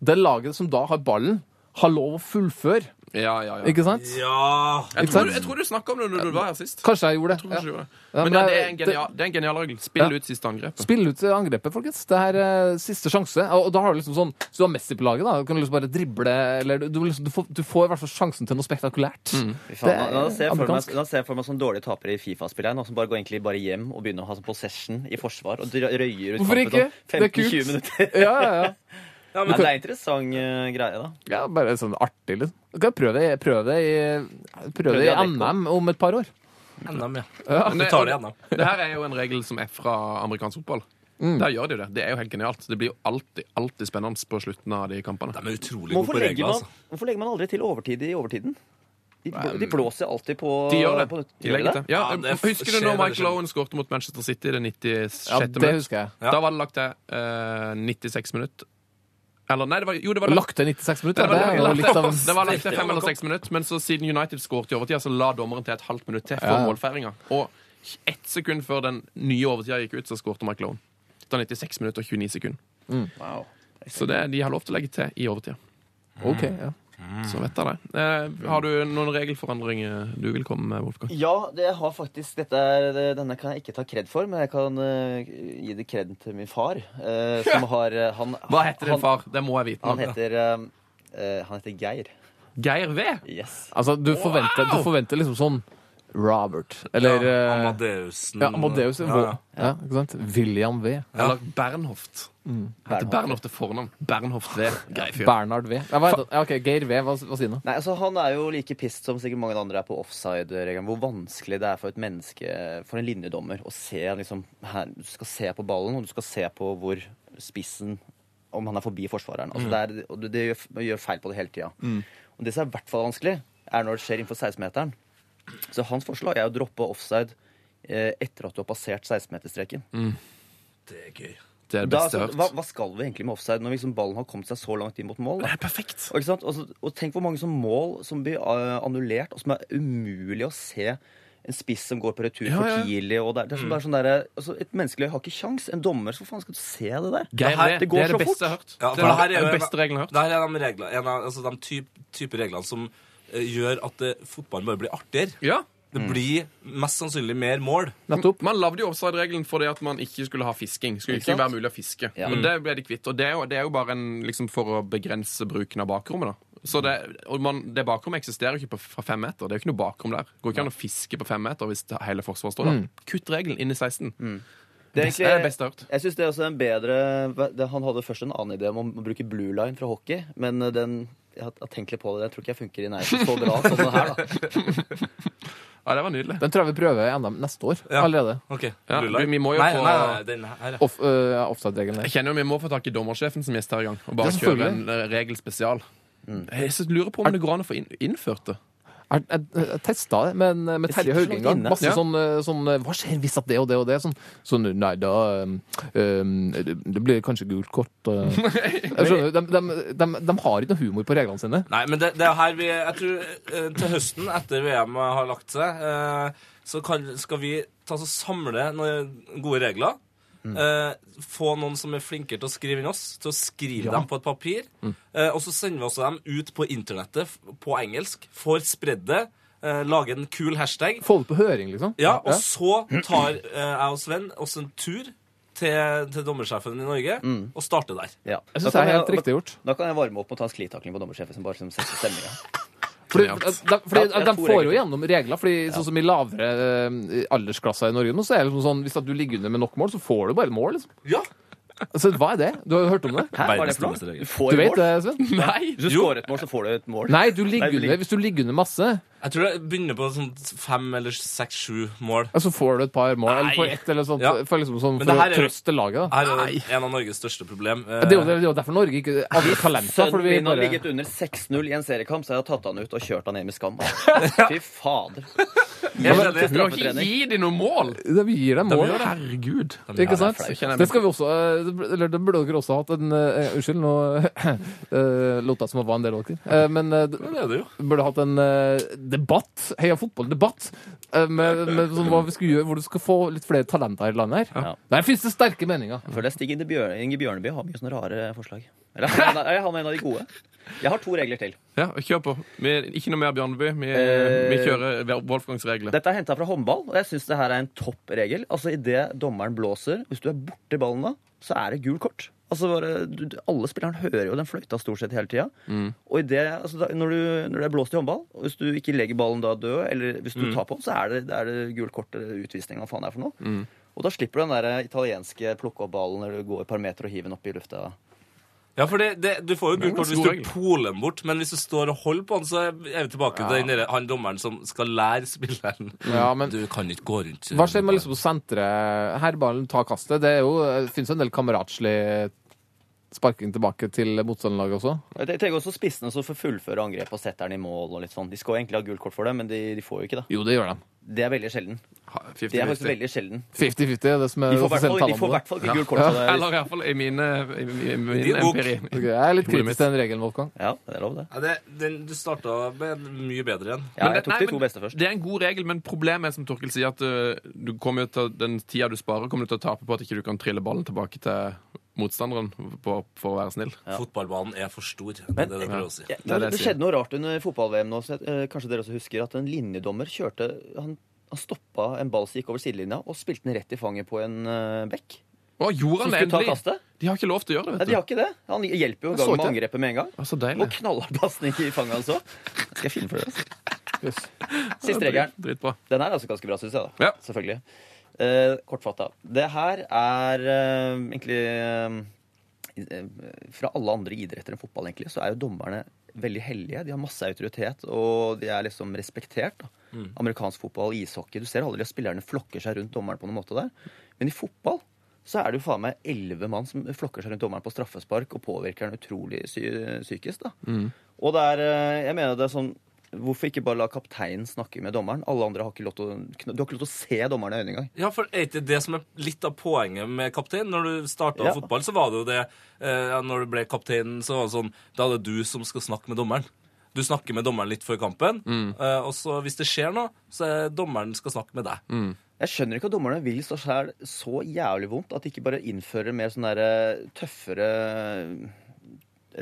[SPEAKER 6] Det laget som da har ballen, har lov å fullføre,
[SPEAKER 3] Ja, ja, ja.
[SPEAKER 6] ikke sant?
[SPEAKER 4] Ja!
[SPEAKER 3] Jeg
[SPEAKER 6] Ikke
[SPEAKER 3] tror,
[SPEAKER 6] sant?
[SPEAKER 3] jeg tror du snakka om det når du var her sist.
[SPEAKER 6] Kanskje jeg gjorde
[SPEAKER 3] Jeg tror
[SPEAKER 6] det.
[SPEAKER 3] ikke du
[SPEAKER 6] Ja.
[SPEAKER 3] gjorde det. Men
[SPEAKER 6] Ja, men
[SPEAKER 3] ja, det
[SPEAKER 6] jeg-
[SPEAKER 3] er en genial, det er en genial regel. Spill
[SPEAKER 6] Ja.
[SPEAKER 3] ut siste angrepet.
[SPEAKER 6] Spill ut angrepet, folkens. Det her er siste sjanse. Og, og da har du liksom sånn Så du har Messi på laget, da. Du kan liksom bare drible eller du, du, liksom, du, får, du får i hvert fall sjansen til noe spektakulært.
[SPEAKER 7] Fy faen,
[SPEAKER 6] Det
[SPEAKER 7] da,
[SPEAKER 6] er
[SPEAKER 7] da ser jeg for meg,
[SPEAKER 6] amerikansk.
[SPEAKER 7] da ser jeg for meg som dårlige tapere i Fifa-spilleren, og som bare går egentlig bare hjem og begynner å ha sånn possession i forsvar og dra- røyer ut
[SPEAKER 6] Hvorfor
[SPEAKER 7] kampen
[SPEAKER 6] ikke?
[SPEAKER 7] om
[SPEAKER 6] Det er
[SPEAKER 7] 15-20
[SPEAKER 6] kult.
[SPEAKER 7] minutter.
[SPEAKER 6] Ja, ja, ja.
[SPEAKER 7] Nei, det er interessant eh, greie, da.
[SPEAKER 6] ja bare sånn artig, liksom. Du kan prøve det, prøve det i, prøve det i
[SPEAKER 7] Prøve det i
[SPEAKER 6] NM om et par år.
[SPEAKER 4] NM, ja.
[SPEAKER 3] Men
[SPEAKER 4] Vi tar det igjen, da.
[SPEAKER 3] Det her er jo en regel som er fra amerikansk fotball.
[SPEAKER 4] Mm.
[SPEAKER 3] Der gjør de jo det. Det er jo helt genialt. Det blir jo alltid, alltid spennende på slutten av de kampene.
[SPEAKER 4] De er utrolig gode
[SPEAKER 7] Hvorfor
[SPEAKER 4] på
[SPEAKER 7] legger,
[SPEAKER 4] regler,
[SPEAKER 7] man,
[SPEAKER 4] altså.
[SPEAKER 7] hvorfor legger man aldri til overtid i overtiden? De, bl- de blåser alltid på
[SPEAKER 3] De gjør det.
[SPEAKER 7] på nytt.
[SPEAKER 3] De legger til. Ja,
[SPEAKER 4] Ja, det
[SPEAKER 3] husker
[SPEAKER 4] skjer
[SPEAKER 3] du når
[SPEAKER 4] veldig
[SPEAKER 3] Michael
[SPEAKER 4] sjelden.
[SPEAKER 3] Owen skårte mot Manchester City i det 96.
[SPEAKER 6] Ja, det
[SPEAKER 3] minutt?
[SPEAKER 6] husker jeg.
[SPEAKER 4] Ja.
[SPEAKER 3] Da var det lagt til eh, 96 minutter. Eller nei, det var, jo, det var lagt
[SPEAKER 6] Lagt til 96
[SPEAKER 3] det
[SPEAKER 6] minutter.
[SPEAKER 3] var,
[SPEAKER 6] Det er jo
[SPEAKER 3] lagt,
[SPEAKER 6] litt sånn av
[SPEAKER 3] det var lagt til fem eller seks minutter, men så siden United skåret i overtida, så la dommeren til et halvt minutt til for
[SPEAKER 6] Ja.
[SPEAKER 3] målfeiringa. Og ett sekund før den nye overtida gikk ut, så skårte Michael Owen. Da 96 minutter og 29 sekunder.
[SPEAKER 6] Mm.
[SPEAKER 7] Wow.
[SPEAKER 3] Så det, de har lov til å legge til i overtida.
[SPEAKER 6] Ok, ja. Mm.
[SPEAKER 3] Så vet jeg det. Eh, har du noen regelforandringer du vil komme med, Wolfgang?
[SPEAKER 7] Ja, det har faktisk dette er, det- Denne kan jeg ikke ta kred for, men jeg kan eh, gi det kred til min far. eh, som har eh, han,
[SPEAKER 3] Hva heter din
[SPEAKER 7] han,
[SPEAKER 3] far? Det må jeg vite.
[SPEAKER 7] Han
[SPEAKER 3] nå.
[SPEAKER 7] heter, eh, eh, han heter Geir.
[SPEAKER 3] Geir V.
[SPEAKER 7] Yes.
[SPEAKER 6] Altså, du forventer, du forventer liksom sånn Robert. Eller
[SPEAKER 4] Ja,
[SPEAKER 6] eh,
[SPEAKER 4] Amadeusen.
[SPEAKER 6] ja, Amadeus. Ja,
[SPEAKER 4] Ja, ja.
[SPEAKER 6] ja, ikke sant? William V.
[SPEAKER 3] Eller Bernhoft. Heter
[SPEAKER 6] Mm.
[SPEAKER 7] Bernhoft.
[SPEAKER 3] Bernhoft til fornavn. Bernhoft V. Grei fyr.
[SPEAKER 6] Bernard V. Ja, hva heter han? Ja, ok, Geir V. Hva, hva sier han? da?
[SPEAKER 7] Nei, altså Han er jo like pissed som sikkert mange andre er på offside-regelen. Hvor vanskelig det er for et menneske, for en linjedommer, å se liksom her, Du skal se på ballen, og du skal se på hvor spissen Om han er forbi forsvareren. Altså, det er, og du, det gjør, man gjør feil på det hele tida. Og det som er i hvert fall vanskelig, er når det skjer innenfor 16-meteren. Så hans forslag er å droppe offside eh, etter at du har passert 16-meterstreken.
[SPEAKER 4] Det er gøy.
[SPEAKER 3] Det er det
[SPEAKER 7] Da,
[SPEAKER 3] beste
[SPEAKER 7] altså,
[SPEAKER 3] jeg
[SPEAKER 7] hva,
[SPEAKER 3] har hørt.
[SPEAKER 7] hva skal vi egentlig med offside når liksom ballen har kommet seg så langt inn mot mål? Da?
[SPEAKER 3] Det er perfekt.
[SPEAKER 7] Og, ikke sant? Og, så- og tenk hvor mange som mål som blir eh, annullert, og som er umulig å se en spiss som går på retur
[SPEAKER 3] Ja,
[SPEAKER 7] for
[SPEAKER 3] ja. Mm.
[SPEAKER 7] tidlig. Og det, er- det er sånn, det er sånn der, altså, et menneskelig øye har ikke kjangs. En dommer, så faen skal du se det der?
[SPEAKER 3] Geir
[SPEAKER 7] her-
[SPEAKER 3] V.
[SPEAKER 7] det går
[SPEAKER 3] Det er
[SPEAKER 7] så
[SPEAKER 3] det
[SPEAKER 7] fort.
[SPEAKER 3] beste jeg har hørt.
[SPEAKER 4] Ja, for
[SPEAKER 3] Det
[SPEAKER 4] det her er
[SPEAKER 3] er den
[SPEAKER 4] jo-
[SPEAKER 3] beste regelen jeg har hørt.
[SPEAKER 4] Det her er de, regler, en av, altså de typ, type reglene som eh, gjør at eh, fotballen bare blir artigere.
[SPEAKER 3] Ja.
[SPEAKER 4] Det blir mest sannsynlig mer mål.
[SPEAKER 6] Nettopp.
[SPEAKER 3] Man lagde jo offside-regelen fordi at man ikke skulle ha fisking. Skulle
[SPEAKER 7] Ikke
[SPEAKER 3] ikke
[SPEAKER 7] sant?
[SPEAKER 3] være mulig å fiske.
[SPEAKER 7] Ja.
[SPEAKER 3] Men
[SPEAKER 7] Mm.
[SPEAKER 3] det ble de kvitt. Og det er jo, det er jo bare en, liksom, for å begrense bruken av bakrommet. da. Så det, og man, det bakrommet eksisterer jo ikke på, fra fem meter. Det er jo ikke noe bakrom der. Går ikke an å fiske på fem meter hvis det hele forsvaret står der.
[SPEAKER 7] Mm.
[SPEAKER 3] Kutt regelen inn i 16.
[SPEAKER 7] Det er
[SPEAKER 3] Best- det er det beste jeg har hørt.
[SPEAKER 7] jeg syns det er også en bedre det, Han hadde først en annen idé om å bruke blue line fra hockey, men eh, den jeg har jeg har tenkt litt på det. Jeg tror ikke jeg funker i nærheten så bra som den her. da.
[SPEAKER 3] Ja, det var nydelig.
[SPEAKER 6] Den tror jeg vi prøver i NM neste år
[SPEAKER 4] Ja.
[SPEAKER 6] allerede.
[SPEAKER 4] Ok,
[SPEAKER 3] Ja,
[SPEAKER 4] ruller.
[SPEAKER 3] vi- vi må jo
[SPEAKER 4] nei,
[SPEAKER 3] få-
[SPEAKER 4] nei, nei, den her, ja.
[SPEAKER 6] Off, eh, Offside-regelen der.
[SPEAKER 3] Jeg kjenner jo Vi må få tak i dommersjefen som gjest her i gang. Og bare
[SPEAKER 6] Ja,
[SPEAKER 3] kjøre
[SPEAKER 6] selvfølgelig.
[SPEAKER 3] en
[SPEAKER 7] Mm.
[SPEAKER 3] eh, regel spesial. Jeg så lurer på om det går an å få inn, innført det.
[SPEAKER 6] Jeg, jeg, jeg testa det med, en- med Terje
[SPEAKER 7] sitter så
[SPEAKER 6] Hauge en
[SPEAKER 7] langt
[SPEAKER 6] gang.
[SPEAKER 7] inne.
[SPEAKER 6] Masse
[SPEAKER 3] Ja.
[SPEAKER 6] sånn, eh, sånn eh, Hva skjer hvis at det og det og det? Sånn, sånn Nei, da um, um, det, det blir kanskje gult kort. eh. Jeg skjønner, de, de, de, de har ikke noe humor på reglene sine.
[SPEAKER 4] Nei, men det, det er her vi Jeg tror eh, til høsten, etter VM har lagt seg, eh, så kan, skal vi ta oss og samle noen gode regler. Eh, få noen som er flinkere til å skrive enn oss, til å skrive dem på et papir. Eh, og så sender vi også dem ut på internettet f- på engelsk. Får spredd det. Eh, lage en kul hashtag.
[SPEAKER 6] Få det på høring, liksom.
[SPEAKER 4] Ja, og så tar eh, jeg og Sven oss en tur til, til dommersjefen i Norge og starter der.
[SPEAKER 7] Ja.
[SPEAKER 6] Jeg
[SPEAKER 7] Da
[SPEAKER 6] syns det
[SPEAKER 7] kan
[SPEAKER 6] er helt
[SPEAKER 7] jeg-
[SPEAKER 6] riktig gjort.
[SPEAKER 7] Da kan jeg varme opp og ta en sklitakling på dommersjefen som bare som setter stemninga.
[SPEAKER 6] Fordi, eh,
[SPEAKER 3] Genialt.
[SPEAKER 6] de, fordi
[SPEAKER 7] Ja, jeg
[SPEAKER 6] de
[SPEAKER 7] tror
[SPEAKER 6] får jo
[SPEAKER 7] egentlig-
[SPEAKER 6] gjennom regler. Fordi sånn som I lavere eh, aldersklasser i Norge nå, så er det liksom sånn hvis at du ligger under med nok mål, så får du bare et mål. liksom.
[SPEAKER 4] Ja.
[SPEAKER 6] Altså, Hva er det? Du har jo hørt om det?
[SPEAKER 7] Hæ, hva er det
[SPEAKER 4] Verdens
[SPEAKER 7] for
[SPEAKER 4] dummeste
[SPEAKER 7] noe?
[SPEAKER 4] regel.
[SPEAKER 7] Du får
[SPEAKER 6] Du vet
[SPEAKER 7] mål.
[SPEAKER 6] det, Sven?
[SPEAKER 7] Hvis du scorer et mål, så får du et mål.
[SPEAKER 6] Nei, du ligger
[SPEAKER 7] Nei, du
[SPEAKER 6] under, hvis du ligger under masse,
[SPEAKER 4] Jeg tror jeg begynner på sånn fem eller seks, sju mål.
[SPEAKER 6] ja, så får du et par mål. Eller får ett, eller sånt.
[SPEAKER 4] Ja.
[SPEAKER 6] For, liksom, sånn,
[SPEAKER 4] Men
[SPEAKER 6] for
[SPEAKER 4] det
[SPEAKER 6] å
[SPEAKER 4] her er jo-
[SPEAKER 6] trøste laget. da.
[SPEAKER 4] Her er det en av Norges største problem. Eh,
[SPEAKER 6] Det er jo det er jo derfor Norge ikke alle talenter.
[SPEAKER 7] Sønnen
[SPEAKER 6] Fordi vi
[SPEAKER 7] min har
[SPEAKER 6] bare,
[SPEAKER 7] ligget under 6-0 i en seriekamp, så jeg har tatt han ut og kjørt han hjem i skam. altså. Fy fader.
[SPEAKER 4] Jeg er
[SPEAKER 7] Hjelp til
[SPEAKER 4] enig.
[SPEAKER 3] Du må ikke
[SPEAKER 7] straffetrening.
[SPEAKER 3] gi dem noe mål!
[SPEAKER 6] det vi gir dem mål. da.
[SPEAKER 3] Herregud.
[SPEAKER 6] Ikke sant?
[SPEAKER 3] flaut. Kjenner jeg
[SPEAKER 6] Det skal vi også eh, det burde- Eller det burde dere også hatt en eh, Unnskyld, nå eh, lot jeg som jeg var en del av dere. Eh, men eh, d-
[SPEAKER 4] Det er det jo.
[SPEAKER 6] burde hatt en eh, debatt, heia fotball-debatt, eh, med, med sånn, hva vi skal gjøre, hvor du skal få litt flere talenter i landet her.
[SPEAKER 7] Ja.
[SPEAKER 6] Der finnes det sterke meninger.
[SPEAKER 7] Jeg føler jeg Stig Inge Bjør- Inge Bjørneby har mye sånne rare forslag. Eller han er, han er en av de gode. Jeg har to regler til.
[SPEAKER 3] Ja, kjør på. Vi, ikke noe mer Bjørneby. Vi,
[SPEAKER 7] Eh,
[SPEAKER 3] vi kjører Wolfgangs regler.
[SPEAKER 7] Dette er henta fra håndball, og jeg syns det her er en toppregel. Altså Idet dommeren blåser, hvis du er borti ballen da, så er det gul kort. Altså bare, du, du- Alle spillerne hører jo den fløyta stort sett hele tida. Og i det, altså, da, når, du, når det er blåst i håndball, og hvis du ikke legger ballen da død, eller hvis du tar på den, så er det, da er det gul kort eller utvisning, hva faen det er for noe. Og da slipper du den der eh, italienske plukke opp ballen eller gå et par meter og hive den opp i lufta.
[SPEAKER 4] Ja, for det, det, Du får jo gult kort
[SPEAKER 3] det er
[SPEAKER 4] hvis
[SPEAKER 3] god
[SPEAKER 4] du
[SPEAKER 3] regel.
[SPEAKER 4] poler den bort, men hvis du står og holder på den, så er vi tilbake til den der, han dommeren som skal lære spilleren
[SPEAKER 6] Ja, men-
[SPEAKER 4] Du kan ikke gå rundt
[SPEAKER 6] Hva skjer med liksom senteret? Herballen tar kastet. Det er jo, det finnes jo en del kameratslig sparking tilbake til motstanderlaget også.
[SPEAKER 7] Jeg tenker også spissene som får fullføre angrepet og setter den i mål. og litt sånn. De skal jo egentlig ha gul kort for det, men de, de får jo ikke det.
[SPEAKER 6] Jo, det gjør de.
[SPEAKER 7] Det er veldig sjelden.
[SPEAKER 3] Ha-
[SPEAKER 7] Det er faktisk
[SPEAKER 3] 50-50.
[SPEAKER 7] veldig sjelden.
[SPEAKER 6] 50-50 er det som er
[SPEAKER 7] De får i hvert fall-
[SPEAKER 6] offisielle
[SPEAKER 7] de får i
[SPEAKER 6] tallene.
[SPEAKER 7] hvert fall ikke gul kort. så det er-
[SPEAKER 3] Eller i hvert fall i mine, i, i, min
[SPEAKER 4] Din bok.
[SPEAKER 3] empiri.
[SPEAKER 6] Ok, jeg er litt
[SPEAKER 3] Hodet mitt.
[SPEAKER 6] kritisk til den regelen, Wolfgang.
[SPEAKER 7] Ja, det er lov, det.
[SPEAKER 4] Ja, det, den, Du starta med en mye bedre igjen.
[SPEAKER 7] Ja,
[SPEAKER 3] Men
[SPEAKER 7] jeg
[SPEAKER 3] det-
[SPEAKER 7] tok
[SPEAKER 3] nei,
[SPEAKER 7] de to
[SPEAKER 3] men
[SPEAKER 7] beste først.
[SPEAKER 3] Det er en god regel, men problemet er som Torkel sier, at uh, du kommer jo til, å- den tida du sparer, kommer du til å tape på at ikke du kan trille ballen tilbake til motstanderen på, for å være snill.
[SPEAKER 4] Fotballbanen er for stor. Det er det de prøver å si.
[SPEAKER 7] Ja,
[SPEAKER 3] det er
[SPEAKER 7] det,
[SPEAKER 3] det jeg sier.
[SPEAKER 7] skjedde noe rart under fotball-VM nå. Så, eh, kanskje dere også husker at en linjedommer kjørte Han, han stoppa en ball som gikk over sidelinja, og spilte den rett i fanget på en uh, bekk.
[SPEAKER 3] Å, gjorde han
[SPEAKER 7] Som
[SPEAKER 3] det
[SPEAKER 7] skulle ta
[SPEAKER 3] endelig?
[SPEAKER 7] kastet.
[SPEAKER 3] De har ikke lov til å gjøre det,
[SPEAKER 7] Nei, de
[SPEAKER 3] vet du.
[SPEAKER 7] har ikke det. Han hjelper jo i
[SPEAKER 6] Jeg så
[SPEAKER 7] gang med
[SPEAKER 6] ikke det.
[SPEAKER 7] angrepet med en gang.
[SPEAKER 3] Å, så
[SPEAKER 7] Og
[SPEAKER 3] deilig.
[SPEAKER 7] knallhard pasning i fanget, altså. Skal jeg filme for dere? altså? Siste regelen.
[SPEAKER 3] Drit- Dritbra.
[SPEAKER 7] Den her er altså ganske bra, syns jeg. da.
[SPEAKER 3] Ja.
[SPEAKER 7] Selvfølgelig. Eh, Kortfatta. Det her er eh, egentlig eh, eh, Fra alle andre idretter enn fotball, egentlig, så er jo dommerne veldig hellige. De har masse autoritet, og de er liksom respektert. da. Amerikansk fotball, ishockey Du ser aldri at spillerne flokker seg rundt dommeren på noen måte der. Men i fotball så er det jo faen meg elleve mann som flokker seg rundt dommeren på straffespark og påvirker han utrolig psy psykisk. da. Og det er eh, Jeg mener det er sånn Hvorfor ikke bare la kapteinen snakke med dommeren? Alle andre har ikke lov til å, kn- du har ikke lov til å se dommeren i øynene engang.
[SPEAKER 4] Ja, for er ikke det som er litt av poenget med kaptein? Når du starta
[SPEAKER 7] Ja.
[SPEAKER 4] fotball, så var det jo det eh, ja, Når du ble kaptein, så var det sånn Da er det du som skal snakke med dommeren. Du snakker med dommeren litt før kampen, eh, og så hvis det skjer noe, så er dommeren skal snakke med deg.
[SPEAKER 7] Jeg skjønner ikke at dommerne vil så sjæl så jævlig vondt at de ikke bare innfører mer sånn derre tøffere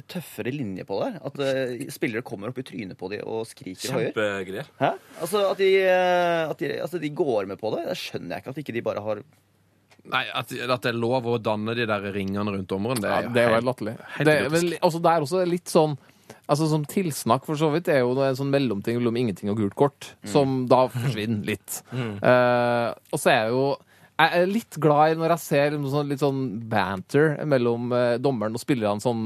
[SPEAKER 7] tøffere linje på det. her. At eh, spillere kommer opp i trynet på dem og skriker høyere.
[SPEAKER 4] Kjempegreie.
[SPEAKER 7] Hæ? Altså at de, eh, at de, altså, de går med på det. Det skjønner jeg ikke. At ikke de bare har
[SPEAKER 3] Nei, at, at det er lov å danne de der ringene rundt dommeren, det er
[SPEAKER 6] Ja,
[SPEAKER 3] jo
[SPEAKER 6] det er jo helt
[SPEAKER 3] helt
[SPEAKER 6] latterlig.
[SPEAKER 3] helt
[SPEAKER 6] Det er
[SPEAKER 3] idiotisk.
[SPEAKER 6] vel- Altså, det er også litt sånn Altså, Som tilsnakk, for så vidt, er jo en sånn mellomting mellom ingenting og gult kort, som da forsvinner litt. Eh, og så er jeg jo jeg er litt glad i når liksom jeg ser noe sånn, litt sånn banter mellom eh, dommeren og spillerne sånn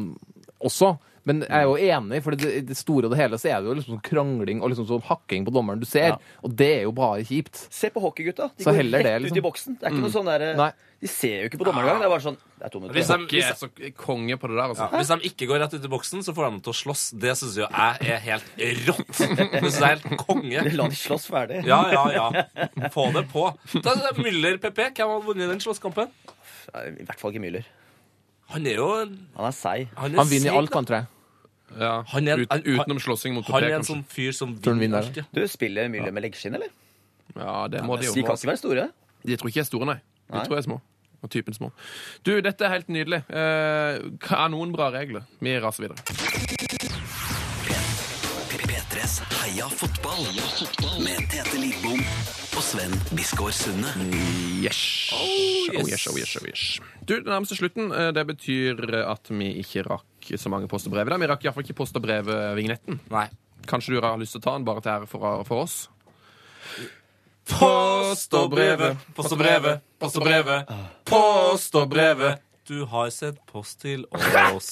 [SPEAKER 6] også. Men jeg er jo enig, for i det store og det hele så er det jo liksom sånn krangling og liksom sånn hakking på dommeren du ser,
[SPEAKER 7] Ja.
[SPEAKER 6] og det er jo bare kjipt.
[SPEAKER 7] Se på hockeygutta. De
[SPEAKER 6] Så
[SPEAKER 7] går
[SPEAKER 6] heller
[SPEAKER 7] rett ut i
[SPEAKER 6] det, liksom.
[SPEAKER 7] boksen. Det er ikke noe sånn der,
[SPEAKER 6] Nei.
[SPEAKER 7] De ser jo ikke på dommeren engang. Det er bare sånn Det er to minutter.
[SPEAKER 4] Hvis
[SPEAKER 7] igjen.
[SPEAKER 4] de,
[SPEAKER 3] Ikke
[SPEAKER 4] hvis,
[SPEAKER 3] er så konge på det der, altså.
[SPEAKER 4] hvis de ikke går rett ut i boksen, så får de dem til å slåss. Det syns jo jeg er helt rått. Det synes jeg er helt konge.
[SPEAKER 7] La de slåss ferdig.
[SPEAKER 4] Ja, ja, ja. Få det på. Da er det Müller PP, hvem hadde vunnet den slåsskampen?
[SPEAKER 7] Nei, I hvert fall ikke Müller.
[SPEAKER 4] Han er jo en-
[SPEAKER 7] Han er seig.
[SPEAKER 4] Han, er
[SPEAKER 6] Han vinner
[SPEAKER 4] syk,
[SPEAKER 6] i alt,
[SPEAKER 4] da.
[SPEAKER 6] han, tror jeg.
[SPEAKER 3] Ja.
[SPEAKER 4] Han er-
[SPEAKER 3] Ut,
[SPEAKER 4] han-
[SPEAKER 3] utenom slåssing mot
[SPEAKER 4] Han
[SPEAKER 3] Topé,
[SPEAKER 4] er en
[SPEAKER 3] kanskje.
[SPEAKER 4] sånn fyr som
[SPEAKER 6] Tror han
[SPEAKER 4] vinner
[SPEAKER 6] vinner,
[SPEAKER 4] alt. ja.
[SPEAKER 7] Du, spiller Müller med leggskinn, eller?
[SPEAKER 3] Ja, det må de
[SPEAKER 7] De
[SPEAKER 3] jo.
[SPEAKER 7] kan ikke være store.
[SPEAKER 3] De tror ikke jeg er store, nei. De
[SPEAKER 7] Nei.
[SPEAKER 3] tror jeg er små. Og typen små. Du, dette er helt nydelig. Eh, kanonbra regler. Vi raser videre.
[SPEAKER 2] P3s Heia fotball. Heia fotball med Tete Lidbom og Sven Biskår Sunde.
[SPEAKER 3] Yes. Oh, yes. Oh, yes, oh, yes, Du, det nærmer seg slutten. Eh, Det betyr at vi ikke rakk så mange post og brev i dag. Vi rakk iallfall ikke post og brev-vignetten.
[SPEAKER 4] Nei.
[SPEAKER 3] Kanskje du har lyst til å ta den, bare til ære for, for oss?
[SPEAKER 4] Post og brevet, post og brevet, post og brevet, post og brevet. Du har sendt post til oss.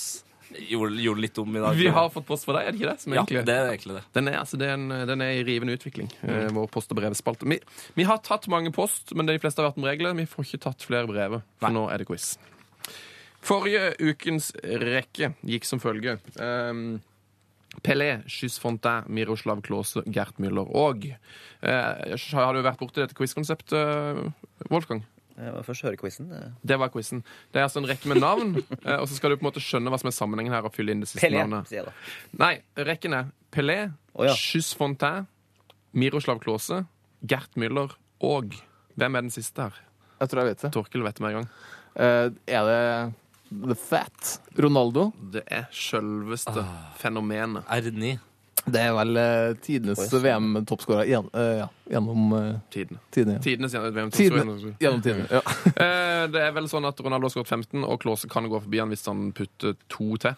[SPEAKER 4] Gjorde, gjorde litt om i dag.
[SPEAKER 3] Vi har fått post fra deg, er det ikke det? Som
[SPEAKER 4] ja,
[SPEAKER 3] egentlig-
[SPEAKER 4] det er egentlig det.
[SPEAKER 3] Den er, altså, det er en, den er i rivende utvikling, eh, vår post- og brevspalte. Vi, vi har tatt mange post, men de fleste har vært med regler. Vi får ikke tatt flere brev, for nå er det quiz. Forrige ukens rekke gikk som følge. Um, Pelé, Skyss Fontaine, Miroslav Klause, Gert Müller og eh, Har du vært borti dette quizkonseptet, eh, Wolfgang?
[SPEAKER 7] Jeg må først høre quizen. Eh,
[SPEAKER 3] Det var quizen. Det er altså en rekke med navn, eh, og så skal du på en måte skjønne hva som er sammenhengen her, og fylle inn det siste
[SPEAKER 7] Pelé,
[SPEAKER 3] navnet.
[SPEAKER 7] sier jeg da.
[SPEAKER 3] Nei, rekken er Pelé,
[SPEAKER 7] Å, ja.
[SPEAKER 3] Skyss Fontaine, Miroslav Klause, Gert Müller og Hvem er den siste her?
[SPEAKER 6] Jeg tror jeg vet det.
[SPEAKER 3] Torkil vet med en gang.
[SPEAKER 6] Eh, er det The Fat? Ronaldo?
[SPEAKER 3] Det er sjølveste fenomenet.
[SPEAKER 4] R9.
[SPEAKER 6] Det er vel eh, tidenes VM-toppskårer igjen, eh, ja, gjennom eh,
[SPEAKER 3] Tidene.
[SPEAKER 6] tidene. Ja.
[SPEAKER 3] Tidenes hvem tror
[SPEAKER 6] Tidene,
[SPEAKER 3] jeg-
[SPEAKER 6] gjennom tidene, ja.
[SPEAKER 3] Eh, Det er vel sånn at Ronaldo har skåret 15, og Klause kan gå forbi han hvis han putter to til.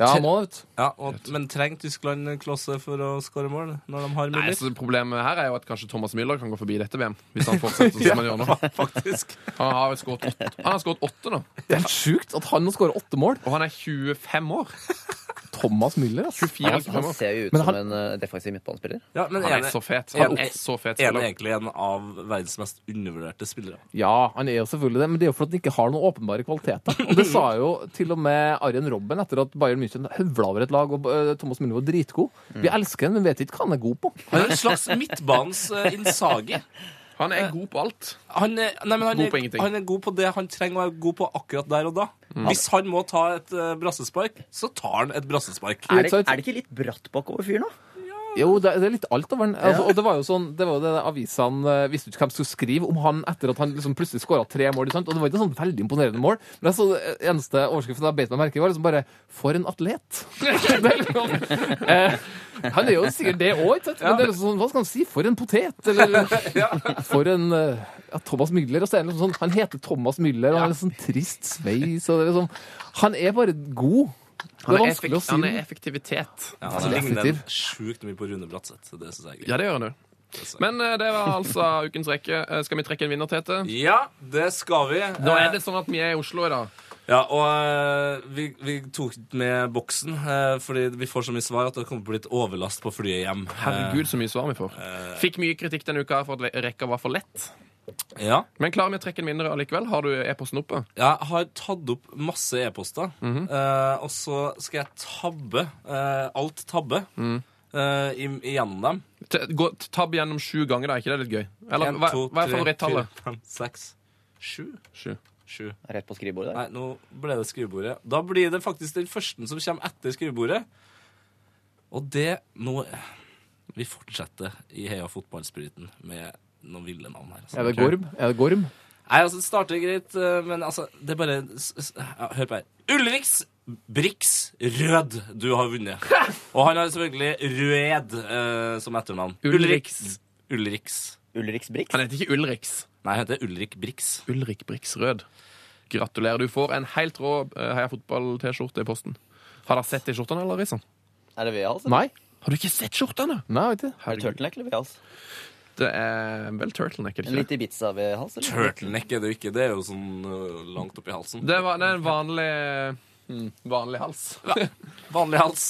[SPEAKER 6] ja, han må det, vet du.
[SPEAKER 4] Ja, og, men trenger Tyskland en klosse for å skåre mål når de har
[SPEAKER 3] Nei,
[SPEAKER 4] mulighet?
[SPEAKER 3] så Problemet her er jo at kanskje Thomas Müller kan gå forbi dette VM. Hvis han fortsetter som han gjør nå.
[SPEAKER 4] Faktisk.
[SPEAKER 3] Han har vel skåret åtte, han har skåret åtte nå,
[SPEAKER 6] Det er helt sjukt at han nå skårer åtte mål.
[SPEAKER 3] og han er 25 år.
[SPEAKER 6] Thomas Müller, altså.
[SPEAKER 3] 24
[SPEAKER 7] Han,
[SPEAKER 3] eller 25
[SPEAKER 7] han
[SPEAKER 3] år.
[SPEAKER 7] ser jo ut
[SPEAKER 6] Men
[SPEAKER 7] som
[SPEAKER 6] han-
[SPEAKER 7] en eh, defensiv midtbanespiller.
[SPEAKER 4] Ja, men
[SPEAKER 3] Han er
[SPEAKER 4] det-
[SPEAKER 3] så fet.
[SPEAKER 4] er
[SPEAKER 3] Han
[SPEAKER 4] det-
[SPEAKER 3] er så fet
[SPEAKER 4] er det
[SPEAKER 3] spiller.
[SPEAKER 4] egentlig en av verdens mest undervurderte spillere?
[SPEAKER 6] Ja, han er jo selvfølgelig det, men det er jo fordi han ikke har noen åpenbare kvaliteter. Og det sa jo til og med Arjen Robben etter at Bayern München høvla over et lag, og eh, Thomas Müller var dritgod.
[SPEAKER 3] Mm.
[SPEAKER 6] Vi elsker han, men vet ikke hva han er god på.
[SPEAKER 4] Han er en slags midtbanens uh, innsage.
[SPEAKER 3] Han er god på alt.
[SPEAKER 4] Han er, nei, men han,
[SPEAKER 3] God på
[SPEAKER 4] er,
[SPEAKER 3] ingenting. Mm.
[SPEAKER 4] han er god på det han trenger å være god på akkurat der og da. Hvis han må ta et eh, brassespark, så tar han et brassespark.
[SPEAKER 7] Er det, er det ikke litt bratt bakover fyren, da?
[SPEAKER 6] Jo, det, det er litt alt over den. Altså, og det var jo sånn, det var jo det avisene eh, visste ikke hvem skulle skrive om han etter at han liksom plutselig skåra tre mål. ikke sant? Og det var ikke sånn veldig imponerende mål. Men jeg så det eneste overskriften jeg beit meg merke i, var liksom bare 'For en atlet'. det er liksom, eh, han er jo sikkert det òg, ikke sant? Men det er liksom sånn, hva skal han si? For en potet? Eller for en eh, ja, Thomas Müller. Og så er det liksom sånn, han heter Thomas Müller, og han har en sånn trist sveis. og det er liksom, Han er bare god. Det
[SPEAKER 3] Han
[SPEAKER 6] er
[SPEAKER 3] er,
[SPEAKER 6] vanskelig å
[SPEAKER 3] effek
[SPEAKER 6] si.
[SPEAKER 3] han
[SPEAKER 6] det.
[SPEAKER 3] er effektivitet.
[SPEAKER 4] Ja,
[SPEAKER 6] han
[SPEAKER 4] han
[SPEAKER 6] er
[SPEAKER 4] ligner
[SPEAKER 6] effektiv.
[SPEAKER 4] Altså, sjukt mye på Rune Bratseth. så Det synes jeg er gøy.
[SPEAKER 3] Ja, det gjør han jo. Men eh, det var altså ukens rekke. Eh, Skal vi trekke en vinner, Tete?
[SPEAKER 4] Ja, det skal vi.
[SPEAKER 3] Nå er det sånn at vi er i Oslo i dag.
[SPEAKER 4] Ja, og eh, vi, vi tok med boksen, eh, fordi vi får så mye svar at det kommer på litt overlast på flyet hjem. Eh,
[SPEAKER 3] Herregud, så mye svar vi får. Fikk mye kritikk denne uka for at rekka var for lett.
[SPEAKER 4] Eh, Ja.
[SPEAKER 3] Men klarer vi å trekke en vinner allikevel? Har du e-posten oppe?
[SPEAKER 4] Jeg har tatt opp masse e-poster, eh, og så skal jeg tabbe, eh, alt tabbe, eh, im- igjennom dem.
[SPEAKER 3] T- Gå t- tabb gjennom sju ganger, da. Er ikke det litt gøy? Eller
[SPEAKER 4] En,
[SPEAKER 3] hva,
[SPEAKER 4] to,
[SPEAKER 3] hva er
[SPEAKER 4] tre,
[SPEAKER 3] favorittallet?
[SPEAKER 4] fire, fem, seks, sju.
[SPEAKER 3] Sju.
[SPEAKER 4] Sju.
[SPEAKER 7] Rett på skrivebordet der.
[SPEAKER 4] Nei, nå ble det skrivebordet. Da blir det faktisk den første som kommer etter skrivebordet. Og det nå Vi fortsetter i Heia fotballspiriten med noen ville navn her. altså.
[SPEAKER 6] Er det Gorm? Er det Gorm?
[SPEAKER 4] Nei, altså, det starter greit, eh, men altså, det er bare s- s- ja, Hør på her. Ulriks Brix Rød, du har vunnet. Og han har selvfølgelig Rød eh, som etternavn.
[SPEAKER 3] Ulriks.
[SPEAKER 4] Ulriks.
[SPEAKER 7] Ulriks Brix.
[SPEAKER 3] Han heter ikke Ulriks.
[SPEAKER 4] Nei, han heter Ulrik Brix.
[SPEAKER 3] Ulrik Briksrød. Gratulerer. Du får en helt rå eh, Heia Fotball-T-skjorte i posten. Har dere sett de skjortene, eller, Risan?
[SPEAKER 7] Er det V-hals?
[SPEAKER 6] Nei?
[SPEAKER 3] Har du ikke sett skjortene?
[SPEAKER 6] Nei, vet du.
[SPEAKER 7] Er det turtleneck eller V-hals?
[SPEAKER 3] Det er vel turtleneck, er det
[SPEAKER 7] En
[SPEAKER 3] ikke?
[SPEAKER 7] litt Ibiza-V-hals? eller?
[SPEAKER 4] Turtleneck er det jo ikke. Det er jo sånn eh, langt oppi halsen.
[SPEAKER 3] Det, var, det er en vanlig Mm, Vanlig hals.
[SPEAKER 4] Vanlig hals.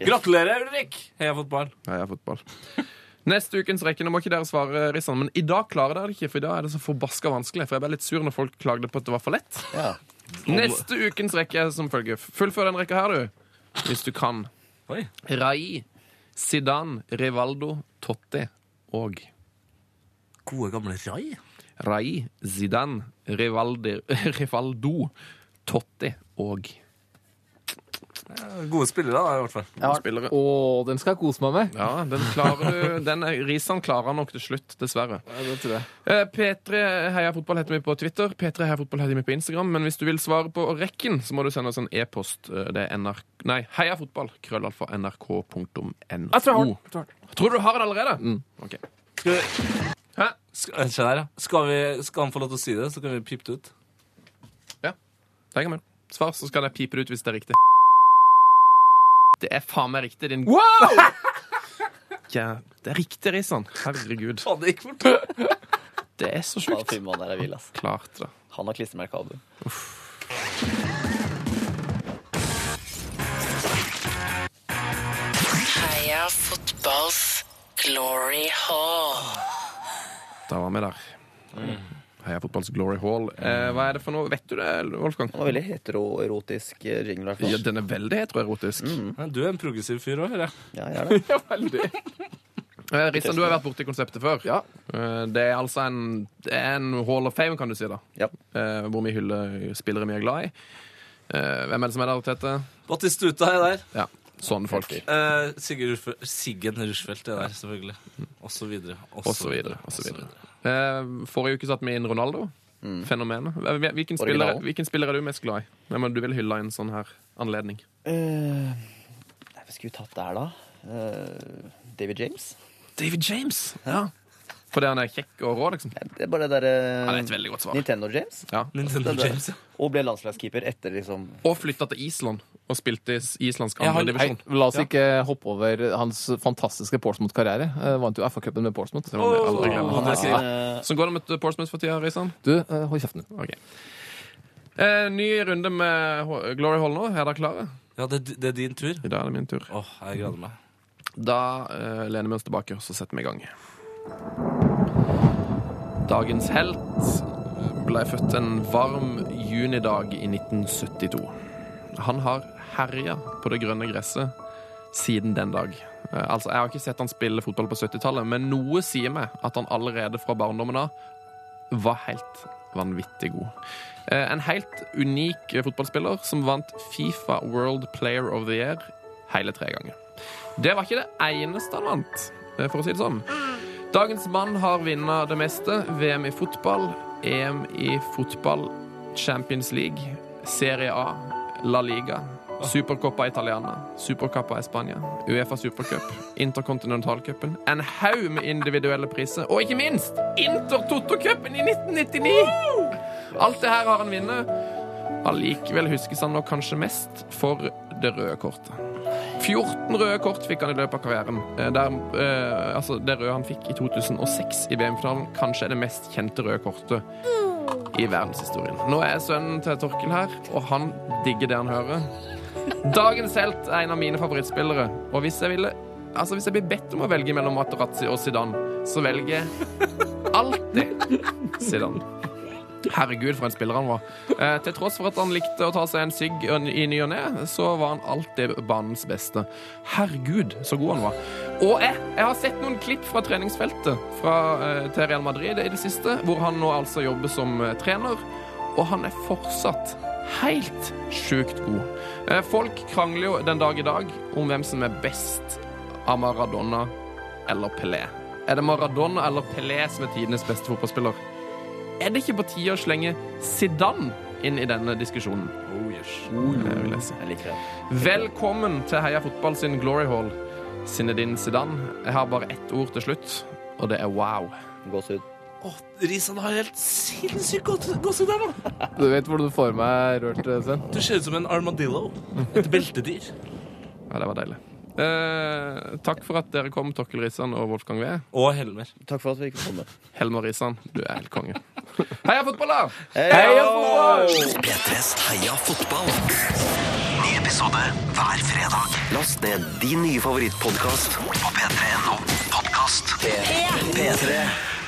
[SPEAKER 4] Gratulerer, Ulrik! Heia fotball.
[SPEAKER 3] Heia fotball. Neste ukens rekke, nå må ikke dere svare, Rissan, men i dag klarer dere det ikke, for i dag er det så forbaska vanskelig. For jeg ble litt sur når folk klagde på at det var for lett. Neste ukens rekke er som følger. Fullfør den rekka her, du. Hvis du kan.
[SPEAKER 4] Oi.
[SPEAKER 3] Rai, Zidane, Rivaldo, Totti og
[SPEAKER 4] Gode, gamle Rai.
[SPEAKER 3] Rai, Zidane, Rivaldi, Rivaldo, Totti og
[SPEAKER 4] Gode spillere, da, i hvert fall.
[SPEAKER 6] Ja.
[SPEAKER 3] spillere.
[SPEAKER 6] Å, den skal jeg kose meg med.
[SPEAKER 3] Ja, den klarer du. Den er- Risan klarer nok til slutt, dessverre.
[SPEAKER 6] Ja, det tror jeg.
[SPEAKER 3] Eh, P3 Heia Fotball heter vi på Twitter. P3 Heia Fotball heter vi på Instagram. Men hvis du vil svare på rekken, så må du sende oss en e-post. Eh, Det er nrk... Nei, heiafotball. Krøllalfa nrk.no.
[SPEAKER 6] Jeg tror jeg har den.
[SPEAKER 3] Tror du du har det allerede? Ok.
[SPEAKER 4] Skal vi
[SPEAKER 3] Hæ?
[SPEAKER 4] Sk- eh, se der, ja. Skal, vi, skal han få lov til å si det, så kan vi pipe det ut?
[SPEAKER 3] Det kan vi gjøre. Svar, så skal jeg pipe det ut hvis det er riktig. Det er faen meg riktig, din Ja, Det er riktig, Risan. Herregud.
[SPEAKER 4] Faen, det gikk fort.
[SPEAKER 3] Det er så
[SPEAKER 7] Faen,
[SPEAKER 3] sjukt.
[SPEAKER 7] Timman der er vill, ass.
[SPEAKER 3] Klart det.
[SPEAKER 7] Han har klistremerke av det.
[SPEAKER 10] Heia fotballs glory hall.
[SPEAKER 3] Da var vi der. Mm. Heia fotballs glory hall. Eh, hva er det for noe? Vet du det, Wolfgang?
[SPEAKER 7] Han var veldig heteroerotisk eh, jingle. i hvert
[SPEAKER 3] Ja, Mm.
[SPEAKER 7] fall.
[SPEAKER 3] den er veldig heteroerotisk.
[SPEAKER 4] Men Du er en progressiv fyr òg, hører jeg.
[SPEAKER 7] Ja, jeg er det.
[SPEAKER 6] Ja, veldig.
[SPEAKER 3] Eh, Risan, du har vært borti konseptet før. Eh, det er altså en, det er en hall of fame, kan du si, da.
[SPEAKER 7] Ja.
[SPEAKER 3] Eh, hvor vi hyller spillere vi er glad i. Eh, hvem er det som er der, Tete?
[SPEAKER 4] Batistuta er der.
[SPEAKER 3] Ja, sånne folk.
[SPEAKER 4] Eh, Sigurd Rufe- Siggen Rushfeldt er der, selvfølgelig. Og så videre. og
[SPEAKER 3] Og
[SPEAKER 4] så
[SPEAKER 3] så videre.
[SPEAKER 4] videre,
[SPEAKER 3] Og så
[SPEAKER 4] og så
[SPEAKER 3] videre. Eh, forrige uke satte vi inn Ronaldo. Mm. Fenomenet. Hvem- Hvilken spiller,
[SPEAKER 7] Originalen.
[SPEAKER 3] hvilken spiller er du mest glad i? Hvem er det du vil hylle i en sånn her anledning?
[SPEAKER 7] Eh, nei, Hva skulle vi tatt der, da? Eh, David James?
[SPEAKER 3] David James! Ja. Fordi han er kjekk og rå, liksom?
[SPEAKER 7] Nei, Det er bare det eh, derre
[SPEAKER 3] Han er et veldig godt svar.
[SPEAKER 7] Nintendo-James.
[SPEAKER 3] Ja.
[SPEAKER 4] Nintendo James, ja.
[SPEAKER 7] Og ble landslagskeeper etter liksom
[SPEAKER 3] Og flytta til Island og spilte i s- islandsk
[SPEAKER 6] Jeg har-
[SPEAKER 3] andredivisjon.
[SPEAKER 6] Hei, La oss ikke hoppe over hans fantastiske Portsmouth-karriere. Eh, Vant jo FA-cupen med Portsmouth. Eh,
[SPEAKER 3] Sånn går det med Portsmouth for tida, Risan.
[SPEAKER 6] Du, eh, hold kjeften din.
[SPEAKER 3] Ok. Eh, ny runde med H- Glory Hall nå. Er dere klare?
[SPEAKER 4] ja det, det er din tur.
[SPEAKER 3] I dag er det min tur.
[SPEAKER 4] Åh, jeg gleder meg.
[SPEAKER 3] Da eh, lener vi oss tilbake og så setter vi i gang. Dagens helt ble født en varm junidag i 1972. Han har herja på det grønne gresset siden den dag. Eh, Altså, Jeg har ikke sett han spille fotball på 70-tallet, men noe sier meg at han allerede fra barndommen av var helt vanvittig god. Eh, En helt unik fotballspiller som vant Fifa World Player of the Year hele tre ganger. Det var ikke det eneste han vant, for å si det sånn. Dagens mann har vunnet det meste. VM i fotball, EM i fotball, Champions League, Serie A, La Liga, Supercoppa Italiana, Supercoppa Spania, Uefa Supercup, Interkontinentalcupen, en haug med individuelle priser, og ikke minst Intertoto-cupen i 1999! Alt det her har han vunnet. Allikevel huskes han nok kanskje mest for det røde kortet. 14 røde kort fikk han i løpet av karrieren. Eh, Der, eh, altså det røde han fikk i 2006 i VM-finalen, kanskje er det mest kjente røde kortet i verdenshistorien. Nå er sønnen til Torkel her, og han digger det han hører. Dagens helt er en av mine favorittspillere, og hvis jeg ville Altså, hvis jeg blir bedt om å velge mellom Materazzi og Zidane, så velger jeg alltid Zidane. Herregud, for en spiller han var. Eh, til tross for at han likte å ta seg en sigg i ny og ne, så var han alltid banens beste. Herregud, så god han var. Og jeg, jeg har sett noen klipp fra treningsfeltet fra, eh, til Real Madrid i det siste, hvor han nå altså jobber som eh, trener, og han er fortsatt helt sjukt god. Eh, folk krangler jo den dag i dag om hvem som er best av Maradona eller Pelé. Er det Maradona eller Pelé som er tidenes beste fotballspiller? er det ikke på tide å slenge Zidane inn i denne diskusjonen? Det vil Oh, Mm. jeg si.
[SPEAKER 7] Jeg liker det.
[SPEAKER 3] Velkommen til Heia Fotball sin Glory Hall, Zinedine Zidane. Jeg har bare ett ord til slutt, og det er wow.
[SPEAKER 7] Gåsehud.
[SPEAKER 4] Åh, Risan har helt sinnssykt godt gåsehud der nå.
[SPEAKER 6] Du vet hvor du får meg rørt, eh, Sven?
[SPEAKER 4] Du ser ut som en armadillo. Et beltedyr.
[SPEAKER 3] Ja, det var deilig. Eh, takk for at dere kom, Torkel Risan og Wolfgang Wee.
[SPEAKER 4] Og Helmer.
[SPEAKER 7] Takk for at vi ikke kom med.
[SPEAKER 3] Helmer Risan, du er helt konge. Heia fotball, da!
[SPEAKER 7] Hei,
[SPEAKER 2] P3s Heia fotball. episode hver fredag. Last ned din nye favorittpodkast på p3.no podkast. P3. P3.